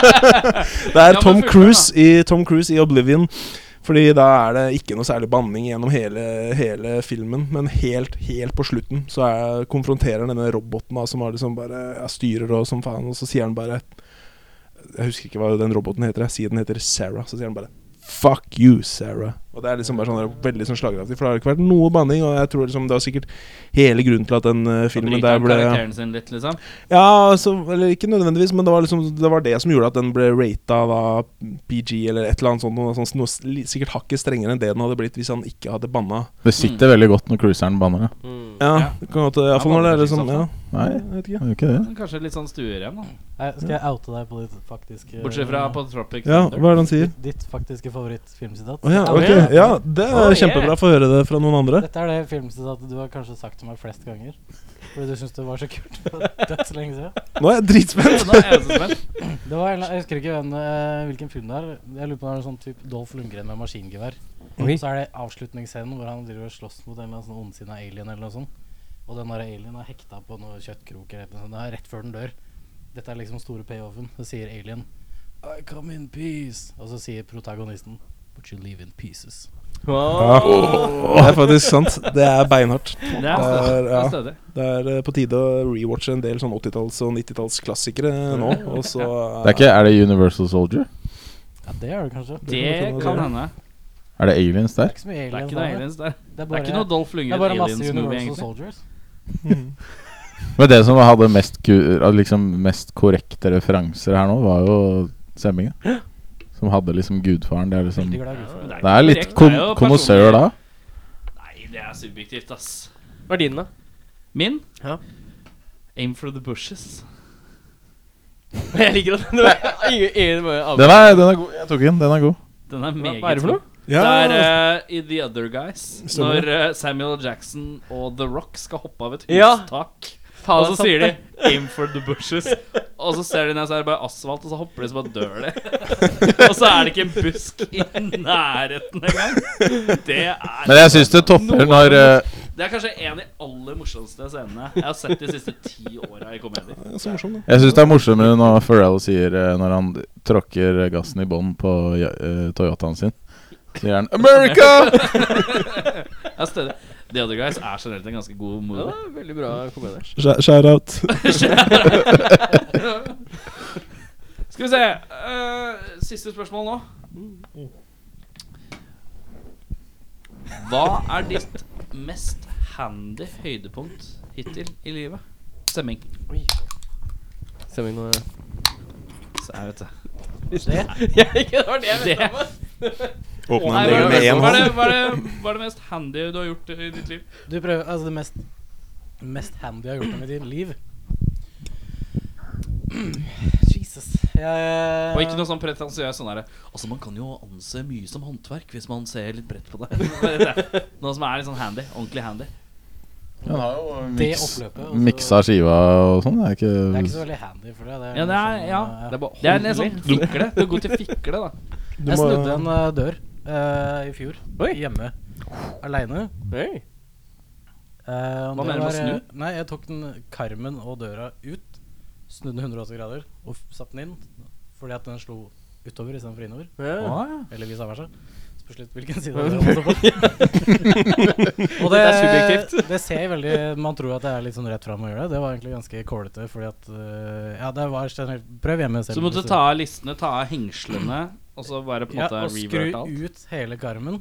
Speaker 5: Det er
Speaker 1: men
Speaker 5: Tom
Speaker 1: fullfør,
Speaker 5: Cruise i, Tom Cruise i Oblivion fordi da er det ikke noe særlig banning gjennom hele, hele filmen. Men helt, helt på slutten så er, konfronterer han denne roboten da, som har liksom bare ja, styrer og som faen, og så sier han bare Jeg husker ikke hva den roboten heter, jeg sier den heter Sarah. Så sier han bare Fuck you, Sarah. Og det er liksom bare sånn der, veldig sånn slagkraftig, for det har ikke vært noe banning. Og jeg tror liksom det var sikkart hele grunnen til at den eh,
Speaker 1: så
Speaker 5: filmen
Speaker 1: bryter
Speaker 5: der
Speaker 1: han
Speaker 5: ble
Speaker 1: karakteren sin litt, liksom.
Speaker 5: ja, altså, eller ikke nødvendigvis, men det var, liksom, det var det som gjorde at den ble rata da, PG eller et eller annet sånt. Noe, sånt noe, s- li- sikkert hakket strengere enn det den hadde blitt hvis han ikke hadde banna.
Speaker 7: Det sitter veldig godt når cruiseren banner. ja.
Speaker 5: Ja, det kan godt, i hvert fall når det er liksom ja,
Speaker 1: altså.
Speaker 7: Nei,
Speaker 5: jeg vet
Speaker 7: det
Speaker 5: ikke.
Speaker 7: er jo ikke det.
Speaker 1: Men Kanskje litt sånn stueren, da.
Speaker 6: Nei, skal jeg oute deg på ditt faktiske
Speaker 1: Bortsett fra på Tropic
Speaker 5: ja,
Speaker 1: Thunder.
Speaker 5: hva er det han sier?
Speaker 6: ditt, ditt faktiske favorittfilmsitat?
Speaker 5: Å ja, ok. Ja, det er kjempebra å få høre det fra noen andre.
Speaker 6: Dette er det filmsitatet du har kanskje sagt til meg flest ganger. Fordi du syns det var så kult. Det var Dødslenge siden.
Speaker 5: Nå er jeg dritspent!
Speaker 1: Nå er jeg så spent.
Speaker 6: Det var, en eller annen- jeg husker ikke hvem, eh, hvilken film det er. Jeg lurer på om det er en sånn type Dolph Lundgren med maskingevær.
Speaker 2: Oi.
Speaker 6: Så er det avslutningsscenen hvor han driver og slåss mot en eller annen sånn ondsinna alien eller noe sånt. Og den der alien er hekta på noen kjøttkroker eller noe sånt. Det er rett før den dør. Dette er liksom store payoffen. Så sier alien I come in peace. Og så sier protagonisten But you leave in pieces.
Speaker 5: Ja. Det er faktisk sant. Det er beinhardt.
Speaker 1: Det er stødig. Det
Speaker 5: ja.
Speaker 1: er stødig.
Speaker 5: Det er eh, på tide å rewatche en del sånn 80-talls- og 90-tallsklassikere nå, og så
Speaker 7: Det er, ikke, er det Universal Soldier?
Speaker 6: Ja, det er det kanskje. Det
Speaker 1: Det kan hende.
Speaker 7: Er det aliens
Speaker 6: er
Speaker 7: der?
Speaker 6: ikke så mye
Speaker 1: Det er
Speaker 6: aliens.
Speaker 1: ikke noe
Speaker 6: der.
Speaker 1: aliens der.
Speaker 6: Det er
Speaker 1: Det
Speaker 6: bare,
Speaker 1: er ikke noe Dolph
Speaker 6: det er bare masse
Speaker 1: Lundgren-aliens-movie,
Speaker 6: Universal
Speaker 1: egentlig.
Speaker 6: Soldiers.
Speaker 7: Men det som hadde mest, ku- eh, liksom mest korrekte referanser her nå, var jo Semming. ja. Som hadde liksom gudfaren. Det er liksom
Speaker 6: Veldig glad i gudfar.
Speaker 7: Det er litt kon konnoissør da.
Speaker 1: Nei, det er subjektivt, ass.
Speaker 2: Hva er din, da?
Speaker 1: Min?
Speaker 2: Ja.
Speaker 1: Aim for the bushes.
Speaker 2: Jeg liker at den var ingen, ingen må avbryte.
Speaker 7: Den er, den er god. Jeg tok den. Den er god.
Speaker 1: Den er meget
Speaker 2: Hva er det for noe?
Speaker 1: Det er
Speaker 5: ja,
Speaker 1: eh, i The Other Guys.
Speaker 5: Stemmer.
Speaker 1: Når eh, Samuel L. Jackson og The Rock skal hoppe av et
Speaker 2: Ja.
Speaker 1: hustak.
Speaker 2: Faen,
Speaker 1: Og så
Speaker 2: sant
Speaker 1: sier de
Speaker 2: det.
Speaker 1: 'aim for the bushes'. Og så ser de ned, så er det bare asfalt, og så hopper de, så bare dør de. og så er det ikke en busk i nærheten engang. Det er
Speaker 7: Men jeg syns det topper når eh,
Speaker 1: Det er kanskje en av de aller morsomste scenene jeg har sett de siste ti åra i komedier.
Speaker 5: så morsom, da.
Speaker 7: Jeg synes det er morsommere når Pharrell sier eh, Når han tråkker gassen i bånn på eh, Toyotaen sin. Sier han 'America'!
Speaker 1: Jeg støtter- The Other Guys er generelt en ganske god
Speaker 2: Ja,
Speaker 1: movie.
Speaker 2: det er veldig bra komedie.
Speaker 5: Sh- Shout-out.
Speaker 1: Skal vi se eh, Siste spørsmål nå. Hva er ditt mest handy høydepunkt hittil i livet? Stemming.
Speaker 2: Semming nå
Speaker 1: Så jeg vet det.
Speaker 2: Det var det jeg
Speaker 1: det.
Speaker 5: Åpna
Speaker 1: Nei,
Speaker 5: en
Speaker 1: hva,
Speaker 5: del
Speaker 1: eh, er det,
Speaker 5: med én
Speaker 1: hva, er
Speaker 5: hånd.
Speaker 1: det, hva, er det, hva er det mest handy du har gjort i ditt liv?
Speaker 6: Du prøver, altså det mest Mest handy jeg har gjort i mitt liv Jesus jeg,
Speaker 1: Og ikke noe sånn pretensiøst sånn derre Altså, man kan jo anse mye som håndverk hvis man ser litt bredt på det. noe som er litt sånn handy. Ordentlig handy.
Speaker 7: Han har jo
Speaker 6: Det
Speaker 7: miks,
Speaker 6: oppløpet, og så-
Speaker 7: miksa skiva og sånn. Det er
Speaker 6: Det er ikke så
Speaker 7: ikke
Speaker 6: veldig handy for deg det er
Speaker 1: Ja, det
Speaker 6: mer
Speaker 1: er-
Speaker 6: sånn,
Speaker 1: ja.
Speaker 6: eh,
Speaker 2: Det er bare
Speaker 1: Det er litt sånn fikle. Du er god til fikle, da.
Speaker 5: Du
Speaker 6: Jeg
Speaker 5: må-
Speaker 6: snudde en eh, dør eh, i fjor
Speaker 2: Oi.
Speaker 6: Hjemme Alene
Speaker 2: Hey.
Speaker 6: Eh, og
Speaker 1: Hva
Speaker 6: det
Speaker 1: mener du med
Speaker 6: var,
Speaker 1: å
Speaker 6: eh, Nei, jeg tok den karmen og døra ut Snudde den 180 grader Og f- satte den inn Fordi at den slo utover i stedet for innover
Speaker 2: Ja.
Speaker 6: Eller vice versa. Spørs litt hvilken side av det man står på. og det,
Speaker 2: Dette er subjektivt.
Speaker 6: det ser jeg veldig Man tror at det er litt sånn rett fram å gjøre det. Det var egentlig ganske kålete, eh, fordi at øh, Ja, det var generelt Prøv hjemme selv.
Speaker 1: Så du måtte
Speaker 6: hvis
Speaker 1: ta av listene, ta av hengslene, og så bare på en
Speaker 6: Ja,
Speaker 1: måte
Speaker 6: og skru
Speaker 1: revert alt?
Speaker 6: ut hele garmen.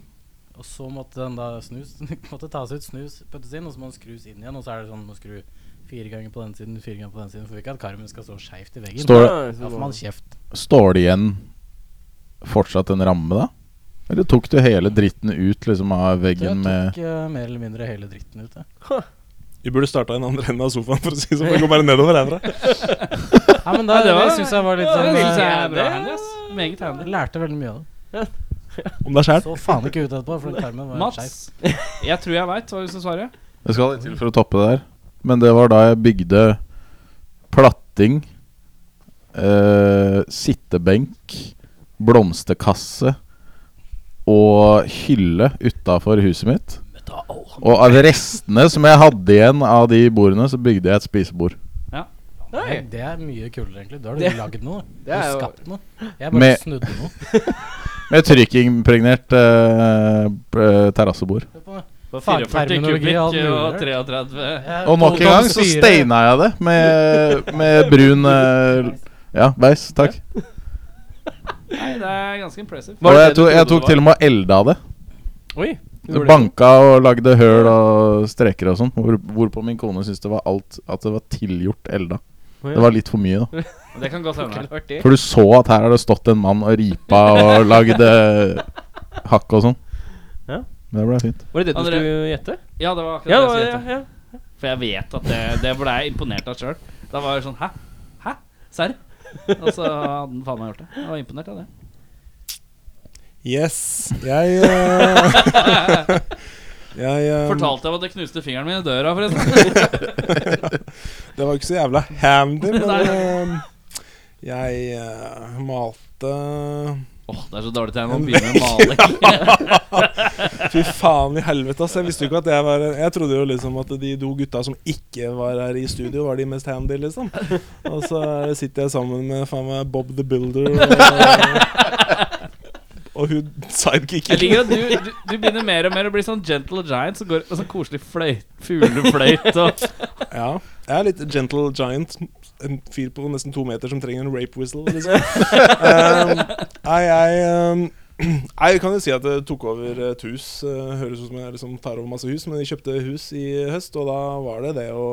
Speaker 6: Og så måtte den da snus Måtte tas ut, snus, puttes inn, og så må den skrus inn igjen. Og så er det sånn må skru fire ganger på den siden, fire ganger på den siden. For vi vil ikke at karmen skal stå skeivt i veggen.
Speaker 7: Står det-
Speaker 6: Da får man kjeft.
Speaker 7: Står det igjen fortsatt en ramme, da? Eller tok du hele dritten ut liksom av
Speaker 6: Jeg
Speaker 7: veggen med
Speaker 6: tok eh, mer eller mindre hele dritten ut. jeg.
Speaker 5: Vi burde starta i den andre enden av sofaen, for å si det sånn. Vi går bare nedover herfra.
Speaker 6: Ja, men da,
Speaker 1: Ja, det
Speaker 6: det
Speaker 1: var-
Speaker 6: syns jeg var litt
Speaker 1: Ja,
Speaker 6: sånn
Speaker 1: det synes
Speaker 6: eh,
Speaker 1: jeg er bra handy, ass. Meget handy.
Speaker 6: jeg Lærte veldig mye av det.
Speaker 5: Om deg sjæl.
Speaker 6: Så faen ikke ut etterpå, for den karmen var skeiv.
Speaker 1: Mats, jeg tror jeg veit hva du skal svare.
Speaker 7: Det skal litt til for å toppe det der. Men det var da jeg bygde platting, eh, sittebenk, blomsterkasse og hylle utafor huset mitt. Og av restene som jeg hadde igjen av de bordene, så bygde jeg et spisebord.
Speaker 6: Nei, Det er mye kulere, egentlig. Da har du lagd noe. Du
Speaker 2: det er
Speaker 6: har
Speaker 2: jo-
Speaker 6: skapt noe. Jeg bare
Speaker 7: Med-
Speaker 6: snudde noe.
Speaker 7: Med trykkimpregnert eh, p- eh, terrassebord.
Speaker 1: 44
Speaker 6: Fagterminologi,
Speaker 1: kubikk
Speaker 6: alt mulig
Speaker 1: og
Speaker 6: rart.
Speaker 1: 33
Speaker 7: Og nok en gang så steina jeg det med, med brun eh, Ja, beis. Takk.
Speaker 1: Nei, det er ganske impressive.
Speaker 7: Og jeg, tok- jeg tok til og med og elda det.
Speaker 2: Oi.
Speaker 7: Du banka og lagde høl og streker og sånn. Hvor, hvorpå min kone syntes det var alt At det var tilgjort elda. Det var litt for mye, da.
Speaker 1: Det kan godt hende.
Speaker 2: Artig.
Speaker 7: For du så at her har det stått en mann og ripa og lagd eh, hakk og sånn.
Speaker 2: Ja.
Speaker 7: Men det ble fint.
Speaker 2: Var det det du
Speaker 1: André.
Speaker 2: skulle gjette?
Speaker 1: Ja, det var akkurat det jeg
Speaker 2: Ja,
Speaker 1: skulle
Speaker 2: ja,
Speaker 1: gjette.
Speaker 2: ja.
Speaker 1: For jeg vet at det, det ble jeg imponert av sjøl. Da var jeg sånn Hæ? Hæ? Serr? Og så hadde han faen meg gjort det. Jeg var imponert av det.
Speaker 5: Yes. Jeg eh, Jeg eh,
Speaker 1: Fortalte jeg om at jeg knuste fingeren min i døra, forresten?
Speaker 5: Det var ikke så jævla handy, men
Speaker 1: Nei.
Speaker 5: eh, jeg eh, malte
Speaker 1: Åh, det er så dårlig tegn å begynne med maling.
Speaker 5: Fy faen i helvete, ass. Jeg visste jo ikke at jeg var Jeg trodde jo liksom at de to gutta som ikke var her i studio, var de mest handy, liksom. Og så sitter jeg sammen med faen meg Bob the Builder og, og hun
Speaker 1: Jeg
Speaker 5: sidekicken.
Speaker 1: liker at du, du, du begynner mer og mer å bli sånn gentle giant som går og sånn koselig fløyt, fuglefløyt og
Speaker 5: Ja. Jeg er litt gentle giant. En fyr på nesten to meter som trenger en rape whistle, liksom. um, nei, jeg um, Nei, jeg kan jo si at jeg tok over et hus. eh, Høres ut som jeg liksom tar over masse hus, men jeg kjøpte hus i høst, og da var det det å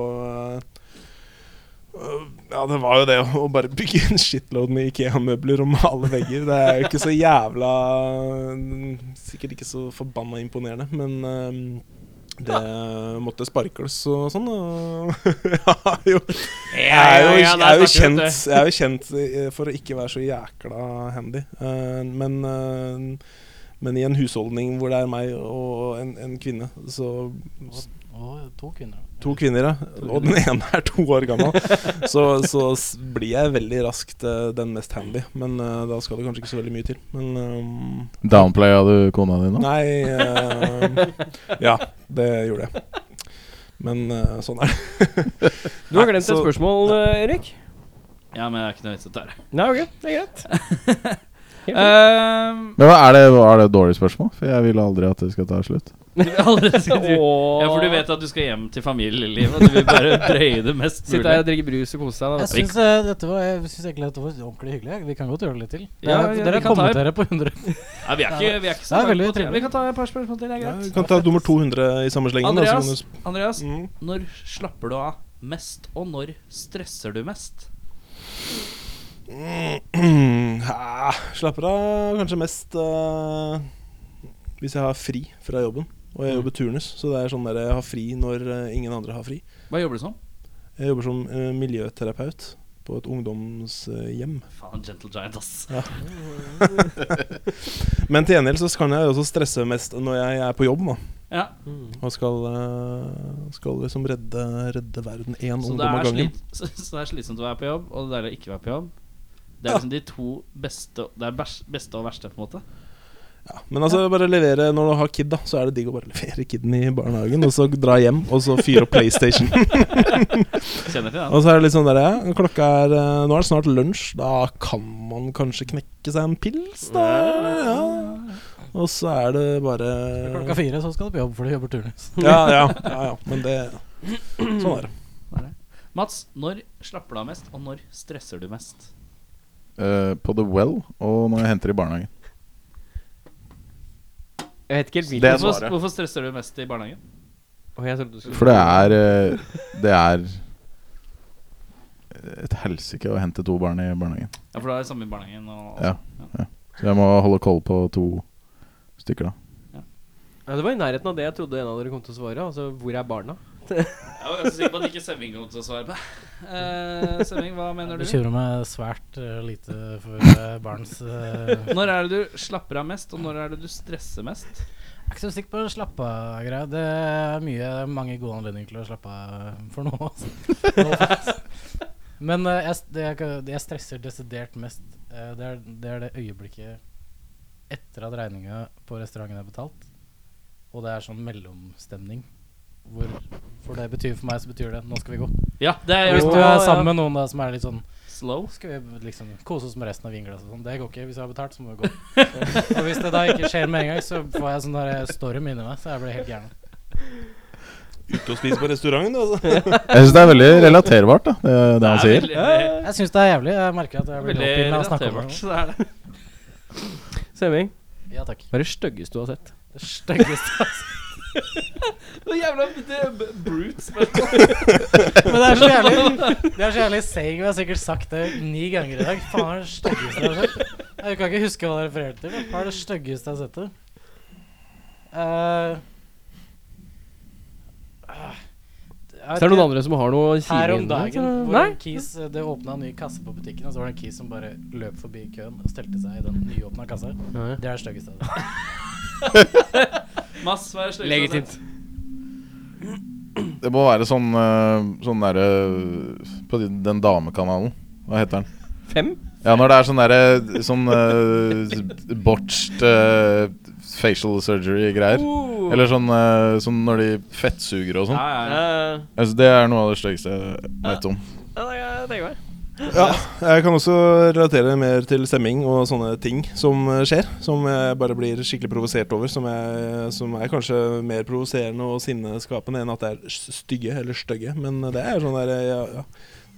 Speaker 5: eh, ja, det var jo det å bare bygge en shitload med Ikea-møbler og male vegger. Det er jo ikke så jævla Sikkert ikke så forbanna imponerende, men eh, det måtte sparkles og sånn. Og jeg har jo jeg er
Speaker 1: Ja, ja,
Speaker 5: jo,
Speaker 1: ja,
Speaker 5: jeg er jo
Speaker 1: der snakker du,
Speaker 5: kjent,
Speaker 1: vet
Speaker 5: jeg er jo kjent eh, for å ikke være så jækla handy. Eh, men, eh, men i en husholdning hvor det er meg og en, en kvinne, så
Speaker 6: Og to kvinner.
Speaker 5: To kvinner, ja. Og den ene er to år gammel. Så, så s- blir jeg veldig raskt eh, den mest handy. Men eh, da skal det kanskje ikke så veldig mye til. Men ehm,
Speaker 7: Downplaya du kona di nå?
Speaker 5: Nei eh, Ja, det gjorde jeg. Men eh, sånn er det.
Speaker 2: Du har glemt
Speaker 5: Nei,
Speaker 2: et
Speaker 5: så-
Speaker 2: spørsmål, eh, Erik.
Speaker 1: Ja, men det er ikke noe vits i å ta det.
Speaker 2: Nei, ok, det er greit. Eh,
Speaker 1: Ehm,
Speaker 7: Men hva er det, er det et dårlig spørsmål? For jeg vil aldri at det skal ta slutt.
Speaker 1: du vil allerede si du Ja, for du
Speaker 2: Åh.
Speaker 1: vet at du skal hjem til familielivet, og du vil bare drøye det mest
Speaker 2: Sitte her og
Speaker 1: mulig.
Speaker 2: drikke brus og kose seg.
Speaker 6: Jeg
Speaker 2: Da.
Speaker 1: Vik-
Speaker 6: syns, eh, dette var, jeg syns egentlig dette var ordentlig hyggelig. jeg. Vi kan godt gjøre det litt til.
Speaker 1: Ja,
Speaker 6: Dere-
Speaker 1: ja, vi
Speaker 6: dere
Speaker 1: kan
Speaker 6: har
Speaker 1: ta-
Speaker 6: kommet dere på 100.
Speaker 1: Nei, vi er ikke, vi er ikke så
Speaker 6: Det er
Speaker 1: langt
Speaker 6: veldig
Speaker 1: på tida.
Speaker 6: trivelig.
Speaker 1: Vi kan ta et par spørsmål til, det er
Speaker 5: Ja,
Speaker 1: greit.
Speaker 5: vi kan ta nummer 200 i samme slengen. da, så kan du
Speaker 1: Andreas,
Speaker 5: sp-
Speaker 1: Andreas
Speaker 5: Mm.
Speaker 1: når slapper du av mest, og når stresser du mest?
Speaker 5: Ah, Slapper av kanskje mest eh, hvis jeg har fri fra jobben. Og
Speaker 1: Mm.
Speaker 5: jeg jobber turnus, så det er sånn der jeg har fri når eh, ingen andre har fri.
Speaker 1: Hva jobber du som?
Speaker 5: Jeg jobber som eh, miljøterapeut på et ungdomshjem.
Speaker 1: Faen, gentle giant, ass.
Speaker 5: Men til gjengjeld så kan jeg også stresse mest når jeg er på jobb da,
Speaker 1: Ja,
Speaker 5: og skal, eh, skal liksom redde, redde verden én
Speaker 1: så
Speaker 5: ungdom
Speaker 1: det,
Speaker 5: av
Speaker 1: er
Speaker 5: gangen.
Speaker 1: slit, så, så det er slitsomt å være på jobb, og det er deilig å ikke være på jobb. Det er liksom de to beste Det er bæs- beste og verste, på en måte.
Speaker 5: Ja. Men altså bare levere når du har kid, da, så er det digg å bare levere kiden i barnehagen, og så dra hjem, og så fyre opp PlayStation.
Speaker 1: Kjenner til den.
Speaker 5: og så er det litt sånn der, ja, klokka er eh, Nå er det snart lunsj, da kan man kanskje knekke seg en pils, da. Ja. Og så er det bare
Speaker 6: Klokka fire så skal du på jobb, for du jobber turnus.
Speaker 5: Ja, ja. ja, ja. Men det Sånn er det.
Speaker 1: Mats, når slapper du av mest, og når stresser du mest?
Speaker 7: Eh, på The Well og når jeg henter i barnehagen.
Speaker 2: Jeg vet ikke helt
Speaker 7: Det
Speaker 2: hvilken.
Speaker 7: er
Speaker 1: Hvorfor,
Speaker 7: svaret.
Speaker 1: hvorfor stresser du mest i barnehagen?
Speaker 2: Å, jeg trodde du skulle-
Speaker 7: For det er eh, Det er et helsike å hente to barn i barnehagen.
Speaker 1: Ja, for det er det samme i barnehagen. Og,
Speaker 7: Ja. Så jeg må holde koll på to stykker, da.
Speaker 2: ja, Det var i nærheten av det jeg trodde en av dere kom til å svare. Altså, hvor er barna?
Speaker 1: Jeg var ganske sikker på at ikke Semming kom til å svare på det. Eh, Semming, hva mener du?
Speaker 6: Bekymrer meg svært eh, lite for eh, barns eh,
Speaker 1: Når er det du slapper av mest, og når er det du stresser mest?
Speaker 6: Jeg er ikke så sikker på slappe av-greia. Det er mye, mange gode anledninger til å slappe av eh, for noe. Altså. Men eh, jeg, s- det, jeg kan- det jeg stresser desidert mest, eh, det er, det er det øyeblikket etter at regninga på restauranten er betalt, og det er sånn mellomstemning. Hvor, for det betyr for meg, så betyr det 'nå skal vi gå'.
Speaker 1: Ja, det
Speaker 6: Og
Speaker 1: er
Speaker 6: hvis
Speaker 1: jo
Speaker 6: du er
Speaker 2: ja.
Speaker 6: sammen med noen da som er litt sånn
Speaker 1: slow.
Speaker 6: skal vi liksom kose oss med resten av vinglasset og sånn. Det går ikke. Hvis jeg har betalt, så må vi gå. og hvis det da ikke skjer med en gang, så får jeg sånn der storm inni meg, så jeg blir helt gæren.
Speaker 5: Ute og spise på restaurant, da, altså.
Speaker 7: Jeg syns det er veldig relaterbart, da, det, det han sier.
Speaker 1: Veldig, veldig,
Speaker 6: Jeg syns det er jævlig. Jeg merker at jeg blir
Speaker 1: veldig
Speaker 6: oppgitt av å snakke om
Speaker 1: relaterbart.
Speaker 6: det.
Speaker 1: så Det er det.
Speaker 2: Semming,
Speaker 6: Ja takk.
Speaker 2: hva er det styggeste du har sett?
Speaker 6: Det styggeste altså.
Speaker 1: Det er jævla det er b- brutes. men-
Speaker 6: Men det er så jævlig Det er så jævlig saying. og Jeg har sikkert sagt det ni ganger i dag. Faen, det er det styggeste jeg har sett. Jeg kan ikke huske hva det refererte til. men Hva er det styggeste jeg har sett? det? Eh, ah, jeg
Speaker 2: Så er det
Speaker 6: vet ikke.
Speaker 2: noen andre som har noe å si
Speaker 6: Her om
Speaker 2: inn der,
Speaker 6: dagen
Speaker 2: så-
Speaker 6: hvor
Speaker 2: Nei?
Speaker 6: en Kis, eh, Det åpna en ny kasse på butikken, og så var det en Kis som bare løp forbi køen og stelte seg i den nyåpna kassa.
Speaker 2: Nei.
Speaker 6: Det er det styggeste. jeg har sett.
Speaker 1: Mass, hva er det styggeste?
Speaker 2: Legitimt.
Speaker 7: Det må være sånn, eh, sånn derre På den- den damekanalen. Hva heter den?
Speaker 2: Fem?
Speaker 7: Ja, når det er sånn derre Sånn uh, botched eh, facial surgery-greier. Eller sånn eh, som når de fettsuger og sånn.
Speaker 1: Ja, ja, ja.
Speaker 2: Eh,
Speaker 7: Altså, det er noe av det styggeste jeg vet om.
Speaker 2: ja, det tenker jeg.
Speaker 5: Ja, jeg kan også relatere mer til stemming og sånne ting som eh, skjer. Som jeg bare blir skikkelig provosert over. Som, jeg, som er kanskje mer provoserende og sinneskapende enn at det er s- stygge eller stygge. Men det er sånn der eh, ja, ja.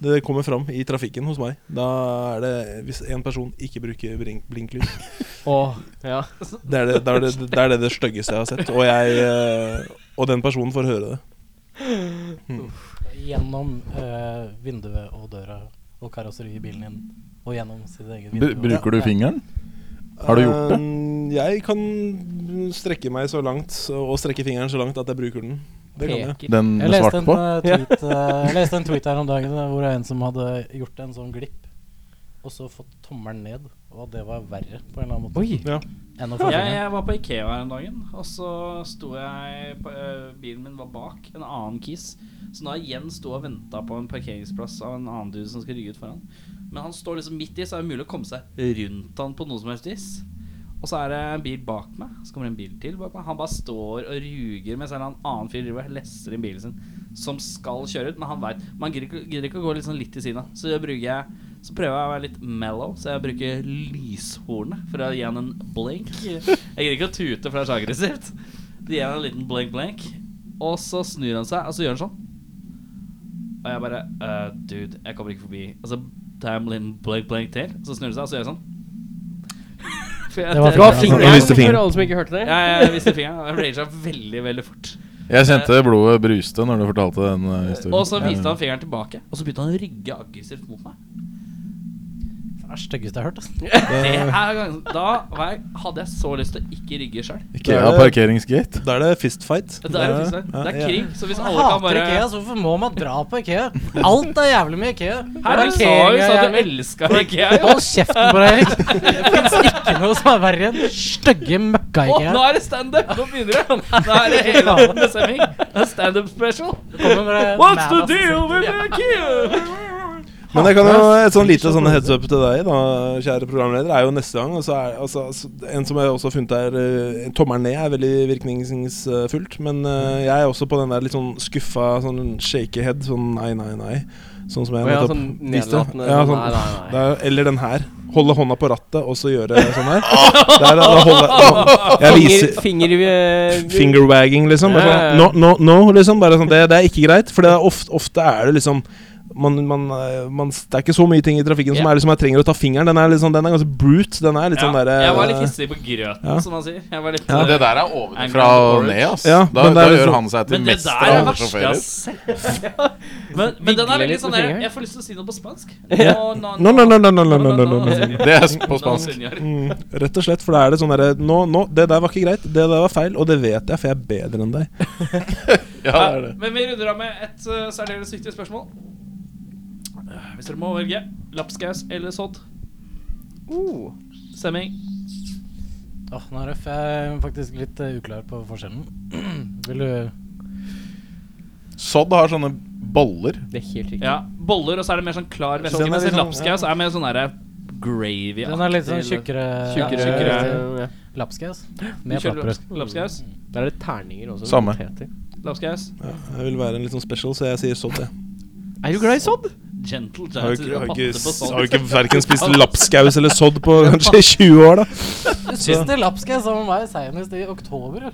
Speaker 5: Det kommer fram i trafikken hos meg. Da er det hvis en person ikke bruker bring- blinklys.
Speaker 2: Åh, ja.
Speaker 5: Det er det, det, er det, det, er det, det styggeste jeg har sett. Og, jeg, eh, og den personen får høre det.
Speaker 6: Gjennom eh, vinduet og døra og karosseriet i bilen din. Og gjennom sitt eget
Speaker 7: Bru-
Speaker 6: vindu.
Speaker 7: bruker du fingeren? Har du gjort det?
Speaker 5: Eh, Jeg kan strekke meg så langt og strekke fingeren så langt at jeg bruker den. Det kan jeg.
Speaker 7: Den
Speaker 6: Jeg
Speaker 7: med
Speaker 6: leste,
Speaker 7: svart
Speaker 6: en,
Speaker 7: på?
Speaker 6: eh, tweet, eh, jeg leste en tweet her om dagen eh, hvor det er en som hadde gjort en sånn glipp, og så fått tommelen ned, og at det var verre på en eller annen måte
Speaker 2: Oi.
Speaker 5: Ja.
Speaker 6: enn å få
Speaker 1: Jeg,
Speaker 6: fingeren.
Speaker 1: jeg var på Ikea her om dagen, og så sto jeg på, øh, Bilen min var bak en annen kis. Så nå har jeg igjen sto og venta på en parkeringsplass av en annen dude som skal rygge ut foran. Men han står liksom midt i, så er det mulig å komme seg rundt han på noe som helst vis. Og så er det en bil bak meg, så kommer det en bil til bak meg. Han bare står og ruger mens en eller annen fyr driver og lesser inn bilen sin, som skal kjøre ut, men han veit. Man gidder ikke, gidder ikke å gå litt, sånn litt til siden av. Så, jeg bruker jeg, så prøver jeg å være litt mellow, så jeg bruker lyshornet for å gi han en blink. Jeg gidder ikke å tute, for det er så aggressivt. Så gir jeg han en liten blink-blink, og så snur han seg, og så gjør han sånn. Og jeg bare «Eh, Dude, jeg kommer ikke forbi. Og så tar jeg en liten blink-blink til, så snur han seg, og så gjør jeg sånn. For jeg-
Speaker 6: Det var
Speaker 1: jeg-
Speaker 6: Du har fingeren.
Speaker 5: Du viste fingeren.
Speaker 2: For alle som ikke hørte det.
Speaker 1: ja, jeg viste fingeren. og Jeg raga veldig, veldig fort.
Speaker 7: Jeg kjente blodet bruste når du fortalte den eh, historien.
Speaker 1: Og så viste han fingeren tilbake, og så begynte han å rygge aggressivt mot meg.
Speaker 6: Det er styggeste jeg har hørt. altså. ass.
Speaker 1: Det er gang- Da var jeg, hadde jeg så lyst til å ikke rygge sjøl.
Speaker 7: Ikea parkeringsgate.
Speaker 5: Da er det fistfight.
Speaker 1: Det, er faktisk det. det er
Speaker 5: Ja, ja.
Speaker 1: krig, så hvis
Speaker 6: Jeg
Speaker 1: alle kan
Speaker 6: hater
Speaker 1: bare
Speaker 6: Ikea, altså. så hvorfor må man dra på Ikea? Alt er jævlig med Ikea.
Speaker 1: Her, du sa jo så at du elska Ikea. jo.
Speaker 6: Hold kjeften på deg. Det fins ikke noe som er verre enn stygge
Speaker 1: Å, nå
Speaker 6: møkka-Ikea.
Speaker 1: er det standup! Nå begynner det! Nå er det hele andre sending. Det er Standup special. What's the
Speaker 6: altså.
Speaker 1: deal with Ikea?
Speaker 5: Men jeg kan jo et sånn lite sånn heads up til deg, da, kjære programleder, er jo neste gang. Og så er, altså, altså, en som jeg også har funnet er eh, Tommelen ned er veldig virkningsfullt. Men
Speaker 2: Mm.
Speaker 5: eh, jeg er også på den der litt sånn skuffa, sånn shaky head. Sånn nei, nei, nei. Sånn som jeg
Speaker 2: Å ja,
Speaker 5: nettopp
Speaker 2: sånn
Speaker 5: viste.
Speaker 2: nedlatende,
Speaker 5: Ja,
Speaker 2: sånn,
Speaker 5: sånn,
Speaker 2: nei, nei, nei.
Speaker 5: det er- eller den her. Holde hånda på rattet og så gjøre sånn her. Der, da holder, jeg viser,
Speaker 2: Finger,
Speaker 1: Eh,
Speaker 2: finger
Speaker 5: eh,
Speaker 2: i-
Speaker 5: fingerwagging, liksom. Bare
Speaker 2: Ja, ja, ja.
Speaker 5: sånn, no, no, no, liksom. Bare sånn, det, det er ikke greit. For det er ofte, ofte er det liksom man, man, eh, man, Det er ikke så mye ting i trafikken som
Speaker 1: Ja.
Speaker 5: er liksom, jeg trenger å ta fingeren. Den er, litt sånn- den er ganske brute. Den er litt sånn derre
Speaker 1: jeg var litt hissig på grøten,
Speaker 5: ja.
Speaker 1: som man sier. Jeg var litt, eh,
Speaker 7: Men Det der er ovenfra og ned, ass.
Speaker 5: Ja,
Speaker 7: da
Speaker 5: men det
Speaker 7: da
Speaker 5: er
Speaker 7: gjør
Speaker 5: liksom-
Speaker 7: han seg til
Speaker 1: Men det
Speaker 7: mester
Speaker 1: der er
Speaker 7: av alle
Speaker 1: verst, jeg
Speaker 7: sjåfører.
Speaker 1: har sett. Men, men den er
Speaker 2: Vinkler
Speaker 1: veldig
Speaker 2: litt
Speaker 1: sånn
Speaker 2: med
Speaker 1: der
Speaker 2: fingeren.
Speaker 1: Jeg får lyst til å si noe på spansk.
Speaker 5: Ja.
Speaker 1: no,
Speaker 5: No, no, no, no, no, no, no, no, no, no.
Speaker 7: Det er på spansk.
Speaker 1: senor.
Speaker 5: Mm, rett og slett, for da er det sånn derre nå, nå, det der var ikke greit. Det der var feil, og det vet jeg, for jeg er bedre enn deg.
Speaker 7: Ja, det er det.
Speaker 1: Men vi runder av med et uh, særdeles viktig spørsmål. Eh, Hvis dere må velge lapskaus eller sodd Oh. Stemming.
Speaker 6: Åh, nå er det f- jeg er faktisk litt eh, uklar på forskjellen. Vil du
Speaker 7: Sodd har sånne boller.
Speaker 2: Det er helt riktig.
Speaker 1: Ja, Boller, og så er det mer sånn klar væske.
Speaker 5: Den er
Speaker 1: Mens
Speaker 5: litt
Speaker 1: en
Speaker 5: sånn-
Speaker 1: lapskaus er mer sånn derre gravy.
Speaker 6: Den er litt sånn tjukkere,
Speaker 1: Tjukkere.
Speaker 6: ja,
Speaker 1: Tjukkere.
Speaker 2: ja.
Speaker 6: Lapskaus. Med flatbrød.
Speaker 1: Lapskaus.
Speaker 2: Der er det terninger også.
Speaker 7: Samme.
Speaker 2: poteter.
Speaker 1: Lapskaus.
Speaker 5: Ja, jeg vil være en litt sånn special, så jeg sier sånn, jeg.
Speaker 2: Er du glad i sodd?
Speaker 1: Gentle
Speaker 5: Har
Speaker 1: giant.
Speaker 5: jo ikke, har
Speaker 1: patte på
Speaker 5: ikke,
Speaker 1: sodd.
Speaker 5: har ikke verken spist lapskaus eller sodd på kanskje 20 år, da.
Speaker 6: Siste lapskaus var med meg senest i oktober. eller?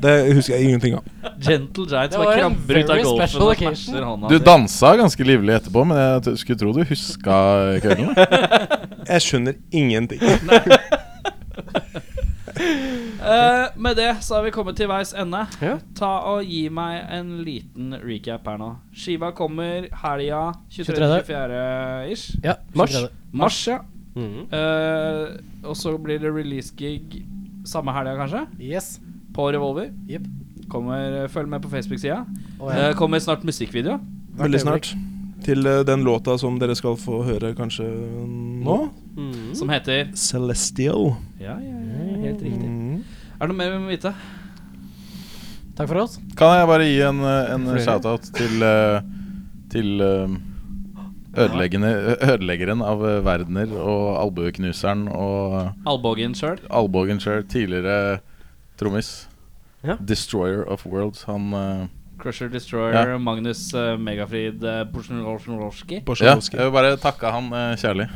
Speaker 5: Det husker jeg ingenting av.
Speaker 1: Gentle Giants
Speaker 6: Det
Speaker 1: var
Speaker 6: var en
Speaker 1: krabber ut av
Speaker 6: very
Speaker 1: golfen
Speaker 6: special
Speaker 1: og
Speaker 6: occasion.
Speaker 1: smasher hånda
Speaker 7: Du
Speaker 1: si.
Speaker 7: dansa ganske livlig etterpå, men jeg t- skulle tro du huska kvelden.
Speaker 5: Jeg skjønner ingenting.
Speaker 1: Eh, Med det så har vi kommet til veis ende.
Speaker 2: Ja.
Speaker 1: Ta og Gi meg en liten recap her nå. Skiva kommer helga
Speaker 6: 23..
Speaker 1: 23.-24.-ish.
Speaker 6: Ja, Mm.
Speaker 2: Mars.
Speaker 6: skjønner det.
Speaker 1: Mars, ja.
Speaker 2: Mhm.
Speaker 1: Eh, og så blir det release-gig samme helga, kanskje?
Speaker 6: Yes.
Speaker 1: På Revolver.
Speaker 6: Jep.
Speaker 1: Kommer, eh, følg med på Facebook-sida.
Speaker 6: Og jeg,
Speaker 1: Eh, kommer snart musikkvideo.
Speaker 5: Veldig snart. Til eh, den låta som dere skal få høre kanskje nå.
Speaker 2: Mhm.
Speaker 1: Som heter
Speaker 5: Celestial.
Speaker 1: Mm. Ja, ja, ja, helt riktig.
Speaker 5: Mm.
Speaker 1: Er det noe mer vi må vite?
Speaker 6: takk for oss.
Speaker 7: Kan jeg bare gi en, eh, en shout-out til, eh, til eh, ødeleggende- ødeleggeren av eh, verdener og albueknuseren og eh,
Speaker 1: Albågen sjøl.
Speaker 7: Albogen sjøl, tidligere trommis.
Speaker 2: Ja.
Speaker 7: Destroyer of Worlds. Han eh,
Speaker 1: Crusher Destroyer,
Speaker 7: Ja.
Speaker 1: Magnus eh, Megafrid uh, Porsjnolowski.
Speaker 7: Ja,
Speaker 5: Borsjovskij.
Speaker 7: jeg vil bare takke han eh, kjærlig.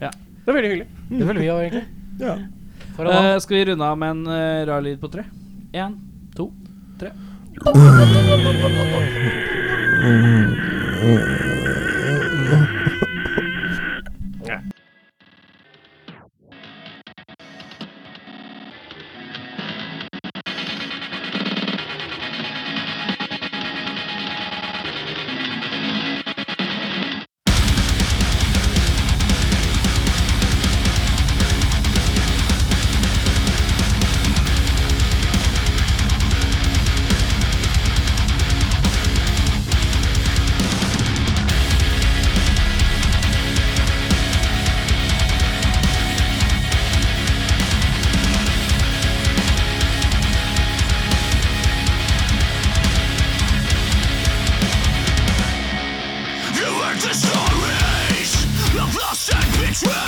Speaker 2: Det er veldig hyggelig.
Speaker 6: Det vil vi òg, egentlig.
Speaker 5: Ja.
Speaker 6: For å ha.
Speaker 1: Eh, skal vi runde av med en eh, rar lyd på tre? Én, to, tre.
Speaker 9: You were the stories of lost and betrayed.